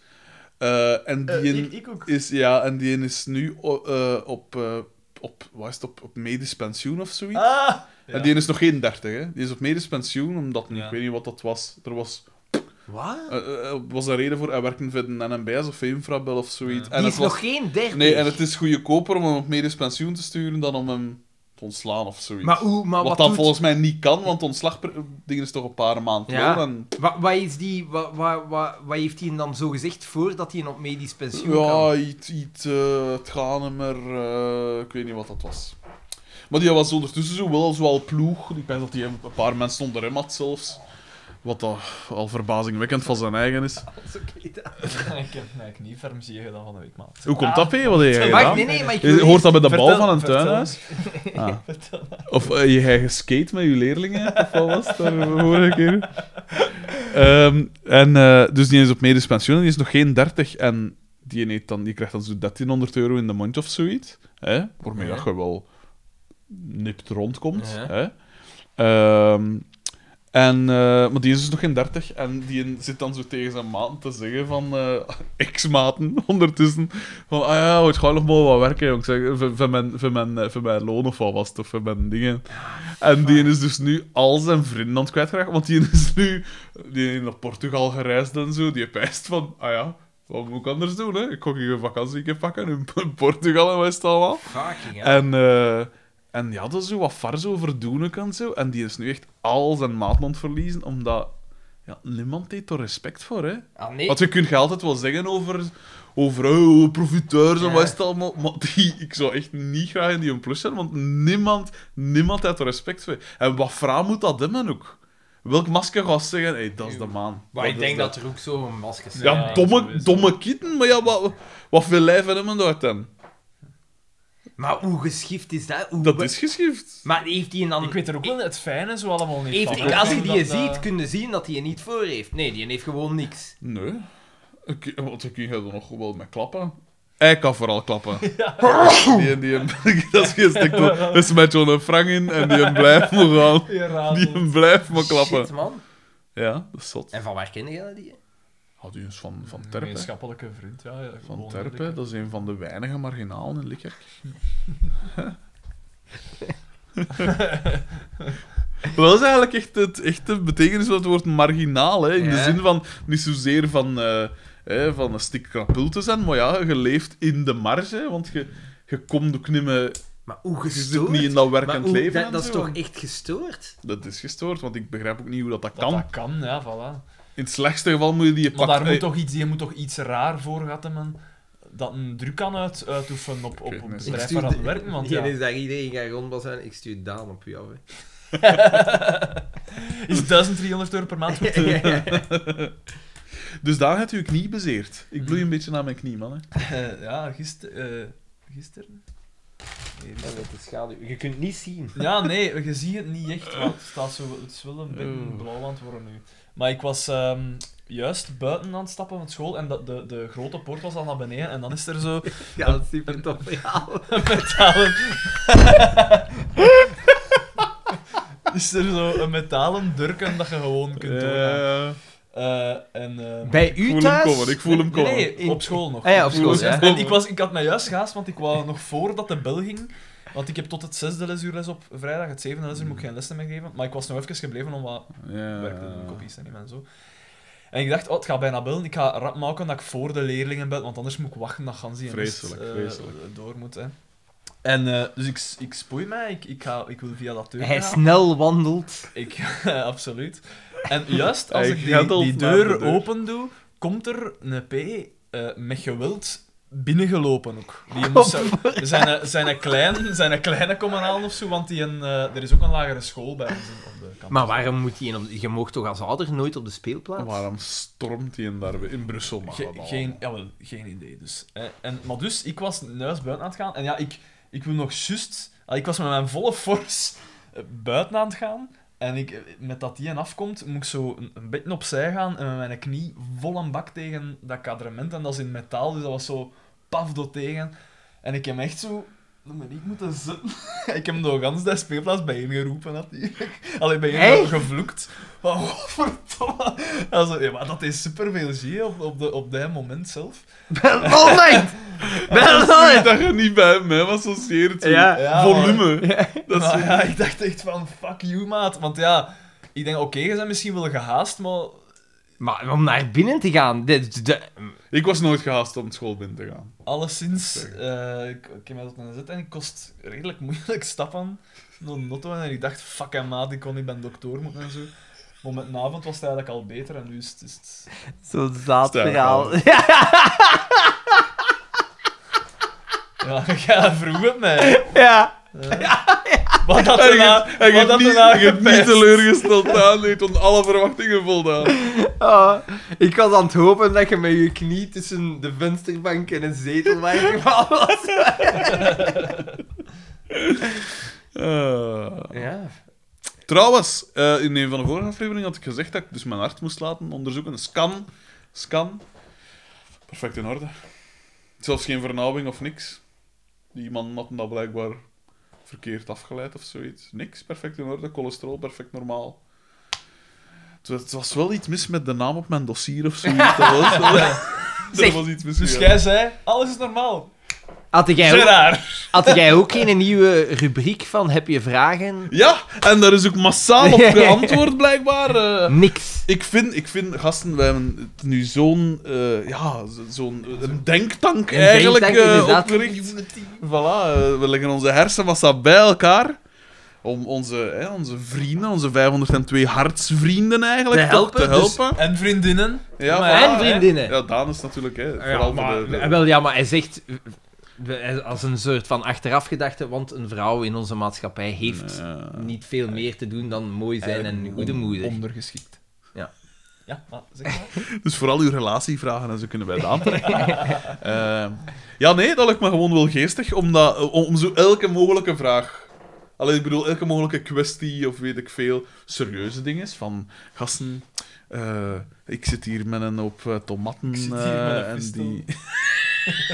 A: Eh, en die
C: Eh,
A: een
C: ik, ik ook.
A: is... Ja, en die een is nu o- eh, op... eh, op, wat is het, op, op medisch pensioen of zoiets.
C: Ah!
A: En die een is nog geen dertig, hè. Die is op medisch pensioen, omdat...
C: Ja.
A: Ik weet niet wat dat was. Er was,
B: Wat?
A: eh, eh, eh, was een reden voor. Hij werkte voor de NMBS of Infrabel of zoiets.
C: Ja.
A: En
B: Die
A: het
B: is
A: was-
B: nog geen dertig.
A: Nee, en het is goedkoper om hem op medisch pensioen te sturen dan om hem te ontslaan of zoiets.
B: Maar hoe, maar
A: wat
B: wat,
A: dat
B: doet-
A: volgens mij niet kan, want ontslagding is toch een paar maanden
B: Ja.
A: door. En,
B: Wa- Wat is die... Wat, wat, wat, wat heeft hij dan zo gezegd voordat hij op medisch pensioen kan?
A: ja, iets, iets eh, het gaan hem er, eh, ik weet niet wat dat was. Maar die was ondertussen zo wel zoal ploeg. Ik denk dat hij een paar mensen onder hem had zelfs. Wat dat al verbazingwekkend van zijn eigen is.
C: ik heb mijn knieverm zie je dan van de week, maat.
A: Hoe komt dat, P? Wat heb jij
B: Wacht,
A: gedaan?
B: nee, nee, maar ik wil
A: Is- Hoort dat bij de bal
C: Vertel,
A: van een
C: vertel.
A: tuinhuis? Ah. Of eh, je hebt geskate met je leerlingen, of wat was het daar de vorige keer? Ehm, en eh, dus die is op medisch pensioen en die is nog geen 30 en die, eet dan, die krijgt dan zo'n 1300 euro in de mond of zoiets. Hè? Waarmee dat je wel nipt rondkomt.
B: Ja.
A: Hè? Ehm, en, eh, maar die is dus nog geen 30 en die zit dan zo tegen zijn maten te zeggen van eh ex-maten ondertussen. Van, ah ja, het gaat nog wel wat werken, jong. Ik Zeg, voor, voor, mijn, voor, mijn, eh, voor mijn loon of wat was het, of voor mijn dingen. En die is dus nu al zijn vrienden aan het kwijtraken, want die is nu die is naar Portugal gereisd en zo. Die pijst van, ah ja, wat moet ik anders doen, hè? Ik kon hier een vakantie pakken in P- Portugal en wat is het allemaal.
B: Fucking hell.
A: En, eh, en ja, dat is zo wat vars over doen en zo. En die is nu echt al zijn maatland verliezen, omdat... Ja, niemand heeft er respect voor, hè.
B: Ah, nee.
A: Want je kunt je altijd wel zeggen over, over oh, profiteurs en
B: Ja.
A: wat is het allemaal. Maar die, ik zou echt niet graag in die een plus zijn, want niemand, niemand heeft er respect voor. En wat vraag moet dat hebben ook? Welk masker gaat zeggen, hé, hey, dat is de maan.
B: Maar
A: Dat
B: ik
A: is
B: denk dat er ook zo'n masker zijn.
A: Ja,
C: Ja,
A: domme,
C: sowieso.
A: domme kitten, maar ja, wat, wat veel lijven hebben daar dan?
B: Maar hoe geschift is dat? Hoe
A: Dat is geschift.
B: Maar heeft hij dan...
C: Ik weet er ook wel het fijne zo allemaal niet
B: heeft,
C: van.
B: ik- als je die
C: Dat, eh,
B: ziet, kun je zien dat hij er niet voor heeft. Nee, die heeft gewoon niks.
A: Nee. Ik, want dan kun je er nog wel mee klappen. Hij kan vooral klappen. Die, die, dat is geen stuk. Dat is met John Frank in en die blijft maar gaan.
C: Je
A: Die
C: raadt
A: hem blijft maar klappen.
B: Shit, man.
A: Ja, dat is zot.
B: En van waar ken je die?
A: Had u eens van, van
C: een
A: Terp, hè?
C: gemeenschappelijke vriend, ja. ja
A: Van
C: gewoon
A: Terp, hè?
C: eerlijk,
A: Dat is een van de weinige marginalen in Likkerk. Dat is eigenlijk echt, het, echt de betekenis van het woord marginaal. Hè? In de
B: Ja.
A: zin van niet zozeer van, eh hè, van een stik krapul te zijn, maar ja, je leeft in de marge, hè, want je, je komt ook niet meer...
B: Maar hoe
A: Je zit
B: gestoord?
A: niet in dat
B: maar
A: werkend
B: hoe-
A: leven.
B: dat,
A: en
B: dat is
A: zo.
B: toch echt gestoord?
A: dat is gestoord, want ik begrijp ook niet hoe dat, dat
C: hè. Dat
A: kan.
C: dat kan, ja, voilà.
A: In het slechtste geval moet je die
C: Maar
A: pakken.
C: daar moet toch iets, je moet toch iets raar voor gehad hebben dat een druk kan uit, uitoefenen op, op,
A: weet
C: op
A: niet.
C: het
A: Ik
C: bedrijf waar aan het werken, want
B: Hier
C: ja...
B: is daar iedereen gaat rondbassen. Ik stuur Daan op u af. hè.
C: Is 1300 euro per maand goed?
A: Dus daar had u uw knie bezeerd. Ik bloei een beetje naar mijn knie, man. Hè.
C: Eh, ja, gister, eh, gisteren? Nee,
B: En
C: gisteren.
B: met de schaduw. Je kunt niet zien.
C: Ja, nee, je ziet het niet echt, want het, staat zo, het is wel een beetje
A: Oeh.
C: blauw aan het worden nu. Maar ik was ehm, juist buiten aan het stappen van school en dat, de, de grote poort was al naar beneden en dan is er zo
B: Ja, dat is super tof. verhaal.
C: een metalen... is er zo een metalen durken dat je gewoon kunt doen.
A: Eh,
C: en, ehm,
B: Bij
A: ik
B: u
A: voel hem
B: thuis?
A: komen, ik voel hem komen.
C: Nee, nee, op school nog.
B: Ah ja, op school,
A: Voel hem
B: ja.
C: En
A: komen.
C: ik, was, ik had mij juist gehaast, want ik wou nog voordat de bel ging. Want ik heb tot het zesde lesuur les op vrijdag, het zevende lesuur moet ik geen lessen meer geven. Maar ik was nog even gebleven om wat
A: Ja.
C: werk te doen, kopies te nemen en zo. En ik dacht, oh, het gaat bijna bellen. Ik ga rap maken dat ik voor de leerlingen bel, want anders moet ik wachten dat Gansie en Rust,
A: Vreselijk,
C: eh,
A: vreselijk.
C: door moet. Hè. En eh, dus ik, ik spoei mij, ik, ik, ga, ik wil via dat deur
B: Hij snel wandelt.
C: ik, absoluut. En juist als
A: Hij
C: ik die,
A: gaddelt
C: die
A: naar
C: deur,
A: de deur.
C: open doe, komt er een P eh, met geweld binnengelopen ook.
A: Oh,
C: Die moest zo- zijn, eh, zijn, een klein, zijn een kleine komen halen of zo, want die een, eh, er is ook een lagere school bij ons in- op de campus.
B: Maar waarom moet je... in op- Je mocht toch als ouder nooit op de speelplaats?
H: Waarom stormt hij hem daar in Brussel? Mag
C: Ge-
H: dat allemaal?
C: geen, jawel, geen idee dus. Eh, en, maar dus, ik was nuis buiten aan het gaan. En ja, ik, ik wil nog juist... ah, Ik was met mijn volle force eh, buiten aan het gaan. En ik, eh, met dat die en afkomt, moet ik zo een, een beetje opzij gaan en met mijn knie vol een bak tegen dat kadrement. En dat is in metaal, dus dat was zo paf door tegen. En ik heb hem echt zo... Maar ik moeten zitten. ik heb hem door gans de speelplaats bijeengeroepen. had hij. Allee, bijeen
B: Echt?
C: gevloekt. Maar godverdomme. Also, ja, maar dat is superveel zie op, op, de, op dat moment zelf.
B: Wel nooit! Wel nooit!
A: Dat je niet bij mij associeert. zo.
B: Ja.
C: Ja,
A: Volume.
C: Dat ja, ik dacht echt van, fuck you, maat. Want ja, ik denk, oké, je bent misschien wel gehaast, maar...
B: Maar om naar binnen te gaan... De, de,
A: Ik was nooit gehaast om school binnen te gaan.
C: Alleszins, eh, ik, ik heb mij tot mijn zet en ik kost redelijk moeilijk stappen naar de auto. En ik dacht, fuck hem, maat, ik kon niet bij een dokter moeten en zo. Maar met een avond was het eigenlijk al beter en nu is het... Is het...
B: Zo'n zaad
A: Sterk,
B: verhaal.
C: Ja, jij vroeg het mij. Eh,
B: Ja.
C: Wat dat
A: En je
C: erna...
A: hebt- en je hebt
C: Wat dat
A: niet,
C: erna
A: je hebt niet
C: gepest.
A: teleurgesteld aan, je hebt aan alle verwachtingen voldaan.
B: Ah, ik was aan het hopen dat je met je knie tussen de vensterbank en een zetel waar gevallen was.
A: Eh.
B: Ja.
A: Trouwens, eh, in een van de vorige afleveringen had ik gezegd dat ik dus mijn hart moest laten onderzoeken. Een scan. Scan. Perfect in orde. Zelfs geen vernauwing of niks. Die man had dat blijkbaar verkeerd afgeleid of zoiets. Niks, perfect in orde. Cholesterol, perfect normaal. Het was, het was wel iets mis met de naam op mijn dossier of zoiets. Dat was, er was iets mis
C: Dus
A: mee.
C: jij zei, alles is normaal.
B: Had jij, ook,
C: Gerard.
B: had jij ook geen nieuwe rubriek van heb je vragen?
A: Ja, en daar is ook massaal op geantwoord blijkbaar. eh.
B: Niks.
A: Ik vind, ik vind, gasten, we hebben het nu zo'n eh, ja, zo- zo'n een denktank
B: Een
A: eigenlijk
B: denktank,
A: eh,
B: inderdaad.
A: opgericht. Voilà, eh, we leggen onze hersenmassa bij elkaar. Om onze, hè, onze vrienden, onze 502 hartsvrienden eigenlijk,
B: Te
A: toch
B: helpen,
A: te
B: dus-
A: helpen.
C: En vriendinnen.
A: ja,
C: maar-
A: voilà,
B: en vriendinnen.
A: hè. Ja, Daan is natuurlijk, hè,
B: Ja,
A: vooral voor
B: maar,
A: de- de-
B: Wel, ja, maar hij zegt eh, eh, als een soort van achterafgedachte, want een vrouw in onze maatschappij heeft
A: Ja.
B: niet veel meer te doen dan mooi zijn en een goede moeder.
I: Ondergeschikt.
C: Ja, maar zeg maar.
A: Dus vooral uw relatievragen en zo kunnen wij Daan terecht. Eh, ja, nee, dat lijkt me gewoon wel geestig. Om, dat, om, om zo elke mogelijke vraag... Allee, ik bedoel, elke mogelijke kwestie of weet ik veel. Serieuze dingen. Van, gasten, eh, ik zit hier met een hoop eh, tomaten.
C: zit hier
A: eh,
C: met een
A: en
C: fistel.
A: die...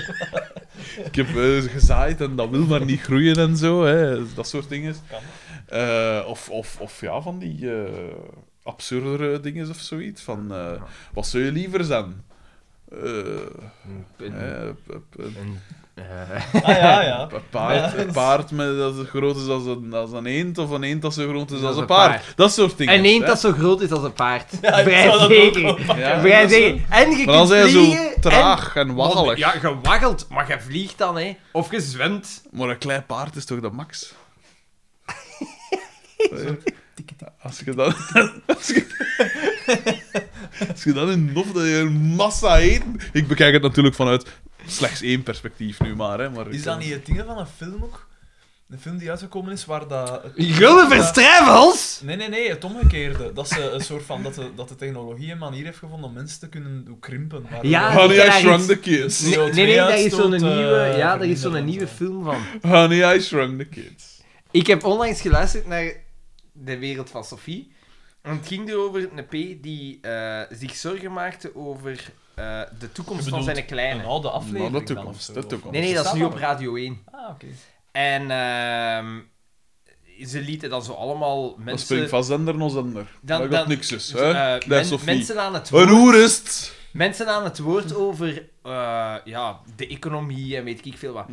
A: ik heb eh, gezaaid en dat wil maar niet groeien en zo. Hè, dat soort dingen.
C: Kan.
A: Eh, of, of, of ja, van die eh, absurdere dingen of zoiets. Van, eh, wat zou je liever zijn? Eh, eh, p- p-
B: Een- eh,
C: Ah ja, ja.
A: een paard,
C: Ja.
A: een paard met, dat zo groot is als een, als een eend, of een eend dat zo groot is
B: Dat
A: als
B: is
A: een
B: een
A: paard. Dat soort dingen.
B: En één
A: hè.
B: dat zo groot is als een paard.
C: Ja, ik
B: Vrij
C: zou dat ook
B: zeker.
C: wel pakken.
A: Ja,
B: Vrij
A: dat is
B: zeker. En je
A: Maar dan
B: kunt
A: zijn
B: vliegen. Oh,
A: zo traag en, waggelig.
B: Ja, je waggelt, maar je vliegt dan, hè. Of je zwemt.
A: Maar een klein paard is toch de max? Als je dan... Als je, als je dan in nof dat je een massa eten... Ik bekijk het natuurlijk vanuit slechts één perspectief nu maar, hè. maar ik-
C: Is dat niet het ding van een film ook? Een film die uitgekomen is waar dat... het-
B: Gulliver's
C: dat-
B: Travels!
C: Nee, nee, nee, het omgekeerde. Dat ze een soort van... Dat de, dat de technologie een manier heeft gevonden om mensen te kunnen doen krimpen. waardoor-
B: Ja,
A: eh, Honey, I
B: daar
A: shrunk
B: is-
A: the kids.
B: Nee, nee, nee, daar is
C: eh,
B: zo'n nieuwe, ja, daar is zo'n nieuwe film van.
A: Honey, I shrunk the kids.
B: Ik heb onlangs geluisterd naar De Wereld van Sophie. En het ging erover een P die eh, zich zorgen maakte over eh, de toekomst van
C: bedoelt
B: zijn kleine.
C: Een oude
A: Maar
C: aflevering
A: de
C: dan of
A: toekomst,
C: zo,
A: de
C: of-
A: toekomst.
B: Nee, nee, dat is
C: Bestaat
B: nu op
C: nog?
B: Radio 1.
C: Ah, oké.
B: En ehm, ze lieten dan zo allemaal
A: Dat
B: mensen...
A: springt van zender naar zender.
B: Dan-
A: dat
B: dan-
A: gaat niks is,
B: eh,
A: hè. dat
B: men-
A: is Sophie.
B: mensen, aan het
A: Een
B: woord,
A: oerist!
B: mensen aan het woord over eh, ja, de economie en weet ik veel wat.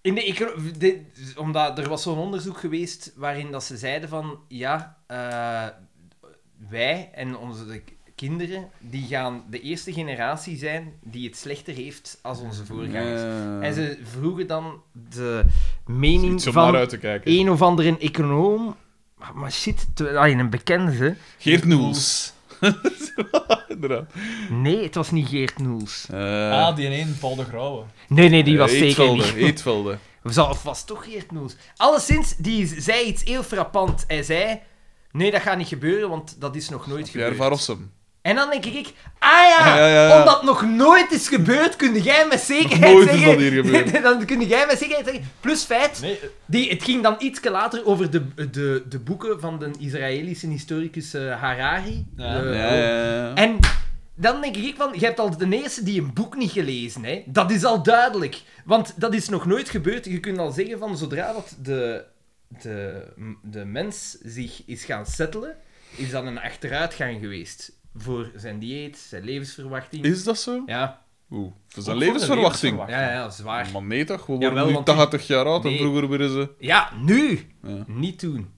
B: In de econo- de- omdat er was zo'n onderzoek geweest waarin dat ze zeiden van ja, eh, wij en onze de- kinderen die gaan de eerste generatie zijn die het slechter heeft als onze
A: Eh,
B: voorgangers. En ze vroegen dan de mening
A: Iets om naar
B: van
A: uit te kijken.
B: een of andere econoom. Maar- Maar shit, te- ah, een ah, bekende.
A: Geert Noels. Inderdaad.
B: Nee, het was niet Geert Noels.
A: Eh,
C: Ah, die ene, Paul de Grauwe.
B: Nee, nee, die was zeker
A: Eetvelde,
B: niet.
A: Eetvelde.
B: Of zal- Of was het toch Geert Noels? Alleszins, die zei iets heel frappant. Hij zei... Nee, dat gaat niet gebeuren, want dat is nog nooit
A: Pierre
B: gebeurd.
A: van Rossum.
B: En dan denk ik, ah ja,
A: Ja, ja, ja.
B: omdat nooit nooit is gebeurd, kun jij met zekerheid
A: Nog nooit is
B: zeggen...
A: dat hier gebeurd.
B: dan kun jij met zekerheid zeggen... Plus feit,
C: Nee, eh,
B: die, het ging dan iets later over de, de, de boeken van de Israëlische historicus eh, Harari.
C: Ja.
B: Eh,
A: Ja, ja, ja.
B: En dan denk ik van, je hebt al de eerste die een boek niet gelezen, hè. Dat is al duidelijk. Want dat is nog nooit gebeurd. Je kunt al zeggen van, zodra dat de, de, de mens zich is gaan settelen, is dat een achteruitgang geweest. Voor zijn dieet, zijn levensverwachting.
A: Is dat zo?
B: Ja,
A: Oeh, voor zijn levensverwachting.
B: ja, ja, zwaar.
A: Maar nee toch, we worden
B: Jawel,
A: nu
B: want die-
A: 80 jaar oud en
B: Nee.
A: vroeger werden ze...
B: Ja, nu!
A: Ja.
B: Niet toen.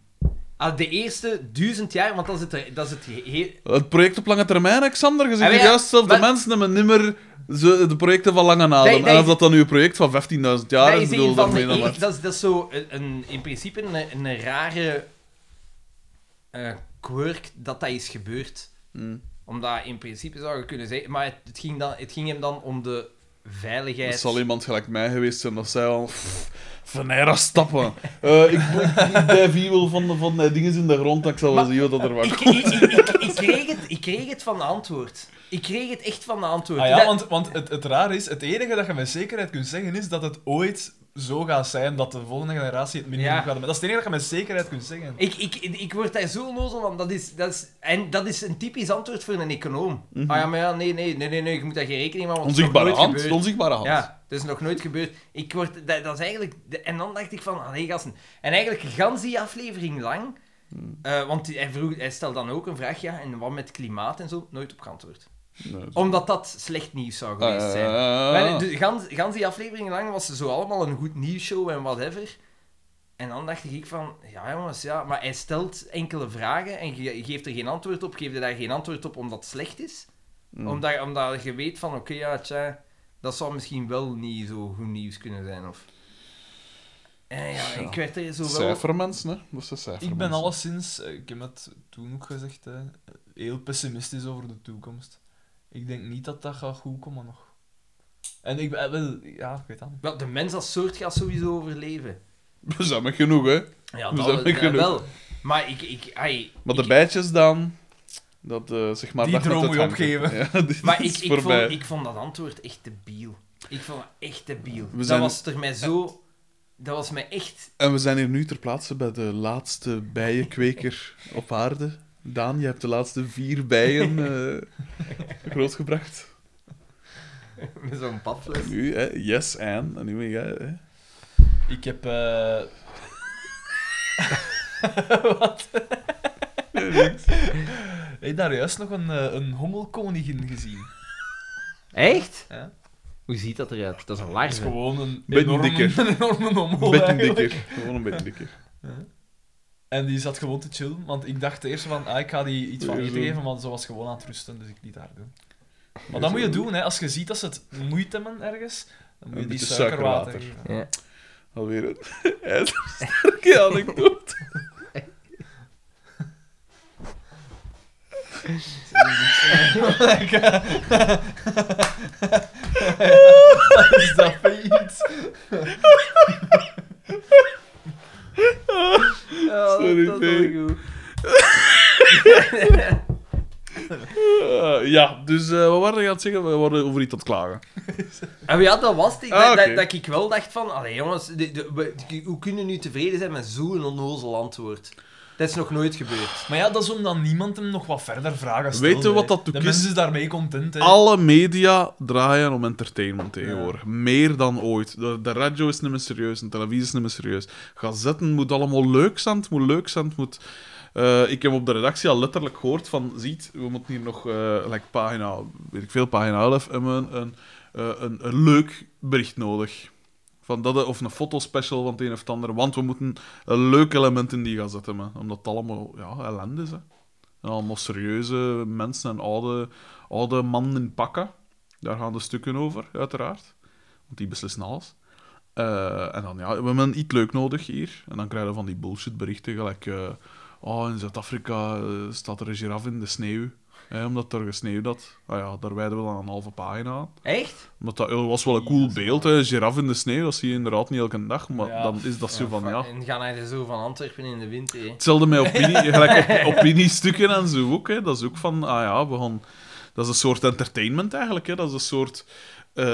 B: Ah, de eerste duizend jaar, want dat is het, dat is het geheel...
A: Het project op lange termijn, Alexander, je zegt
B: Ah, maar ja,
A: juist zelf, de
B: maar-
A: mensen hebben nimmer zo de projecten van lange adem.
B: Nee, nee.
A: En of dat dan nu een project van 15.000 jaar
B: dat
A: is,
B: is
A: bedoel,
B: een van de
A: daarmee dan
B: eer-
A: maar.
B: dat is, dat is zo een, een- in principe een, een rare eh, quirk dat dat is gebeurd.
A: Hmm.
B: Omdat in principe zou je kunnen zeggen... Maar het, het ging, dan, het ging hem dan om de veiligheid.
A: Het zal iemand gelijk mij geweest zijn dat zij al... pff, Van era stappen. Eh ik blijf hier wel van, de- van die dingen in de grond en ik zal wel zien wat dat er was.
B: ik, ik, ik, ik, ik kreeg het, ik kreeg het van de antwoord. Ik kreeg het echt van de antwoord.
C: ah ja,
B: Dat-
C: want, want het, het raar is, het enige dat je met zekerheid kunt zeggen is dat het ooit zo gaat zijn dat de volgende generatie het minimum
B: Ja.
C: gaat hebben. Dat is het enige dat je met zekerheid kunt zeggen.
B: Ik, ik, ik word daar zo onnozel van. Dat is, dat is, en dat is een typisch antwoord voor een econoom. Ah ja, maar ja, nee, nee, nee, nee, nee, je moet daar geen rekening mee houden. want het is
A: Mhm. Onzichtbare
B: nog nooit
A: hand.
B: gebeurd.
A: de Onzichtbare hand.
B: Ja, dat is nog nooit gebeurd. Ik word, dat, dat is eigenlijk... de- en dan dacht ik van, ah nee, gasten. En eigenlijk, gans die aflevering lang...
A: Hmm.
B: eh, want die- hij, vroeg, hij stelde dan ook een vraag, ja, en wat met klimaat en zo? Nooit op geantwoord.
A: Nee, dat is-
B: Omdat dat slecht nieuws zou geweest
A: Ah,
B: zijn.
A: ja, ja, ja.
B: Maar dus de, gans, gans die aflevering lang was ze zo allemaal een goed nieuwsshow en whatever. En dan dacht ik van, ja jongens, ja, maar hij stelt enkele vragen en je geeft er geen antwoord op, geef je daar geen antwoord op omdat het slecht is.
A: Mm.
B: Omdat, omdat je weet van, oké, ja, tja, dat zou misschien wel niet zo goed nieuws kunnen zijn. Of... En ja, ik werd er zo wel...
A: Cijfermensen, hè. Dat zijn cijfermensen.
C: Ik ben alleszins, eh, ik heb het toen ook gezegd, hè, heel pessimistisch over de toekomst. Ik denk niet dat dat gaat goed komen nog. En ik ben eh, wel, ja, ik weet dat niet.
B: Wel, de mens als soort gaat sowieso overleven.
A: We zijn met genoeg, hè.
B: Ja,
A: Dus
B: dat,
A: dat vind ik
B: ja,
A: genoeg.
B: wel. Maar ik... ik, ai,
A: Maar
B: ik-
A: de bijtjes dan... Dat, eh, zeg maar,
C: Die
A: dag met
C: droom
A: het
C: moet je
A: hangen.
C: opgeven.
A: Ja, dit
B: Maar ik,
A: is
B: ik,
A: voorbij.
B: vond, ik vond dat antwoord echt debiel. Ik vond het echt debiel.
A: zijn-
B: Dat was er mij zo... Dat was mij echt...
A: En we zijn hier nu ter plaatse bij de laatste bijenkweker op aarde. Daan, je hebt de laatste vier bijen eh, grootgebracht.
B: Met zo'n papfles.
A: Nu, hè, yes, en. En nu ben jij, hè.
C: Ik heb, eh, hey, daar juist nog een, eh, een hommelkoningin gezien.
B: Echt?
C: Ja.
B: Hoe ziet dat eruit? Dat is een
C: Dat is
B: larve.
C: gewoon een
A: Beetje
C: enorme,
A: dikker.
C: een enorme hommel
A: Een beetje
C: eigenlijk.
A: dikker. Gewoon een beetje dikker.
C: En die zat gewoon te chillen, want ik dacht eerst van, ah, ik ga die iets van
A: Weer
C: eten
A: zo.
C: geven, maar ze was gewoon aan het rusten, dus ik liet haar doen. Maar dat moet je doen, hè. Als je ziet dat ze het moeite hebben ergens, dan moet je
A: Een
C: die
A: beetje
C: suikerwater...
A: suikerwater.
C: geven.
A: Alweer een ijzersterke anekdote.
C: Wat is dat voor iets?
A: Sorry, P. Eh, ja, dus eh wat waren we aan het zeggen? We waren over iets aan het klagen.
B: Ah, ja, dat was het. Ik-
A: Ah,
B: dat,
A: oké.
B: dat, dat ik wel dacht van... Allee, jongens, de, de, we, de- hoe kunnen we nu tevreden zijn met zo'n onnozel antwoord? Dat is nog nooit gebeurd.
C: Maar ja, dat is omdat niemand hem nog wat verder vragen stelt.
A: Weet je wat
C: hè.
A: dat ook
C: De
A: is?
C: mensen is daarmee content, hè.
A: Alle media draaien om entertainment tegenwoordig. Meer dan ooit. De, de radio is niet meer serieus, de televisie is niet meer serieus. Gazetten moet allemaal leuk zijn, het moet leuk zijn, het moet... Eh, ik heb op de redactie al letterlijk gehoord van... Ziet, we moeten hier nog, eh, like pagina, weet ik veel, pagina 11, hebben we een, eh, een, een leuk bericht nodig. Van dat, of een fotospecial van het een of het ander. Want we moeten een leuk element in die gazet hebben. Omdat het allemaal ja, ellende is. Hè. En allemaal serieuze mensen en oude oude mannen in pakken. Daar gaan de stukken over, uiteraard. Want die beslissen alles. Eh, en dan, ja, we hebben een iets leuk nodig hier. En dan krijgen we van die bullshit berichten, gelijk... eh, oh, in Zuid-Afrika eh, staat er een giraf in de sneeuw. Hè, omdat er gesneeuwd had. Ah ja, daar wijden we dan een halve pagina aan.
B: Echt?
A: Omdat dat dat was wel een cool beeld, hè. Giraf in de sneeuw, dat zie je inderdaad niet elke dag. Maar
C: Ja.
A: dan is dat zo van, ja...
B: En gaan hij zo van Antwerpen in de wind, hè?
A: Hetzelfde met opinie, gelijk op, opiniestukken en zo ook. Hè. Dat is ook van, ah ja, we gaan... Dat is een soort entertainment eigenlijk, hè. Dat is een soort...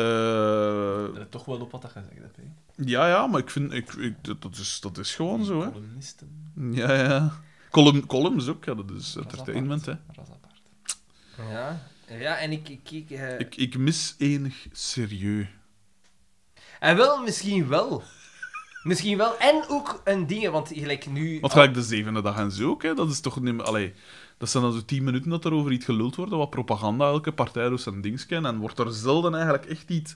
A: eh,
C: Let toch wel op wat dat gezegd hebt, hè.
A: ja, ja, maar ik vind... Ik, ik- dat, dat is, dat is gewoon zo, hè.
C: Columnisten.
A: Ja, ja. Column, columns ook, ja, dat is entertainment, hè.
C: Dat is apart.
B: Ja. Ja, en ik... ik, ik, eh,
A: Ik, ik mis enig serieus.
B: En wel, misschien wel. Misschien wel. En ook een ding, want gelijk nu... Ah,
A: Want gelijk de zevende dag en zo ook, hè. Dat is toch niet meer... Allee, dat zijn dan zo tien minuten dat er over iets geluld wordt, wat propaganda, elke partij doet zijn dingetje. En wordt er zelden eigenlijk echt iets...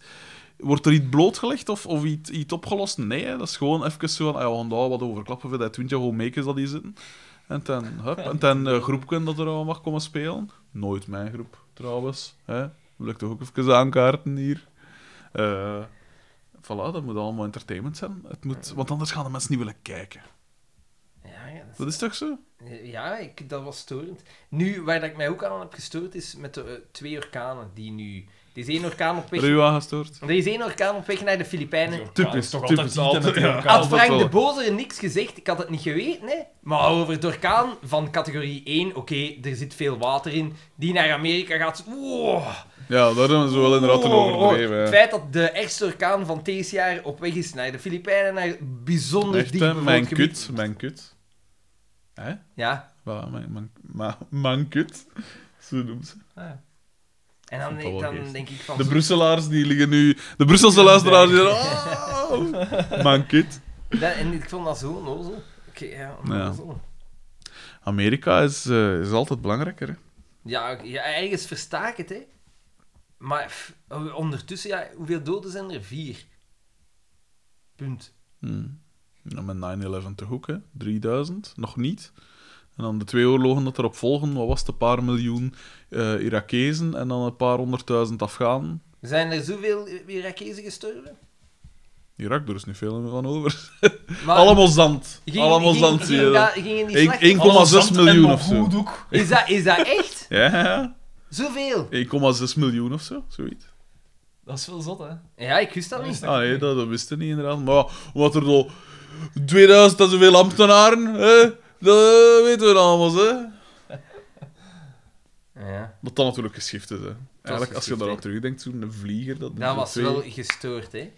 A: Wordt er iets blootgelegd of, of iets, iets opgelost? Nee, hè. dat is gewoon even zo van... ah, We gaan daar wat over klappen voor dat twintje homemakers dat hier zitten. En ten, hup, en ten eh, groepken dat er al mag komen spelen. Nooit mijn groep, trouwens. Hè. Wil ik toch ook even aankaarten hier. Eh voilà, dat moet allemaal entertainment zijn. Het moet, want anders gaan de mensen niet willen kijken.
B: Ja, ja, dat is-
A: Dat is toch zo?
B: ja ik, dat was storend. Nu, waar dat ik mij ook aan heb gestoord, is met de eh, twee orkanen die nu... Er is één orkaan op weg...
A: Er u aangestoord?
B: Er is één orkaan op weg naar de Filipijnen.
A: Typisch,
C: toch
A: typisch.
C: altijd altijd
A: altijd,
C: met
A: ja.
C: elkaar.
B: Had
A: Altijd
B: Frank
A: wel.
B: de Bozer niks gezegd, ik had het niet geweten, hè. Maar over de orkaan van categorie 1, oké, er zit veel water in, die naar Amerika gaat... Wow.
A: Ja, daar hebben ze wel inderdaad een
B: Oh,
A: overdreven.
B: Het
A: hè.
B: feit dat de ergste orkaan van deze jaar op weg is naar de Filipijnen, naar bijzonder
A: Echt,
B: diep
A: hè,
B: bevolkt
A: mijn
B: gebied.
A: kut, mijn kut. Hè?
B: Ja,
A: Voilà, mijn, mijn, ma- mijn kut. Zo noemt ze.
B: en dan,
A: Vond dat wel
B: dan
A: geestig.
B: denk ik van...
A: De Brusselaars die liggen nu... De Brusselse luisteraars die zeggen... Oh, mijn kut.
B: dat- en ik vond dat zo onnozel. Oké, ja, onnozel.
A: Amerika is, eh, is altijd belangrijker, hè.
B: Ja. oké, ja, ergens versta ik het, hè. Maar pff, ondertussen, ja, hoeveel doden zijn er? Vier. Punt.
A: Hmm. Nou, met 9-11 te hoek, hè. 3000, nog niet. En dan de twee oorlogen dat erop volgen, wat was het? Een paar miljoen eh Irakezen en dan een paar honderdduizend Afghanen.
B: Zijn er zoveel Irakezen gestorven?
A: Irak, er is niet veel meer van over.
B: Maar,
A: Allemaal zand.
B: gingen-
A: Allemaal
B: gingen-
A: zand, zie je
B: gingen
A: dat.
B: daar- gingen die
A: Eén-
B: slachtoffers-
A: 1,6 miljoen of zo.
B: Is dat, is dat echt?
A: Ja, ja, ja.
B: Zoveel?
A: 1,6 miljoen of zo, zoiets.
C: Dat is veel zot, hè.
B: Ja, ik wist dat niet.
A: Ah nee, dat, dat wisten niet inderdaad. Maar ja, wat er zo 2000 en zoveel ambtenaren, hè, dat eh, weten we allemaal, hè.
B: Ja.
A: Dat dat natuurlijk geschift is, hè. Eigenlijk, als je
B: geschift,
A: daar aan
B: hè.
A: terugdenkt, zo'n vlieger... Dat,
B: Dat was
A: twee-
B: wel gestoord, hè?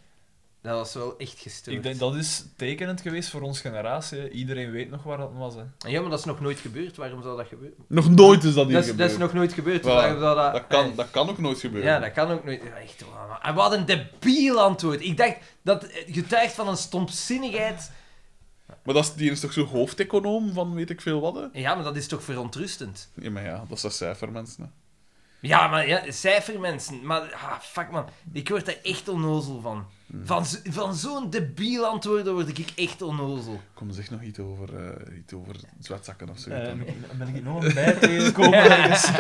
B: Dat was wel echt gestoord.
C: Ik denk, dat is tekenend geweest voor ons generatie. hè. Iedereen weet nog waar dat was, hè.
B: Ja, maar dat is nog nooit gebeurd. Waarom zou dat gebeuren?
A: Nog nooit is dat hier
B: Dat is,
A: gebeurd.
B: dat is nog nooit gebeurd.
A: Voilà.
B: Waarom zou dat... Eh,
A: dat, kan, dat kan ook nooit gebeuren.
B: Ja, dat kan ook nooit. Ja, Echt, waar, maar- en wat een debiel antwoord. Ik dacht dat het getuigt van een stomzinnigheid.
A: Maar dat is, die is toch zo'n hoofdeconoom van weet ik veel wat, hè?
B: Ja, maar dat is toch verontrustend?
A: Ja, maar ja, dat zijn cijfermensen, hè.
B: Ja, maar ja, cijfermensen. Maar ah, fuck man, ik word er echt onnozel van.
A: Hmm.
B: Van, zo- van zo'n debiel antwoord word ik echt onnozel.
A: Kom, zeg nog iets over, eh, iets over zwetzakken of zo.
B: Ehm.
C: Eh, ben ik nog een bij tegengekomen ergens?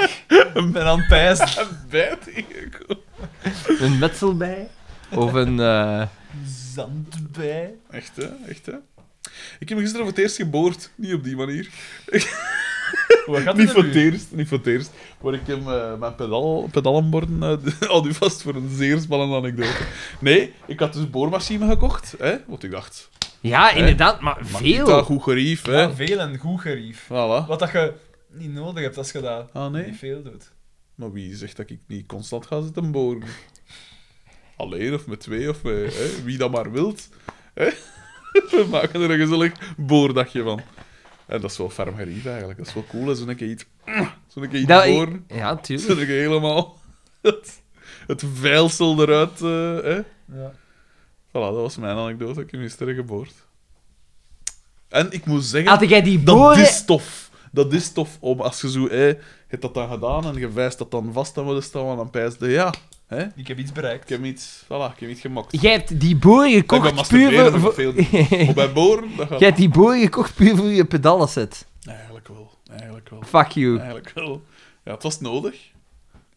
C: Ik ben aan het pijzen.
A: Bijt hier, kom.
J: Een metselbij? Of een... eh,
C: Zand bij.
A: Echt, hè? Echt, hè? Ik heb me gisteren voor het eerst geboord. Niet op die manier.
C: Hoe gaat
A: Niet
C: het
A: voor
C: nu?
A: het eerst, niet voor het eerst. Maar ik heb eh, mijn pedal, pedalenborden eh al nu vast voor een zeer spannende anekdote. Nee, ik had dus een boormachine gekocht, hè? Want ik dacht,
B: Ja, inderdaad, maar
A: ik dat
B: veel.
A: goed gerief, hè?
C: Ja, veel en goed gerief.
A: Voilà.
C: Wat dat je niet nodig hebt als je dat
A: Ah, nee?
C: niet veel doet.
A: Maar wie zegt dat ik niet constant ga zitten boren? Alleen of met twee of met, hè, wie dat maar wilt. Hè? We maken er een gezellig boordagje van. En dat is wel ferm gerief eigenlijk. Dat is wel cool. hè, Zo'n keer iets, zo'n keer iets
J: Dat-
E: Nou,
A: boren.
J: ja, tuurlijk.
A: Zo'n keer helemaal het, het vuilsel eruit. eh, hè?
C: Ja.
A: Voilà, dat was mijn anekdote. Ik heb gisteren geboord. En ik moet zeggen...
J: Had jij die
A: Dat dus-
J: boren...
A: is tof. Dat is tof om als je zo, hé, je hebt dat dan gedaan en je wijst dat dan vast aan willen staan en dan pijst je, ja, hè,
C: Ik heb iets bereikt.
A: ik heb iets, voilà, ik heb iets gemaakt.
J: Jij hebt die boren
A: Ik ben
J: gekocht puur
A: masturberen
J: voor...
A: op veel. Maar bij boren, dat gaat
J: Jij hebt die boren gekocht puur voor je pedalenset.
A: eigenlijk wel, eigenlijk wel,
J: Fuck you.
A: eigenlijk wel. Ja, het was nodig.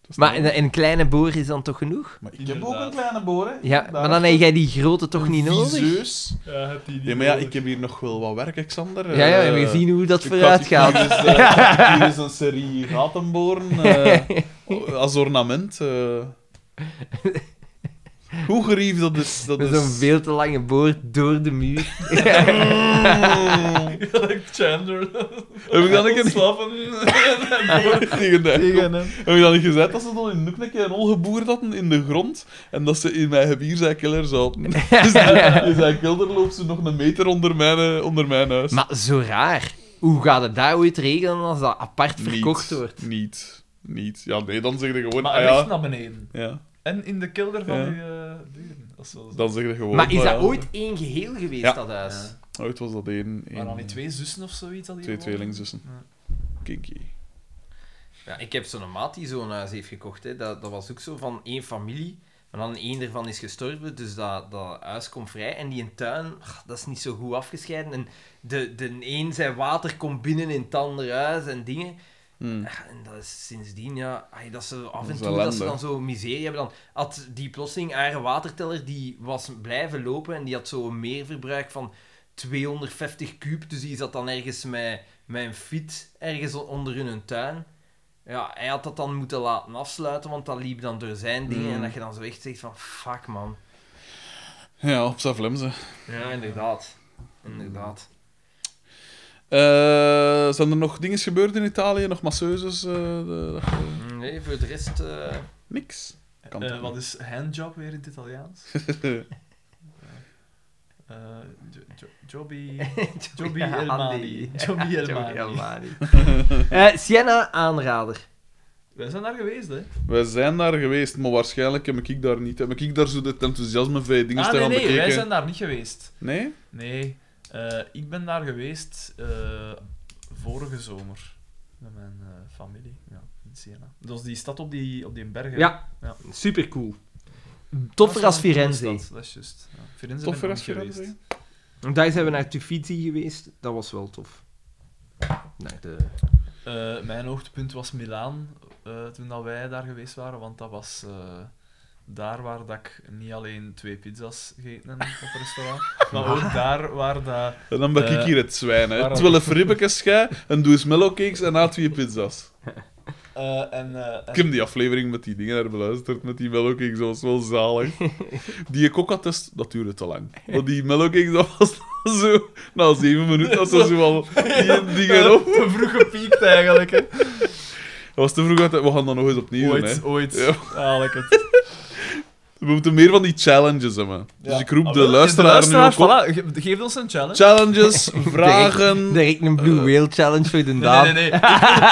A: Het
E: Maar een, een kleine boer is dan toch genoeg?
A: Maar ik heb ook een kleine boor, hè.
E: Ja, maar dan heb jij die grote toch niet nodig?
A: Viseus.
C: Ja, heb die
A: Ja, maar ja, ik heb hier nog wel wat werk, Xander.
E: Ja, ja,
A: Eh,
E: en we zien hoe dat
A: ik
E: vooruit
A: had-
E: gaat.
A: Hier is, eh, hier is een serie gatenboren eh, als ornament. eh. Hoe gerief dat is. Dat
E: Met
A: is...
E: zo'n veel te lange boord door de muur.
A: Mm.
C: Chandler.
A: Heb ik dan een keer
C: Slapen.
A: tegen de-
K: Tegen hem.
A: Heb ik dan niet gezegd dat ze dan in Noeknek een ongeboerd hadden in de grond en dat ze in mijn gebier zijn killer zaten? dus die- in zijn kelder loopt ze nog een meter onder mijn, eh, onder mijn huis.
E: Maar zo raar. Hoe gaat het daar ooit regelen als dat apart
A: Niet,
E: verkocht wordt?
A: Niet. Niet. Ja, nee, dan zeg je gewoon...
C: Maar
A: ah,
C: hij ligt
A: ja,
C: naar beneden.
A: ja,
C: En in de kelder van
A: Ja.
C: die eh buren. Dat is wel zo.
A: dan zeg je gewoon...
E: Maar is
A: ah,
E: dat
A: ja.
E: ooit één geheel geweest,
A: Ja.
E: dat huis?
A: Ooit was dat één... één
C: Waren al die twee zussen of zoiets? al die
A: twee
C: gewonnen?
A: tweelingzussen. Kinky.
B: Ja, ik heb zo'n maat die zo'n huis heeft gekocht. Hè. Dat, dat was ook zo van één familie. Maar dan één ervan is gestorven, dus dat, dat huis komt vrij. En die een tuin, ach, dat is niet zo goed afgescheiden. En de, de een zijn water komt binnen in het andere huis en dingen.
A: Hmm.
B: Ja, en dat is sindsdien, ja, ai, dat ze af
A: Dat
B: en
A: is
B: toe dat ze
A: ellende.
B: dan zo miserie hebben. Dan had die plotseling haar waterteller, die was blijven lopen en die had zo een meerverbruik van 250 kuub. Dus die zat dan ergens met, met een fiets ergens on- onder in hun tuin. Ja, hij had dat dan moeten laten afsluiten, want dat liep dan door zijn dingen.
A: Mm.
B: En dat je dan zo echt zegt van, fuck man.
A: Ja, op zijn vlemzen.
B: Ja, inderdaad. Inderdaad.
A: Eh, zijn er nog dingen gebeurd in Italië? Nog masseuses? eh, de- dat je-
B: Nee, voor de rest... eh,
A: niks. Kan
C: Eh,
A: toch
C: wat
A: niet?
C: is handjob weer in het Italiaans? Eh, jo- jo- Jobby... Jobby Elmani. Jobby Elmani.
E: Eh, Sienna, aanrader.
C: Wij zijn daar geweest, hè?
A: Wij zijn daar geweest, maar waarschijnlijk heb ik daar niet. Heb ik daar zo dit enthousiasme van je dingen
C: Ah,
A: te
C: nee,
A: gaan
C: nee, wij
A: bekeken?
C: zijn daar niet geweest.
A: Nee?
C: Nee, eh, ik ben daar geweest eh, vorige zomer. Met mijn eh, familie, ja, in Siena. Dat is die stad op die, op die bergen.
E: Ja,
B: Super cool.
E: Toffer als
C: Dat is wel een coole
E: Firenze.
C: stad, Dat is juist. Ja. Firenze
A: Toffer
C: ben
A: als
C: ik nog niet
A: Firenze?
C: geweest.
B: Daar zijn we naar Tufiti geweest. Dat was wel tof. Naar de...
C: Eh, mijn hoogtepunt was Milaan eh, toen dat wij daar geweest waren, want dat was eh, daar waar dat ik niet alleen twee pizza's gegeten heb op het restaurant, maar ook daar waar dat...
A: En dan ben ik
C: Eh,
A: hier het zwijn, hè.
C: waarom?
A: Twaalf ribbekjes schij, een doos mellowcakes en na twee pizza's.
C: eh, en, eh, en-
A: Ik heb die aflevering met die dingen daar beluisterd, met die mellowcakes, dat was wel zalig. Die coca-test, dat duurde te lang. Want die mellowcakes, dat was zo... Na zeven minuten had ze zo al die dingen op.
C: te vroeg gepiekt eigenlijk, hè.
A: Dat was te vroeg, uit- we gaan dat nog eens opnieuw doen, hè.
C: Ooit, ooit.
A: Ja.
C: Ja. het.
A: We moeten meer van die challenges hebben. Dus
C: Ja.
A: ik roep
C: Ah,
A: de
C: wel,
A: luisteraar nu ook
C: luisteraar,
A: op.
C: voilà, ge- geef ons een challenge.
A: Challenges, vragen...
E: Direct een Blue Whale Challenge voor de
C: Nee,
E: dame.
C: nee, nee.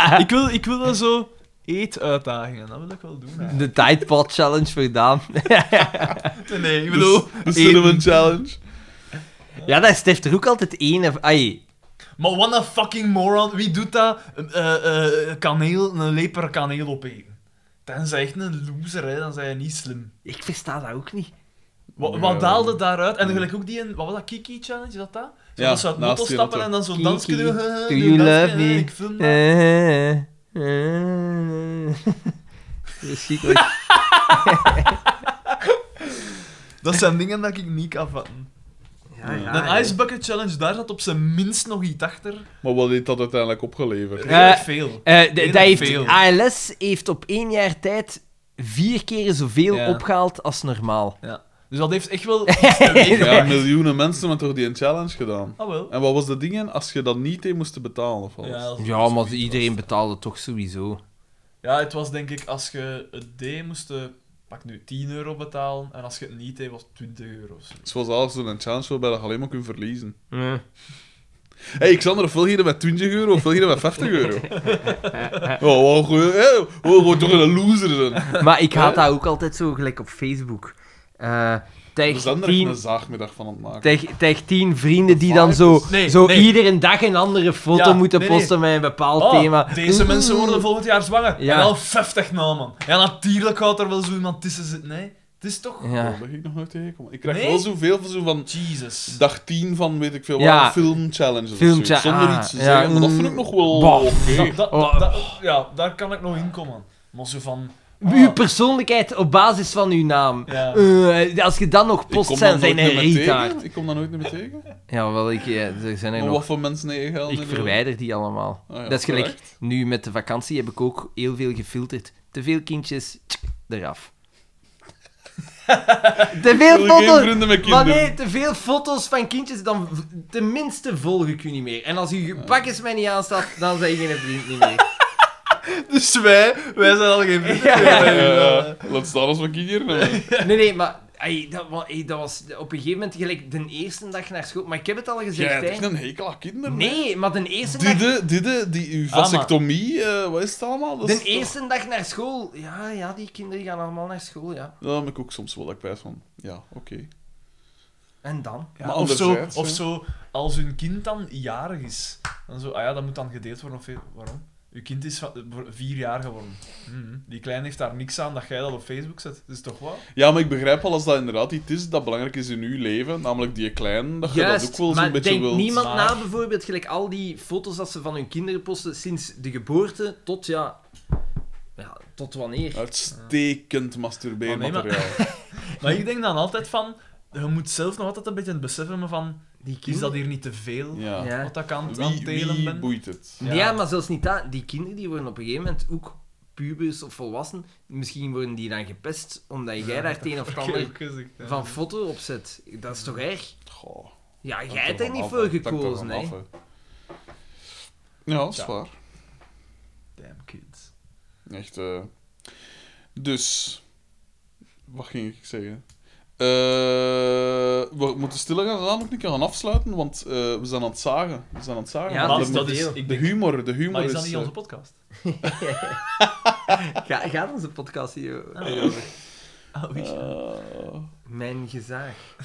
C: nee. ik, wil, ik wil wel zo eetuitdagingen, dat wil ik wel doen. eigenlijk.
E: De Tide Pod Challenge voor dame.
C: Nee, nee,
A: Dus
C: ik bedoel...
A: De cinnamon challenge.
E: Ja, daar stift er ook altijd één. Ai,
C: Maar what a fucking moron, wie doet dat? Eh, eh, kaneel, een leper kaneel opeten. Dan is hij echt een loser, hè. dan zijn je niet slim.
E: ik versta dat ook niet.
C: Wat,
A: Ja.
C: wat daalde daaruit? En gelijk ook die, wat was dat, Kiki Challenge, is dat dat? Zo
A: Ja,
C: dat ze uit de
A: naast
C: motto
A: die
C: stappen
A: auto.
C: en dan zo'n
E: Kiki,
C: dansje doen.
E: do
C: die
E: you
C: dansje,
E: love
C: eh,
E: me?
C: Ik film dat.
E: Eh, eh, eh. Verschrikkelijk.
C: Dat zijn dingen dat ik niet kan vatten.
B: Ja,
C: De Ice Bucket Challenge, daar zat op zijn minst nog iets achter.
A: Maar wat heeft dat uiteindelijk opgeleverd?
C: Redelijk veel.
E: Eh, d-
C: Heel
E: dat heeft,
C: veel.
E: ALS heeft op één jaar tijd vier keer zoveel
C: Ja.
E: opgehaald als normaal.
C: Dus dat heeft echt wel iets teweeg.
A: Ja, miljoenen mensen hebben toch die een challenge gedaan?
C: Ah wel.
A: En wat was de dingen als je dat niet in moest betalen? Of wat?
C: Ja, dat is-
E: Ja, maar iedereen betaalde toch sowieso.
C: Ja, het was denk ik als je het deed, moest je pak nu 10 euro betalen. En als je het niet deed, was het 20 euro. of zo.
A: Het was alles zo'n challenge waarbij je alleen maar kunt verliezen. hey, Xander, of wil je dat met 20 euro of wil je dat met 50 euro? oh, wat goeie- hè? oh, gewoon toch een loser zijn.
E: Maar ik haat
C: Eh.
E: dat ook altijd zo gelijk op Facebook. Eh
A: We
E: tegen,
A: zijn er echt
E: tien,
A: Dus een zaagmiddag van aan het maken. dus-
E: tegen, tegen tien vrienden die dan zo,
C: Nee,
E: zo
C: nee.
E: iedere dag een andere foto
C: Ja,
E: moeten
C: nee, nee.
E: posten met een bepaald
C: Ah,
E: thema.
C: Deze mensen worden volgend jaar zwanger.
E: Ja.
C: En al 50 namen. Ja, natuurlijk gaat er wel zo iemand tussen zitten. Nee, het is toch.
E: Ja.
A: Dat ben ik nog nooit tegengekomen. Ik krijg
C: Nee?
A: wel zoveel van, zo van
C: Jesus.
A: dag 10 van weet ik veel
E: Ja.
A: waar, filmchallenges. of
E: Filmcha-
A: zoiets. Zonder
E: ah,
A: iets te
E: ja,
A: zeggen, maar dat
E: mm.
A: vind ik nog wel
E: Bah.
A: oké.
C: Dat- dat-
E: Oh.
C: dat- ja, daar kan ik nog in komen. Maar zo van.
A: Ah.
C: Ah,
E: uw persoonlijkheid op basis van uw naam.
C: Ja.
E: Eh, als je dan nog post
A: kom
E: zijn,
A: daar
E: zijn
A: nooit
E: een
A: meer tegen.
E: retard.
A: Ik kom daar nooit meer tegen.
E: Ja, wel, ik, eh, er zijn er
A: Maar
E: nog.
A: wat voor mensen heb je gehaald?
E: Ik verwijder die allemaal.
A: Ah ja,
E: dat is gelijk.
A: terecht.
E: Nu met de vakantie heb ik ook heel veel gefilterd. Te veel kindjes, tsk, eraf. te veel
A: Ik wil geen
E: foto's.
A: vrienden met
E: Maar
A: kinderen.
E: nee, te veel foto's van kindjes, dan v- tenminste volg ik u niet meer. En als je pakjes mij niet aanstaat, dan zijn je geen vriend niet meer.
C: Dus wij, wij zijn al geen vrienden.
A: Ja, laat staan als we kinderen hebben.
E: Nee, nee, maar ai, dat, wa- ai, dat was op een gegeven moment gelijk de eerste dag naar school. Maar ik heb het al
A: Jij
E: gezegd,
A: hebt echt
E: hè.
A: een hekel aan kinderen. hè?
E: Nee, maar de eerste dag...
A: Dide, dide, die, uw vasectomie, eh, wat is het allemaal? Dat is
E: De eerste dag naar school. Ja, ja, die kinderen gaan allemaal naar school, ja.
A: Daar heb ik ook soms wel dat ik wijs van. Ja, oké.
E: En dan?
A: Maar
C: of, zo,
A: anderzijds,
C: of
A: hè.
C: zo, als hun kind dan jarig is, dan zo, ah ja, dat moet dan gedeeld worden. Of, waarom? Uw kind is va- voor vier jaar geworden. Mhm. Die kleine heeft daar niks aan dat jij dat op Facebook zet. Dat is toch wat?
A: Ja, maar ik begrijp wel als dat inderdaad iets is dat belangrijk is in uw leven, namelijk die klein, dat je dat ook wel zo'n
E: maar
A: beetje
E: denkt
A: wilt.
E: niemand
C: Maar-
E: na bijvoorbeeld gelijk al die foto's dat ze van hun kinderen posten sinds de geboorte tot ja... Ja, tot wanneer?
A: Uitstekend masturbeermateriaal.
C: Maar Maar ik denk dan altijd van, je moet zelf nog altijd een beetje het besef hebben van,
E: Die
C: is dat
E: kinderen...
C: hier niet te veel?
A: Ja.
E: Ja.
C: Wat dat kan aan
A: Wie,
C: het telen
A: wie
C: ben?
A: boeit het?
E: Ja. maar zelfs niet dat. Die kinderen die worden op een gegeven moment ook pubers of volwassenen. Misschien worden die dan gepest omdat jij daar het een of het
C: Ik heb
E: ander
C: ook gezegd, ja.
E: van foto op zet. Dat is toch erg?
A: Goh,
E: Ja,
A: dat
E: jij hebt
A: er
E: er niet
A: vanaf,
E: voor
A: hè. Dat er
E: gekozen, hè.
A: vanaf, hè. Ja, dat is
C: Ja.
A: waar.
C: Damn kids.
A: Echt, eh, Dus... Wat ging ik zeggen? Eh, we moeten stiller gaan gaan, ook niet gaan afsluiten, want eh, we zijn aan het zagen. We zijn aan het zagen.
E: Ja,
A: Want
C: maar
E: het is
A: de,
C: dat
E: te
C: is,
E: veel.
C: ik
A: de
C: denk,
A: humor, de humor
C: maar is dat
A: is,
C: niet
A: eh,
C: onze podcast?
E: Ga, gaat onze podcast hier... Ah,
C: Oh, weet je.
A: eh,
E: Mijn gezaag.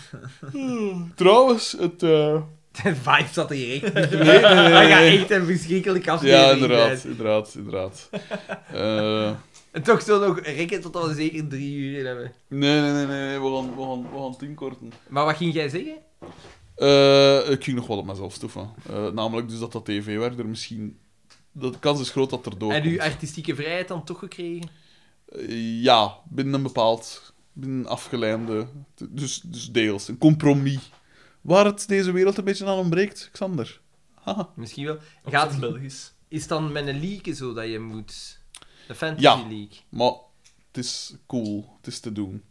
A: Trouwens, het... eh,
E: De vibe zat er hier echt niet
A: nee, nee, nee,
E: Dat gaat
A: nee.
E: echt een verschrikkelijk aflevering
A: Ja,
E: zijn.
A: inderdaad, inderdaad, inderdaad. Eh,
E: En toch zo nog rekken tot we zeker drie uur in hebben.
A: nee, nee, nee, nee, we gaan, we gaan, we gaan het inkorten.
E: Maar wat ging jij zeggen?
A: Eh, ik ging nog wel op mezelf stoeven. Eh, namelijk dus dat dat tv-werk er misschien... De kans is groot dat er doorkomt.
E: En uw artistieke vrijheid dan toch gekregen?
A: Eh, ja, binnen een bepaald... Binnen een afgeleide... Dus, dus deels, een compromis. Waar het deze wereld een beetje aan ontbreekt, Xander. Haha.
E: Misschien wel.
C: Op
E: Gaat-
C: zijn Belgisch.
E: Is dan met een league zo dat je moet... De fantasy
A: Ja.
E: league.
A: Maar het is cool, het is te doen.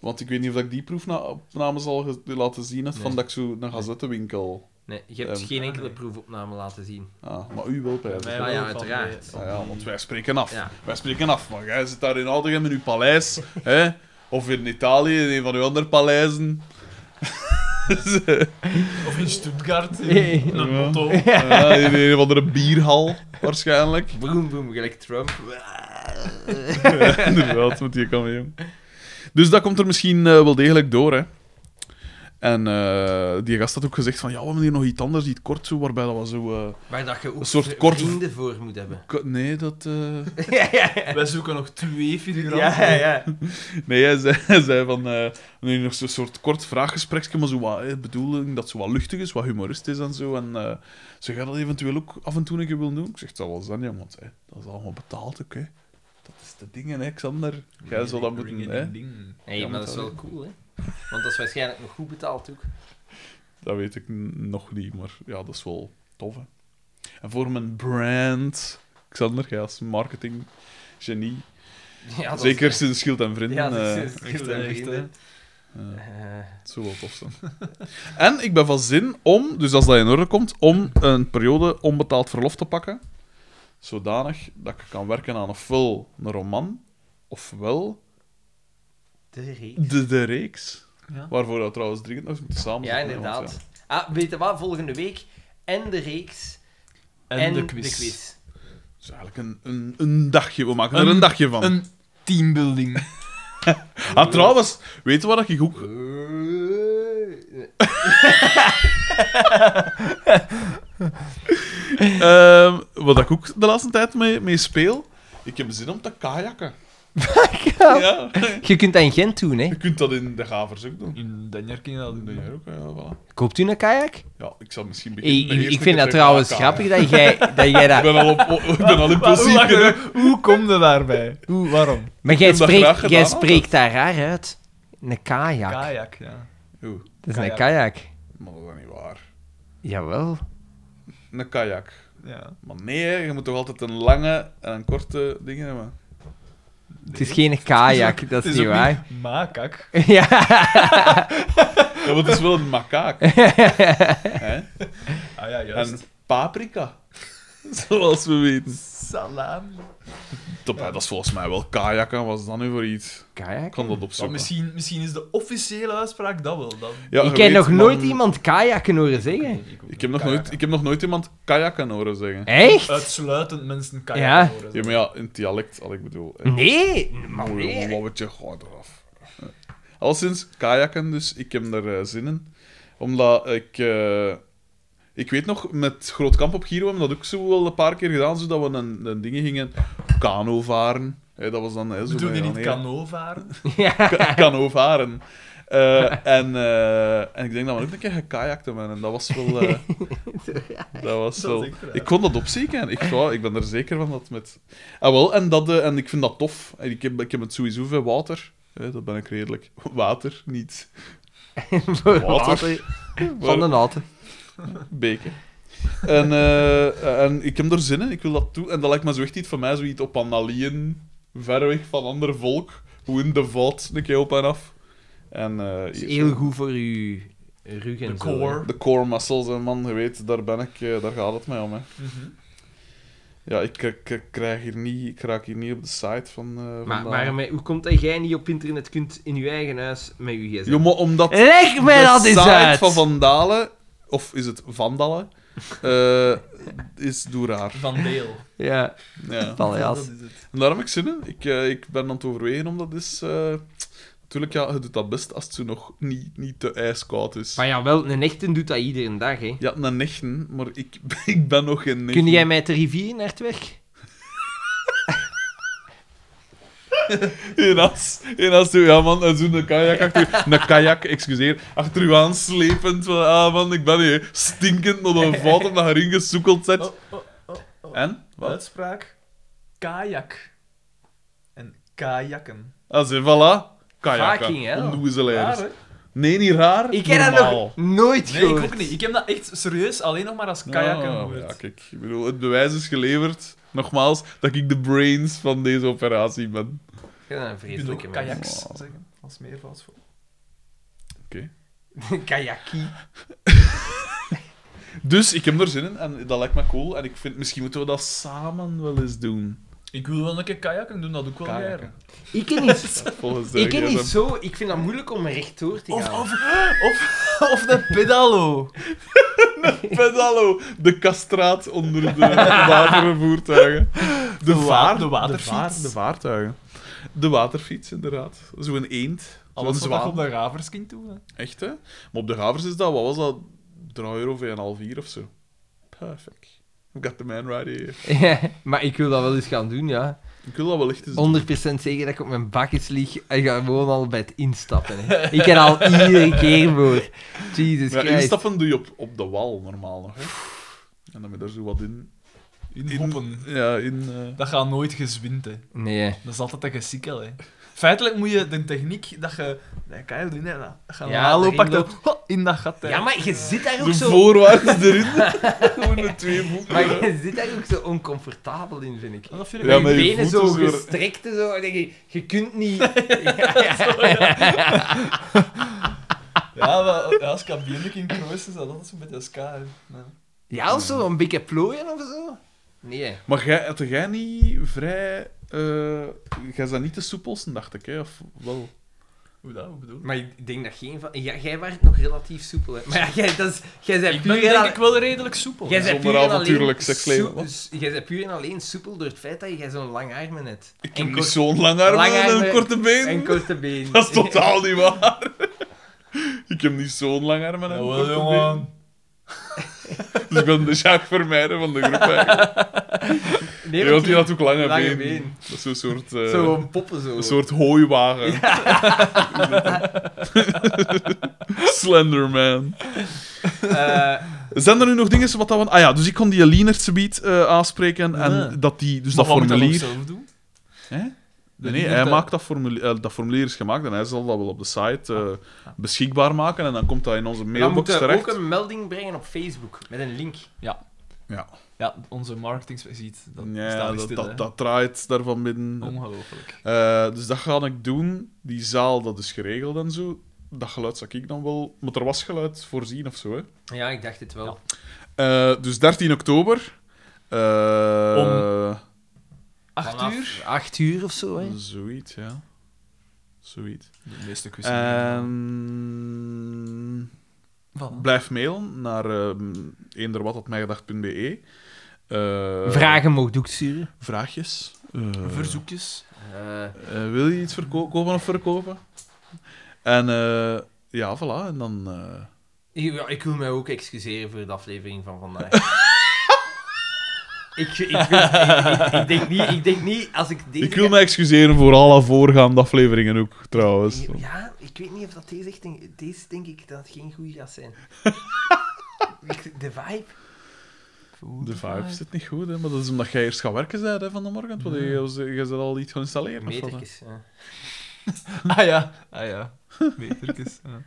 A: Want ik weet niet of ik die proefopnames al ge- laten zien heb, van
E: Nee.
A: dat ik zo naar gazettenwinkel...
E: Nee, je hebt
A: Ehm,
E: geen
C: ah,
E: enkele
C: nee.
E: proefopname laten zien.
A: Ah, maar u wel, pijs.
C: Mij
E: Ah, ja,
C: wel van eh,
E: uiteraard.
C: de-
A: Ah ja, want wij spreken af.
E: Ja.
A: Wij spreken af, maar jij zit daar in Oudegem in uw paleis. hè? Of in Italië in een van uw andere paleizen.
C: Of in Stuttgart, in
E: Hey.
C: een motto.
A: Ja, Eh, in een of andere bierhal, waarschijnlijk.
E: Boom, boom, gelijk Trump.
A: Inderdaad, met die kameel. Dus dat komt er misschien eh, wel degelijk door, hè. En eh, die gast had ook gezegd van, ja, we hebben hier nog iets anders, iets kort, zo, waarbij dat was zo... eh,
E: Waar dat je ook
A: Een soort
E: vri-
A: kort-
E: vrienden voor moet hebben.
A: k- nee, dat... eh,
C: Wij zoeken nog twee figuranten.
E: ja.
A: Nee, hij zei, hij zei van... eh nee, nog zo'n soort kort vraaggesprekje, maar zo wat... eh, bedoeling dat zo wat luchtig is, wat humorist is en zo. En eh zou jij dat eventueel ook af en toe een keer willen doen? Ik zeg, dat was dan, jong, want hè, dat is allemaal betaald ook, hè. Dat is de dingen, hè, Xander. Jij zou dat moeten, hè.
C: Ring-a-ding-ding.
E: Nee, maar dat is wel cool, hè. Want dat is waarschijnlijk nog goed betaald ook.
A: Dat weet ik n- nog niet, maar ja, dat is wel tof, hè. En voor mijn brand... Xander, jij als marketing genie.
E: Ja, dat is-
A: Zeker sinds Schild en Vrienden.
E: Ja, dat
A: eh,
E: is
C: Echt, hè, echt, hè.
A: ja.
E: Eh,
A: Het zou wel tof zijn. en ik ben van zin om, dus als dat in orde komt, om een periode onbetaald verlof te pakken. Zodanig dat ik kan werken aan ofwel een roman, ofwel
E: de reeks.
A: de, de reeks.
C: Ja.
A: Waarvoor we trouwens dringend nog eens moeten samen
E: Ja, inderdaad. Ah, weet je wat? Volgende week en de reeks en, de, quiz.
A: Het is eigenlijk een, een, een dagje, we maken er een dagje van.
C: Een teambuilding.
A: Ah, trouwens, weet je wat ik ook... Ehm, wat ik ook de laatste tijd mee, mee speel, ik heb zin om te kajakken. Ja.
B: Je kunt dat in Gent doen, hè.
A: Je kunt dat in de gavers ook doen.
C: In Denjer kun je dat
A: Dat doe jij ook, ja, voilà.
B: Koopt u een kajak?
A: Ja, ik zal misschien
B: Ik,
A: beginnen. met
B: ik,
A: eerst
B: ik
A: een
B: vind
A: keer
B: dat trouwens
A: tegen
B: grappig dat jij, dat jij
A: elkaar. Ik
B: dat...
A: ben al, op, o- ik ben al impulsief.
C: wacht,
A: hè.
C: Hoe kom je daarbij? Hoe, waarom?
B: Maar jij
A: heb dat graag
B: spreekt,
A: gedaan,
B: jij
A: altijd.
B: spreekt daar raar uit. Een kajak.
C: Kajak, ja.
B: dat is een kajak.
A: Maar dat is niet waar.
B: Jawel.
A: Een kajak.
C: ja.
A: Maar nee, hè, je moet toch altijd een lange en een korte ding hebben.
B: Het is geen kajak, dat
C: Het
B: is
C: is
B: niet
C: ook
B: waar.
C: niet makak.
B: Ja.
A: Ja, want het is dus wel een makaak. Hè?
C: Ah ja, juist.
A: en paprika. Zoals we weten.
C: Salam.
A: Top, hè, Dat is volgens mij wel kajakken. Wat is dat nu voor iets? Ik
B: Kajak?
A: kan dat
C: Maar
A: opzoeken.
C: misschien, misschien is de officiële uitspraak dat wel dan.
A: Ja, je
B: ik heb
A: weet,
B: nog
A: man,
B: nooit iemand kajakken horen zeggen.
A: Ik heb nog, nooit, ik heb nog nooit iemand kajakken horen zeggen.
B: Echt?
C: Uitsluitend mensen kajakken
B: Ja.
C: horen.
A: Ja, maar ja, in het dialect, al ik bedoel.
B: Mhm.
A: hè.
B: Nee, maar
A: Mooi,
B: nee.
A: lolletje, gooi eraf. Ja. Al sinds kajakken, dus ik heb er eh, zin in. Omdat ik... eh, ik weet nog, met Groot Kamp op Giro hebben we dat ook zo wel een paar keer gedaan, zodat we een, een dingen gingen kano varen. Hè, dat was dan... hè, zo
C: Bedoel je
A: van,
C: niet
A: ja,
C: kano varen?
A: ka- kano varen. Eh, en, eh, en ik denk dat we ook een keer gekajakt hebben. En dat was wel... eh, dat was
C: Dat
A: wel...
C: is echt raar.
A: Ik kon dat opzeken. Ik, wou- ik ben er zeker van dat met... Ah, wel, en, dat, eh, en ik vind dat tof. En ik, heb, ik heb het sowieso veel water. Eh, dat ben ik redelijk. Water, niet.
B: Voor
A: Water.
B: water.
A: Maar-
B: Van de naten.
A: Beken. En, eh, en ik heb er zin in, ik wil dat toe. En dat lijkt me zo echt niet van mij, zoiets op analieën, ver weg van ander volk, hoe in de vat, een keer op en af. En, eh,
B: Dat
A: hier
B: is
A: zo.
B: heel goed voor uw rug en
C: De
B: zo.
C: core.
A: De core muscles, en man, je weet, daar ben ik, eh, daar gaat het mij om. Hè.
C: Mhm.
A: Ja, ik, ik- ik krijg hier niet, ik raak hier niet op de site van. eh, van
E: Maar,
A: de-
E: maar met- hoe komt dat jij niet op internet kunt in je eigen huis met je gsm?
A: Ja, maar omdat
B: Leg mij dat
A: de
B: eens
A: site
B: uit!
A: van Vandalen, of is het Vandalen, eh, is doe raar.
C: Van Deel.
B: Ja,
A: Ja.
B: van
C: Ja,
B: jas.
C: dat is het.
A: En daarom heb ik zin in. Ik, eh, ik ben aan het overwegen om dat is. eh, Natuurlijk, ja, je doet dat best als het zo nog niet, niet te ijskoud is.
E: Maar ja, wel, een echte doet dat iedere dag, hè.
A: Ja, een nichten, maar ik, ik ben nog geen nichten.
B: Kun jij mij de rivier naar het werk?
A: En als, en als zo- ja man, en zo'n kajak achter Een kajak, excuseer. Achter u aanslepend van, ah man, ik ben hier stinkend nog een fout omdat je erin gesoekeld zit.
C: Oh, oh, oh, oh.
A: En? Wat?
C: Uitspraak. Kajak. En kajakken.
A: Ah, ze, voilà. Kajakken.
E: Fucking hell.
A: Ondoezeleers.
C: Raar, hè?
A: Nee, niet raar.
E: Ik heb dat
A: normaal.
E: nog nooit
C: Nee, ik
E: gehoord.
C: ook niet. Ik heb dat echt serieus alleen nog maar als kajakken
A: Ah,
C: gehoord.
A: ja, kijk. Ik bedoel, het bewijs is geleverd, nogmaals, dat ik de brains van deze operatie ben.
E: Ik heb dat een
C: Je kunt ook
E: vreselijke mens.
C: kajaks
A: Oh.
C: zeggen, als meervoud voor.
E: Kajaki.
A: Dus ik heb er zin in en dat lijkt me cool. En ik vind, misschien moeten we dat samen wel eens doen.
C: Ik wil wel een keer kajakken doen, dat ook wel
A: Kajakken.
C: jaren.
E: Ik ken niet,
A: Volgens de
E: ik ken niet
A: GSM.
E: zo... Ik vind dat moeilijk om rechtdoor te
C: Of,
E: gaan.
C: of, of, of de pedalo.
A: Pedalo, de kastraat onder de watervoertuigen. De,
C: wa-
A: vaart,
C: de waterfiets.
A: De, vaart- de vaartuigen. De waterfiets, inderdaad. Zo'n eend. Zo'n
C: Alles wat
A: zwaan.
C: op de raverskind toe. hè.
A: Echt, hè? Maar op de Havers is dat, wat was dat? 3 euro voor een half hier of zo. Perfect. We got the man right here.
E: maar ik wil dat wel eens gaan doen, ja.
A: Ik wil dat wel echt eens
E: 100% zeker dat ik op mijn bakjes lig en ga gewoon al bij het instappen. Hè. Ik heb al iedere keer voor. Jesus
A: Ja,
E: Christ.
A: instappen doe je op, op de wal normaal nog. Hè? En dan moet je daar zo wat in.
C: In,
A: in-
C: hoppen.
A: Ja, in. eh,
C: Dat gaat nooit gezwind, hè.
E: Nee.
C: Dat is altijd een gesikkel, hè. Feitelijk moet je de techniek dat je... Dat kan je doen, hè. Dat je een
E: Ja,
C: halo
E: erin
C: pakt en
E: loopt.
C: ho, in dat gat, hè.
E: Ja, maar je zit daar ook
A: De
E: zo...
A: voorwaarts erin. Gewoon de twee voeten.
E: Maar je zit daar ook zo oncomfortabel in, vind ik.
C: Dat vind ik
A: Ja,
C: wel-
A: maar
E: je
A: je
E: benen zo
A: voeten zo...
E: gestrekt en zo. en denk je, je kunt niet...
C: ja, maar als ik aan Bienek in Kroos is, dat altijd zo'n beetje ska, hè. Ja.
E: Ja, of zo, een beetje plooien of zo. Nee.
A: Maar jij, had jij niet vrij. eh jij bent niet de soepelste, dacht ik, hè? Of wel?
C: Hoe dat, hoe bedoel je?
E: Maar ik denk dat geen van... Ja, jij was nog relatief soepel, hè. Maar ja, jij, dat is... Jij bent
C: Ik
E: puur
C: ben denk
E: en
C: ik wel redelijk soepel.
E: al- jij
C: hè.
E: bent
A: Zonder
E: puur en
A: avontuurlijk
E: alleen
A: seksleven,
E: soe-
A: wat?
E: s- Jij bent puur en alleen soepel door het feit dat jij zo'n lang armen hebt.
A: Ik
E: En
A: heb niet
E: kort-
A: zo'n lang arm
E: lang
A: en een
E: armen-
A: korte been.
E: En korte benen.
A: Dat is totaal niet waar. Ik heb niet zo'n lang arm en een
C: Jawel,
A: korte
C: jongen.
A: been. Dus ik ben de Jacques Vermeijden van de groep eigenlijk.
E: Nee,
A: Ja, want die had ook lange,
E: lange
A: benen.
E: been.
A: Dat is zo'n soort, eh,
E: Zo gewoon poppen zo.
A: een soort hooiwagen. Slenderman.
E: Eh,
A: Zijn er nu nog dingen wat dat we... Ah ja, dus ik kon die Lienert beat aanspreken en
L: Ja.
A: dat die... Dus dat
C: mag ik
A: formulier...
C: zelf doen?
A: Nee, nee, hij
L: Lienert, eh,
A: maakt dat formulier... eh, dat formulier is gemaakt en hij zal dat wel op de site eh, beschikbaar maken en dan komt dat in onze
E: dan
A: mailbox
E: moeten we
A: terecht.
E: ook een melding brengen op Facebook met een link.
C: Ja, onze marketing ziet dat
A: Ja,
C: staat niet
A: dat,
C: stil, hè. Oh.
A: dat, dat draait daarvan binnen.
C: Ongelooflijk.
A: Eh, dus dat ga ik doen. Die zaal, dat is geregeld en zo. Dat geluid zag ik dan wel. Maar er was geluid voorzien of zo, hè.
E: Ja, ik dacht het wel.
A: Eh, dus 13 oktober. Eh,
C: Acht
E: Vanaf
C: uur?
B: Acht uur of zo, hè?
A: Zoiets, ja. Zoiets.
C: De meeste quiz.
E: Ehm,
A: Ehm,
C: Voilà.
A: blijf mailen naar ehm eenderwat.mijgedacht.be. Eh,
B: Vragen mogen ook sturen.
A: Vraagjes. Eh,
C: Verzoekjes.
E: Eh,
A: eh, wil je iets verko- kopen of verkopen? En eh, ja, voilà. En dan... eh,
E: ik, ja, ik wil mij ook excuseren voor de aflevering van vandaag. ik, ik, wil- ik, ik- ik denk niet, ik denk niet, als ik deze...
A: Ik wil me excuseren voor alle voorgaande afleveringen ook, trouwens.
E: Ja, ik weet niet of dat deze echt... een- Deze denk ik dat het geen goede gaat zijn. Ik- de vibe.
A: De vibe zit niet goed, hè? maar dat is omdat jij eerst gaat werken bent, hè, van de morgen. Want jij was- jij bent al iets gaan installeren. Of wat, hè?
E: Metertjes. ja.
C: Ah ja, ah ja. Metertjes. ja.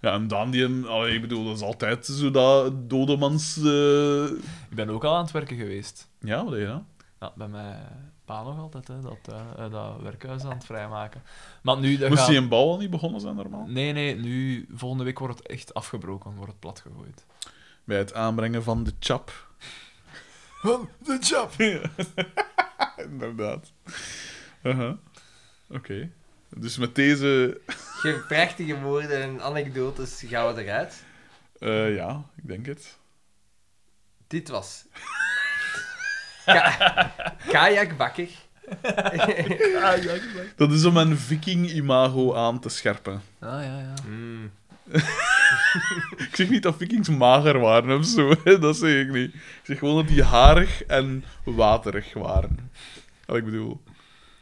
A: ja, en dan die hem, allee, ik bedoel, dat is altijd zo dat dodemans. eh,
C: Ik ben ook al aan het werken geweest.
A: Ja, wat deed je dan?
C: Ja, bij mijn pa nog altijd, hè, dat, eh, eh, dat werkhuis aan het vrijmaken. Maar nu... dat
A: Moest
C: gaat-
A: die een bouw al niet begonnen zijn, normaal?
C: Nee, nee, nu, volgende week wordt het echt afgebroken, wordt het plat gegooid.
A: Bij het aanbrengen van de chap.
C: Van de job!
A: Inderdaad. Uh-huh. Oké. Dus met deze,
E: Ge- Prachtige woorden en anekdotes gaan we eruit.
A: eh, ja, ik denk het.
E: Dit was... Ka kajakbakker.
A: Dat is om mijn viking-imago aan te scherpen.
C: Ah ja, ja.
B: Hmm.
E: Mm.
A: Ik zeg niet dat vikings mager waren of zo, hè, dat zeg ik niet. Ik zeg gewoon dat die harig en waterig waren. Wat ik bedoel.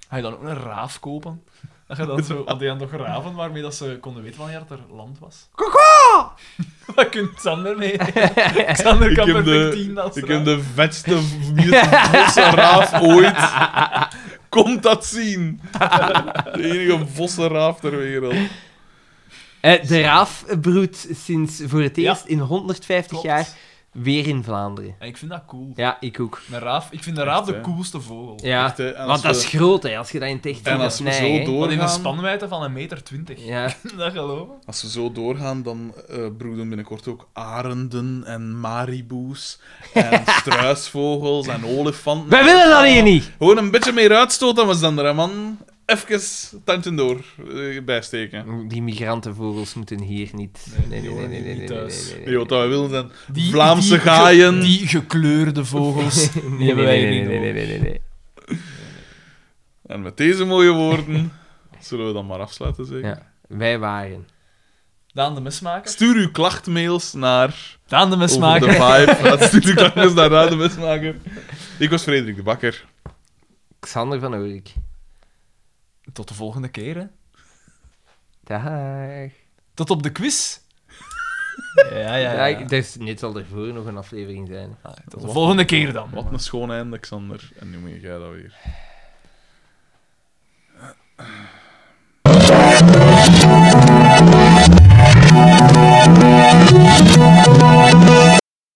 C: Ga je dan ook een raaf kopen? Dat je dan zo, had die dan toch raven waarmee dat ze konden weten wanneer het er land was? Koko! Wat kunt Xander mee? Xander
A: Ik
C: kan
A: heb,
C: perfect
A: de,
C: tien als
A: ik
C: raaf.
A: heb de vetste, meest vosse raaf ooit. Komt dat zien? De enige vosse raaf ter wereld.
B: Eh, de raaf broedt sinds voor het
C: Ja.
B: eerst in 150
C: Klopt.
B: jaar weer in Vlaanderen.
C: En ik vind dat cool.
B: Ja, ik ook.
C: Een raaf, ik vind een raaf
A: hè?
C: de coolste vogel.
B: Ja,
A: Echt, hè, en als
B: want dat
A: we-
B: is groot, hè, als je dat in het echt
A: En
B: doet,
A: als we
B: dat is
A: zo
B: nij, hè.
C: Dat heeft een
A: doorgaan,
C: spanwijdte van een meter twintig.
B: Ja,
C: Kun je Dat geloven?
A: als we zo doorgaan, dan eh, broeden binnenkort ook arenden en mariboes en struisvogels en olifanten.
B: wij willen dat hier niet!
A: Gewoon een beetje meer uitstoten was dan er, man. Even tandje door eh, bijsteken.
B: Die migrantenvogels moeten hier niet.
C: Nee,
B: Nee, nee,
C: die
B: nee,
C: horen
B: nee,
C: hier
B: nee, nee,
C: niet
B: nee,
C: thuis.
B: nee, nee.
A: Nee, wat wij willen zijn
C: Die,
A: Vlaamse
C: die ge-
A: gaaien.
C: Die gekleurde vogels. Die
B: Nee, nee,
C: hebben wij
B: nee,
C: hier
B: nee,
C: niet
B: nee,
C: nodig.
B: nee, nee, nee, nee.
A: En met deze mooie woorden zullen we dan maar afsluiten, zeker?
B: Ja. Wij waren.
C: Daan de mesmaker.
A: Stuur uw klachtmails naar
C: Daan de
A: Over de
C: mesmaker.
A: Vibe. Stuur uw klachtmails naar Radio Mesmaker. Ik was Frederik de Bakker.
B: Xander van Oorik.
C: Tot de volgende keer, hè.
B: Dag.
C: Tot op de quiz. ja, ja, ja.
B: Dag. Dus net zal er voor nog een aflevering zijn.
C: Tot de volgende keer dan.
A: Wat een schoon einde, Xander. En nu moet jij dat weer.